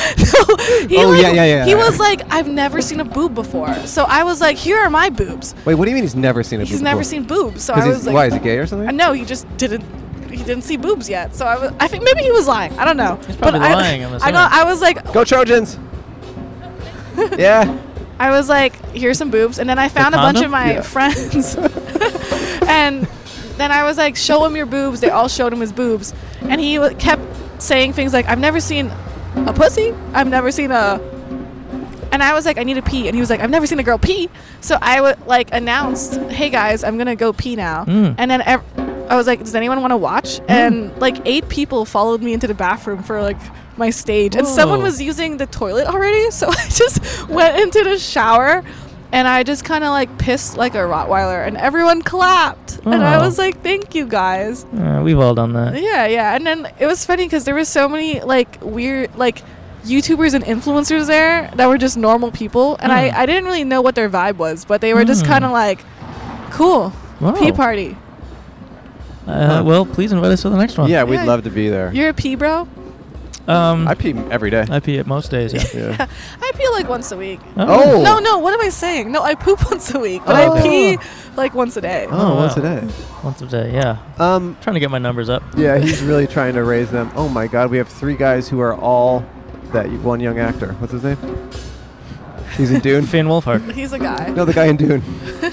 [SPEAKER 6] he
[SPEAKER 2] Oh,
[SPEAKER 6] like,
[SPEAKER 2] yeah, yeah, yeah.
[SPEAKER 6] He was like, I've never seen a boob before. So I was like, here are my boobs.
[SPEAKER 2] Wait, what do you mean he's never seen a?
[SPEAKER 6] He's
[SPEAKER 2] boob
[SPEAKER 6] never
[SPEAKER 2] before?
[SPEAKER 6] seen boobs. So
[SPEAKER 2] 'Cause
[SPEAKER 6] I
[SPEAKER 2] he's-
[SPEAKER 6] was like,
[SPEAKER 2] why is he gay or something?
[SPEAKER 6] Uh, No, he just didn't. He didn't see boobs yet, so I was. I think maybe he was lying. I don't know. He's
[SPEAKER 5] probably
[SPEAKER 6] but
[SPEAKER 5] lying,
[SPEAKER 6] I,
[SPEAKER 5] I'm
[SPEAKER 6] I, got, I was like,
[SPEAKER 2] Go Trojans! yeah.
[SPEAKER 6] I was like, here's some boobs, and then I found a bunch of my friends, and then I was like, show him your boobs. They all showed him his boobs, and he w- kept saying things like, I've never seen a pussy. I've never seen a. And I was like, I need to pee, and he was like, I've never seen a girl pee. So I would like announced, hey guys, I'm gonna go pee now, and then. Ev- I was like, does anyone want to watch? And like eight people followed me into the bathroom for like my stage. And someone
[SPEAKER 5] Whoa.
[SPEAKER 6] was using the toilet already, so I just went into the shower and I just kind of like pissed like a Rottweiler and everyone clapped. And I
[SPEAKER 5] Aw.
[SPEAKER 6] was like, thank you guys.
[SPEAKER 5] Uh, we've all done that.
[SPEAKER 6] Yeah, yeah. And then it was funny because there was so many like weird like YouTubers and influencers there that were just normal people, and
[SPEAKER 5] Hmm.
[SPEAKER 6] I I didn't really know what their vibe was, but they were just kind of like, cool,
[SPEAKER 5] Wow.
[SPEAKER 6] pee party.
[SPEAKER 5] Uh, well, please invite us to the next one.
[SPEAKER 2] Yeah, we'd
[SPEAKER 6] Yeah.
[SPEAKER 2] love to be there.
[SPEAKER 6] You're a pee bro.
[SPEAKER 5] Um,
[SPEAKER 2] I
[SPEAKER 5] I,
[SPEAKER 2] pee every day.
[SPEAKER 5] pee at most days. Yeah.
[SPEAKER 2] Yeah.
[SPEAKER 6] I pee like once a week.
[SPEAKER 2] Oh.
[SPEAKER 6] No, no. What am I saying? No, I poop once a week, but
[SPEAKER 2] Oh.
[SPEAKER 6] I pee like once a day.
[SPEAKER 2] Oh,
[SPEAKER 5] wow.
[SPEAKER 2] once a day.
[SPEAKER 5] Once a day. Yeah.
[SPEAKER 2] Um,
[SPEAKER 5] trying to get my numbers up.
[SPEAKER 2] yeah, he's really trying to raise them. Oh my God, we have three guys who are all that y- one young actor. What's his name? He's in Dune.
[SPEAKER 5] Finn Wolfhard.
[SPEAKER 6] He's a guy.
[SPEAKER 2] no, the guy in Dune.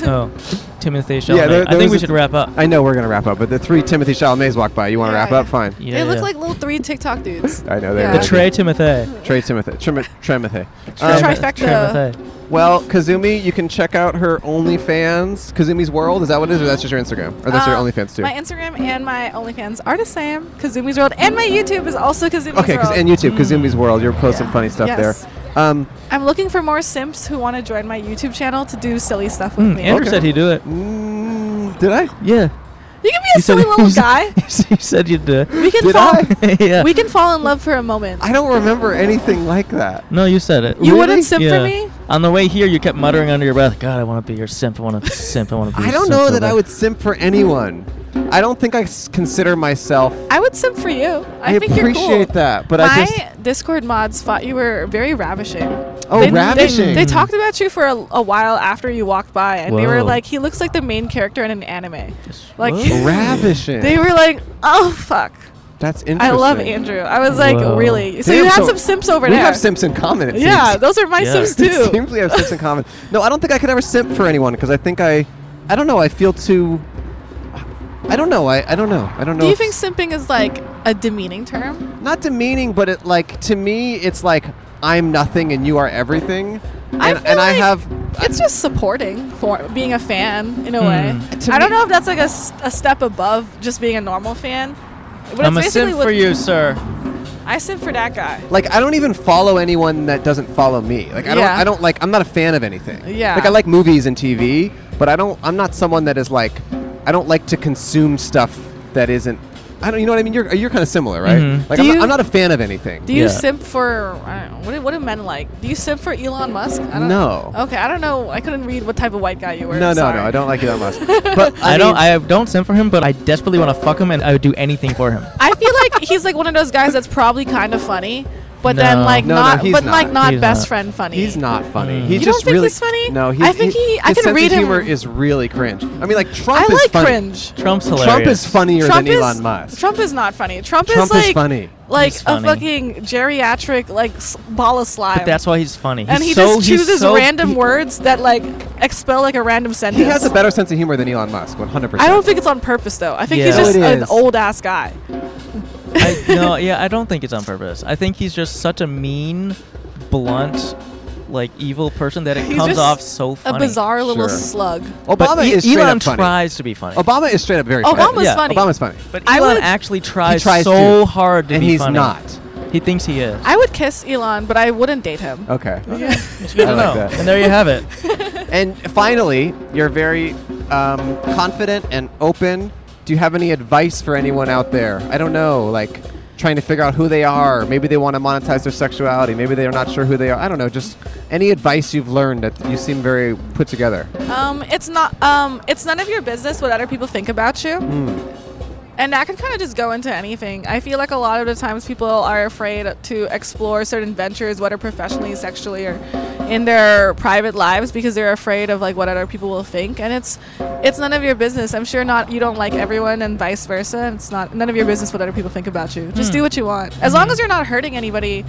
[SPEAKER 5] oh, Timothy Chalamet.
[SPEAKER 2] there- there
[SPEAKER 5] I think
[SPEAKER 2] was
[SPEAKER 5] we
[SPEAKER 2] a-
[SPEAKER 5] should wrap up.
[SPEAKER 2] I know we're gonna wrap up, but the three Timothy Chalamets walk by. You want to
[SPEAKER 6] Yeah,
[SPEAKER 2] wrap
[SPEAKER 6] yeah.
[SPEAKER 2] up? Fine.
[SPEAKER 5] yeah,
[SPEAKER 6] they look
[SPEAKER 5] yeah.
[SPEAKER 6] like little three TikTok dudes.
[SPEAKER 2] I know they
[SPEAKER 6] Yeah.
[SPEAKER 2] really
[SPEAKER 5] Betray Timothy.
[SPEAKER 2] do. Trey Timothy. Trim- Tremothy.
[SPEAKER 6] The
[SPEAKER 2] Um,
[SPEAKER 6] trifecta.
[SPEAKER 5] Tremothy.
[SPEAKER 2] well, Kazumi, you can check out her OnlyFans. Kazumi's World. Is that what it is, or that's just your Instagram, or that's your
[SPEAKER 6] Um,
[SPEAKER 2] OnlyFans too?
[SPEAKER 6] My Instagram and my OnlyFans are the same. Kazumi's World and my YouTube is also Kazumi's
[SPEAKER 2] Okay, 'cause-
[SPEAKER 6] World.
[SPEAKER 2] and YouTube, Kazumi's World. You're posting
[SPEAKER 6] Yeah.
[SPEAKER 2] funny stuff
[SPEAKER 6] Yes.
[SPEAKER 2] there. Um,
[SPEAKER 6] I'm looking for more simps who want to join my YouTube channel to do silly stuff with
[SPEAKER 5] Mm,
[SPEAKER 6] me.
[SPEAKER 5] Andrew
[SPEAKER 2] Okay.
[SPEAKER 5] said he'd do it.
[SPEAKER 2] mm, did I?
[SPEAKER 5] Yeah.
[SPEAKER 6] You can be a
[SPEAKER 5] He said-
[SPEAKER 6] silly little
[SPEAKER 5] he said-
[SPEAKER 6] guy.
[SPEAKER 5] you said you'd
[SPEAKER 2] uh,
[SPEAKER 5] do it.
[SPEAKER 6] We can
[SPEAKER 2] Did
[SPEAKER 6] fall.
[SPEAKER 2] I?
[SPEAKER 5] yeah.
[SPEAKER 6] We can fall in love for a moment.
[SPEAKER 2] I don't remember anything like that.
[SPEAKER 5] no, you said it.
[SPEAKER 6] You wouldn't simp
[SPEAKER 5] yeah.
[SPEAKER 6] for me?
[SPEAKER 5] On the way here, you kept muttering under your breath, "God, I want to be your simp. I want to simp. I want to be."
[SPEAKER 2] I
[SPEAKER 5] your
[SPEAKER 2] don't
[SPEAKER 5] simp
[SPEAKER 2] know
[SPEAKER 5] so
[SPEAKER 2] that I
[SPEAKER 5] bad."
[SPEAKER 2] would simp for anyone. I don't think I s- consider myself.
[SPEAKER 6] I would simp for you. I,
[SPEAKER 2] I,
[SPEAKER 6] think
[SPEAKER 2] appreciate
[SPEAKER 6] you're cool.
[SPEAKER 2] that, but
[SPEAKER 6] my
[SPEAKER 2] I just
[SPEAKER 6] Discord mods thought you were very ravishing.
[SPEAKER 2] oh
[SPEAKER 6] they, They,
[SPEAKER 2] ravishing.
[SPEAKER 6] they talked about you for a, a while after you walked by, and they were
[SPEAKER 5] Whoa.
[SPEAKER 6] like, "He looks like the main character in an anime." Like
[SPEAKER 5] Whoa.
[SPEAKER 2] ravishing.
[SPEAKER 6] they were like, "Oh fuck."
[SPEAKER 2] That's interesting.
[SPEAKER 6] I love Andrew. I was like,
[SPEAKER 5] Whoa.
[SPEAKER 6] really? So
[SPEAKER 2] Damn,
[SPEAKER 6] you had
[SPEAKER 2] so
[SPEAKER 6] some simps over
[SPEAKER 2] We
[SPEAKER 6] there.
[SPEAKER 2] have simps in common. It
[SPEAKER 6] Yeah,
[SPEAKER 2] seems.
[SPEAKER 6] those are my
[SPEAKER 5] Yeah.
[SPEAKER 6] simps
[SPEAKER 2] It
[SPEAKER 6] too.
[SPEAKER 2] seems we have simps in common. No, I don't think I could ever simp for anyone because I think I, I don't know. I feel too. I don't know. I, I don't know. I don't know.
[SPEAKER 6] Do you
[SPEAKER 2] if-
[SPEAKER 6] think simping is like a demeaning term?
[SPEAKER 2] not demeaning, but it like to me, it's like I'm nothing and you are everything, and,
[SPEAKER 6] I feel
[SPEAKER 2] and I
[SPEAKER 6] like
[SPEAKER 2] have
[SPEAKER 6] It's just supporting for being a fan
[SPEAKER 5] Hmm.
[SPEAKER 6] in a way.
[SPEAKER 2] To
[SPEAKER 6] I don't
[SPEAKER 2] me-
[SPEAKER 6] know if that's like a, s- a step above just being a normal fan. But
[SPEAKER 5] I'm a
[SPEAKER 6] it's basically
[SPEAKER 5] simp
[SPEAKER 6] what-
[SPEAKER 5] for you, sir.
[SPEAKER 6] I simp for that guy.
[SPEAKER 2] like I don't even follow anyone that doesn't follow me. Like I don't
[SPEAKER 6] Yeah.
[SPEAKER 2] I don't like I'm not a fan of anything.
[SPEAKER 6] Yeah.
[SPEAKER 2] Like I like movies and TV, but I don't I'm not someone that is like I don't like to consume stuff that isn't I don't you know what I mean? You're you're kind of similar, right?
[SPEAKER 5] Mhm.
[SPEAKER 2] Like
[SPEAKER 6] Mm-hmm. Do
[SPEAKER 2] I'm,
[SPEAKER 6] you-
[SPEAKER 2] not, I'm not a fan of anything.
[SPEAKER 6] Do you
[SPEAKER 5] Yeah.
[SPEAKER 6] simp for I don't know, what? Do, what do men like? Do you simp for Elon Musk? I don't
[SPEAKER 2] No.
[SPEAKER 6] Okay, I don't know. I couldn't read what type of white guy you were.
[SPEAKER 2] no, no,
[SPEAKER 6] sorry.
[SPEAKER 2] no. I don't like Elon Musk. But I,
[SPEAKER 5] I, don't.
[SPEAKER 2] mean,
[SPEAKER 5] I don't simp for him, but I desperately want to fuck him, and I would do anything for him.
[SPEAKER 6] I feel like he's like one of those guys that's probably kind of funny, but then
[SPEAKER 5] No.
[SPEAKER 6] like
[SPEAKER 2] No, no,
[SPEAKER 6] not,
[SPEAKER 2] he's
[SPEAKER 6] but
[SPEAKER 2] not.
[SPEAKER 6] like not
[SPEAKER 5] He's
[SPEAKER 6] best
[SPEAKER 5] not.
[SPEAKER 6] friend funny.
[SPEAKER 2] He's not funny.
[SPEAKER 5] Mm.
[SPEAKER 2] He
[SPEAKER 6] You
[SPEAKER 2] just
[SPEAKER 6] don't think
[SPEAKER 2] really
[SPEAKER 6] he's funny?
[SPEAKER 2] No, he's,
[SPEAKER 6] I think he- I
[SPEAKER 2] his
[SPEAKER 6] can
[SPEAKER 2] sense
[SPEAKER 6] read
[SPEAKER 2] of
[SPEAKER 6] him-
[SPEAKER 2] humor is really cringe. I mean, like Trump
[SPEAKER 6] I
[SPEAKER 2] is
[SPEAKER 6] like
[SPEAKER 2] funny.
[SPEAKER 6] cringe.
[SPEAKER 5] Trump's hilarious.
[SPEAKER 2] Trump is funnier
[SPEAKER 6] Trump
[SPEAKER 2] than
[SPEAKER 6] is
[SPEAKER 2] Elon Musk.
[SPEAKER 6] Trump is not funny. Trump,
[SPEAKER 2] Trump
[SPEAKER 6] is like
[SPEAKER 2] funny.
[SPEAKER 6] like
[SPEAKER 5] He's
[SPEAKER 6] a
[SPEAKER 5] funny.
[SPEAKER 6] fucking geriatric like s- ball of slime.
[SPEAKER 5] But that's why he's funny.
[SPEAKER 6] and
[SPEAKER 5] He's
[SPEAKER 6] he
[SPEAKER 5] so-
[SPEAKER 6] just
[SPEAKER 5] he's
[SPEAKER 6] chooses
[SPEAKER 5] so-
[SPEAKER 6] random
[SPEAKER 5] he-
[SPEAKER 6] words that like expel like a random
[SPEAKER 2] He
[SPEAKER 6] sentence.
[SPEAKER 2] has a better sense of humor than Elon Musk, 100%.
[SPEAKER 6] I don't think it's on purpose though. I think
[SPEAKER 5] Yeah.
[SPEAKER 6] he's
[SPEAKER 5] No,
[SPEAKER 6] just
[SPEAKER 2] it
[SPEAKER 6] an
[SPEAKER 2] is.
[SPEAKER 6] old ass guy.
[SPEAKER 5] I, no, yeah, I don't think it's on purpose. I think he's just such a mean, blunt, like evil person that it
[SPEAKER 6] He's
[SPEAKER 5] comes
[SPEAKER 6] just
[SPEAKER 5] off so funny.
[SPEAKER 6] A bizarre little
[SPEAKER 2] Sure.
[SPEAKER 6] slug.
[SPEAKER 5] But
[SPEAKER 2] Obama
[SPEAKER 5] E-
[SPEAKER 2] is straight
[SPEAKER 5] Elon
[SPEAKER 2] up funny.
[SPEAKER 5] tries to be funny.
[SPEAKER 2] Obama is straight up very funny.
[SPEAKER 6] Obama's
[SPEAKER 5] Yeah,
[SPEAKER 6] funny.
[SPEAKER 2] Obama's funny.
[SPEAKER 5] but
[SPEAKER 6] I
[SPEAKER 5] Elon
[SPEAKER 6] would-
[SPEAKER 5] actually tries,
[SPEAKER 2] tries
[SPEAKER 5] so
[SPEAKER 2] to.
[SPEAKER 5] hard to
[SPEAKER 2] and
[SPEAKER 5] be
[SPEAKER 2] he's
[SPEAKER 5] funny.
[SPEAKER 2] not.
[SPEAKER 5] He thinks he is.
[SPEAKER 6] I would kiss Elon, but I wouldn't date him.
[SPEAKER 2] Okay.
[SPEAKER 5] It's good
[SPEAKER 2] I
[SPEAKER 5] to
[SPEAKER 2] like
[SPEAKER 5] know.
[SPEAKER 2] that.
[SPEAKER 5] And there you have it.
[SPEAKER 2] and finally, you're very um, confident and open. Do you have any advice for anyone out there? I don't know. Like, trying to figure out who they are. Maybe they want to monetize their sexuality. Maybe they're not sure who they are. I don't know. Just any advice you've learned that you seem very put together.
[SPEAKER 6] Um, it's not. Um, it's none of your business what other people think about you. And that can kind of just go into anything. I feel like a lot of the times people are afraid to explore certain ventures, whether professionally, sexually, or in their private lives, because they're afraid of like what other people will think. And it's it's none of your business. I'm sure not you don't like everyone, and vice versa. It's not none of your business what other people think about you. Just do what you want, as long as you're not hurting anybody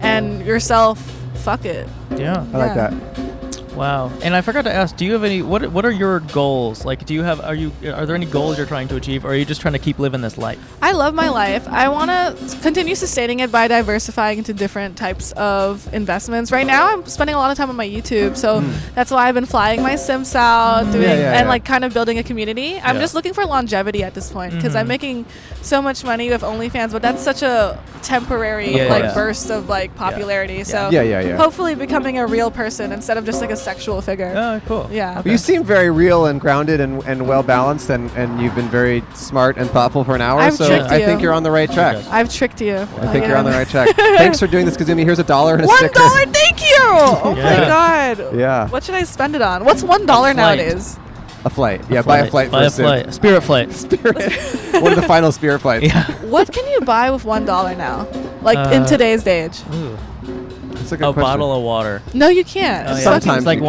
[SPEAKER 6] and yourself. Fuck it.
[SPEAKER 5] Yeah.
[SPEAKER 2] I like
[SPEAKER 6] Yeah.
[SPEAKER 2] that.
[SPEAKER 5] Wow. And I forgot to ask, do you have any what what are your goals? Like do you have are you are there any goals you're trying to achieve or are you just trying to keep living this life?
[SPEAKER 6] I love my life. I want to continue sustaining it by diversifying into different types of investments. Right now, I'm spending a lot of time on my YouTube, so that's why I've been flying my Sims out, doing
[SPEAKER 2] Hmm. yeah,
[SPEAKER 6] and
[SPEAKER 2] yeah.
[SPEAKER 6] like kind of building a community. I'm
[SPEAKER 8] Yeah.
[SPEAKER 6] just looking for longevity at this point because I'm
[SPEAKER 2] Mm-hmm.
[SPEAKER 6] making so much money with OnlyFans, but that's such a temporary
[SPEAKER 5] Yeah,
[SPEAKER 6] like
[SPEAKER 5] yeah.
[SPEAKER 6] burst of like popularity. So
[SPEAKER 2] Yeah, yeah, yeah.
[SPEAKER 6] Hopefully, becoming a real person instead of just like a sexual figure.
[SPEAKER 5] Oh, cool.
[SPEAKER 6] Yeah.
[SPEAKER 2] You seem very real and grounded and, and well balanced, and, and you've been very smart and thoughtful for an hour.
[SPEAKER 6] I've
[SPEAKER 2] so
[SPEAKER 6] tricked
[SPEAKER 2] I think
[SPEAKER 6] you.
[SPEAKER 2] you're on the right track.
[SPEAKER 5] Yes.
[SPEAKER 6] I've tricked you.
[SPEAKER 2] I think you're on the right track. Thanks for doing this, Kazumi. Here's a dollar and a
[SPEAKER 6] One
[SPEAKER 2] sticker.
[SPEAKER 6] dollar, thank you. Oh
[SPEAKER 5] Yeah.
[SPEAKER 6] my god.
[SPEAKER 2] Yeah,
[SPEAKER 6] What should I spend it on? What's one dollar
[SPEAKER 5] flight.
[SPEAKER 6] nowadays?
[SPEAKER 2] a flight. Yeah, buy a flight.
[SPEAKER 5] Buy
[SPEAKER 2] for
[SPEAKER 5] a flight. Spirit flight.
[SPEAKER 2] Spirit. One of the final spirit flights.
[SPEAKER 5] yeah.
[SPEAKER 6] What can you buy with one dollar now? Like in
[SPEAKER 5] Uh,
[SPEAKER 6] today's day age?
[SPEAKER 5] Ooh.
[SPEAKER 2] That's a good
[SPEAKER 5] A
[SPEAKER 2] question.
[SPEAKER 5] bottle of water.
[SPEAKER 6] No, you can't.
[SPEAKER 5] Oh, yeah.
[SPEAKER 6] It's
[SPEAKER 2] Sometimes
[SPEAKER 6] fucking-
[SPEAKER 5] it's like
[SPEAKER 2] you can.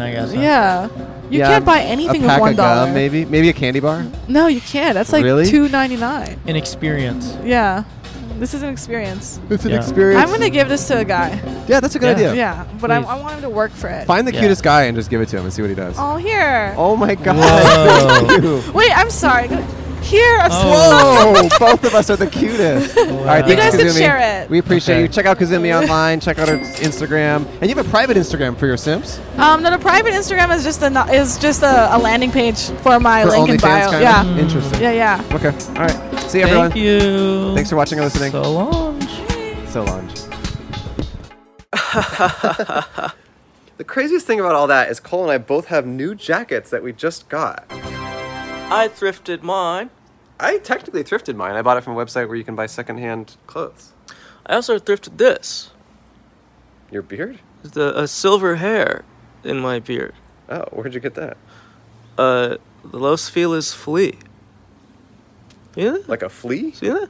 [SPEAKER 5] 119, I guess. huh?
[SPEAKER 6] Yeah. You
[SPEAKER 2] Yeah,
[SPEAKER 6] can't buy
[SPEAKER 2] a
[SPEAKER 6] anything with
[SPEAKER 2] pack
[SPEAKER 6] one
[SPEAKER 2] of gum,
[SPEAKER 6] dollar.
[SPEAKER 2] maybe. Maybe a candy bar.
[SPEAKER 6] No, you can't. That's like
[SPEAKER 2] Really?
[SPEAKER 6] two ninety nine.
[SPEAKER 5] An experience.
[SPEAKER 6] Yeah. This is an experience.
[SPEAKER 2] It's an
[SPEAKER 5] Yeah.
[SPEAKER 2] experience.
[SPEAKER 6] I'm gonna give this to a guy.
[SPEAKER 2] yeah, that's a good
[SPEAKER 5] Yeah.
[SPEAKER 6] Yeah,
[SPEAKER 2] idea.
[SPEAKER 6] but I,
[SPEAKER 5] Please.
[SPEAKER 6] I want him to work for it.
[SPEAKER 2] Find the
[SPEAKER 5] Yeah.
[SPEAKER 2] cutest guy and just give it to him and see what he does.
[SPEAKER 6] Oh, here.
[SPEAKER 2] Oh my god.
[SPEAKER 5] Whoa.
[SPEAKER 2] Thank you.
[SPEAKER 6] Wait, I'm sorry. Here. I'm
[SPEAKER 5] Oh.
[SPEAKER 2] Whoa, both of us are the cutest. All right,
[SPEAKER 5] Wow.
[SPEAKER 6] You
[SPEAKER 2] thanks,
[SPEAKER 6] guys can
[SPEAKER 2] Kazumi.
[SPEAKER 6] share it.
[SPEAKER 2] We appreciate
[SPEAKER 5] Okay.
[SPEAKER 2] you. Check out Kazumi online. Check out her Instagram. And you have a private Instagram for your Sims.
[SPEAKER 6] so- um, no, the private Instagram is just a no- is just a, a landing page for my
[SPEAKER 2] for
[SPEAKER 6] link in
[SPEAKER 2] OnlyFans,
[SPEAKER 6] bio.
[SPEAKER 2] kinda? Mm.
[SPEAKER 6] Yeah.
[SPEAKER 2] Interesting.
[SPEAKER 6] Yeah, yeah.
[SPEAKER 2] Okay. All right. See you, everyone.
[SPEAKER 5] Mm. Thank you.
[SPEAKER 2] Thanks for watching and listening.
[SPEAKER 5] So long.
[SPEAKER 2] Solange.
[SPEAKER 10] The craziest thing about all that is Cole and I both have new jackets that we just got.
[SPEAKER 1] I thrifted mine.
[SPEAKER 10] I technically thrifted mine. I bought it from a website where you can buy secondhand clothes.
[SPEAKER 1] I also thrifted this.
[SPEAKER 10] Your beard?
[SPEAKER 1] The a silver hair in my beard.
[SPEAKER 10] Oh, where'd you get that?
[SPEAKER 1] Uh, the Los Feliz flea. See that?
[SPEAKER 10] Like a flea?
[SPEAKER 1] See that?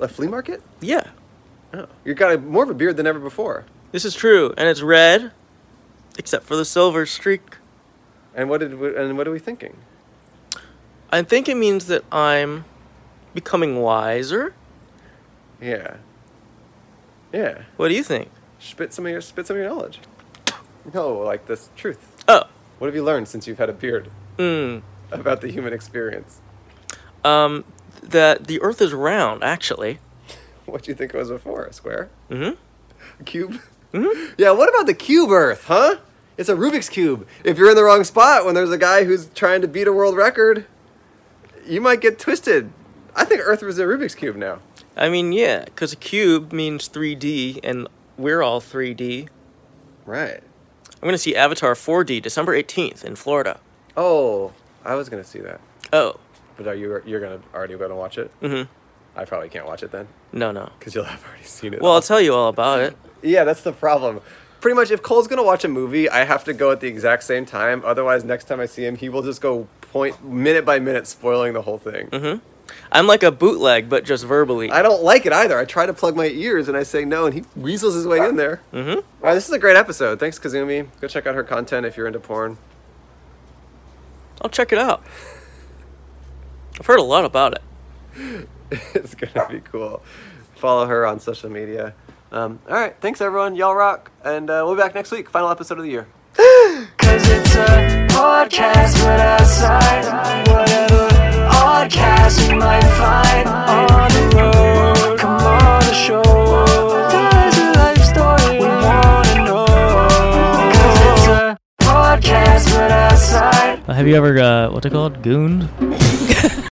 [SPEAKER 10] A flea market?
[SPEAKER 1] Yeah.
[SPEAKER 10] Oh. You got a, more of a beard than ever before.
[SPEAKER 1] This is true, and it's red, except for the silver streak.
[SPEAKER 10] And what did we, and what are we thinking?
[SPEAKER 1] I think it means that I'm becoming wiser.
[SPEAKER 10] Yeah. Yeah.
[SPEAKER 1] What do you think?
[SPEAKER 10] Spit some of your spit some of your knowledge. No, like this truth.
[SPEAKER 1] Oh,
[SPEAKER 10] What have you learned since you've had a beard
[SPEAKER 1] mm,
[SPEAKER 10] about the human experience?
[SPEAKER 1] um, that the Earth is round, actually.
[SPEAKER 10] What do you think it was before? A square?
[SPEAKER 1] Mhm.
[SPEAKER 10] A cube? Mm-hmm. Yeah, what about the cube Earth, huh? It's a Rubik's Cube. If you're in the wrong spot when there's a guy who's trying to beat a world record, you might get twisted. I think Earth was a Rubik's Cube now.
[SPEAKER 1] I mean, yeah, because a cube means 3D, and we're all 3D.
[SPEAKER 10] Right.
[SPEAKER 1] I'm gonna see Avatar 4D December 18th in Florida.
[SPEAKER 10] Oh, I was gonna see that.
[SPEAKER 1] Oh,
[SPEAKER 10] But are you you're gonna already gonna watch it?
[SPEAKER 1] Mhm.
[SPEAKER 10] I probably can't watch it then,
[SPEAKER 1] no, no.
[SPEAKER 10] because you'll have already seen it.
[SPEAKER 1] Well,
[SPEAKER 10] all.
[SPEAKER 1] I'll tell you all about it.
[SPEAKER 10] Yeah, that's the problem. Pretty much, if Cole's gonna watch a movie, I have to go at the exact same time. Otherwise, next time I see him, he will just go point minute by minute, spoiling the whole thing.
[SPEAKER 1] I'm like a bootleg, but just verbally.
[SPEAKER 10] I don't like it either. I try to plug my ears and I say no, and he weasels his way in there. Mm-hmm. right, this is a great episode. Thanks, Kazumi. Go check out her content if you're into porn.
[SPEAKER 1] I'll check it out. I've heard a lot about it.
[SPEAKER 10] it's gonna be cool. Follow her on social media. Um, all right, thanks everyone. Y'all rock, and uh, we'll be back next week. Final episode of the year.
[SPEAKER 11] Cause it's a podcast without sight. Whatever podcast you might find on the road. Come on the show. Tell us a life story. We wanna know. Cause it's a podcast without sight.
[SPEAKER 5] Uh, have you ever uh, what's it called? Gooned?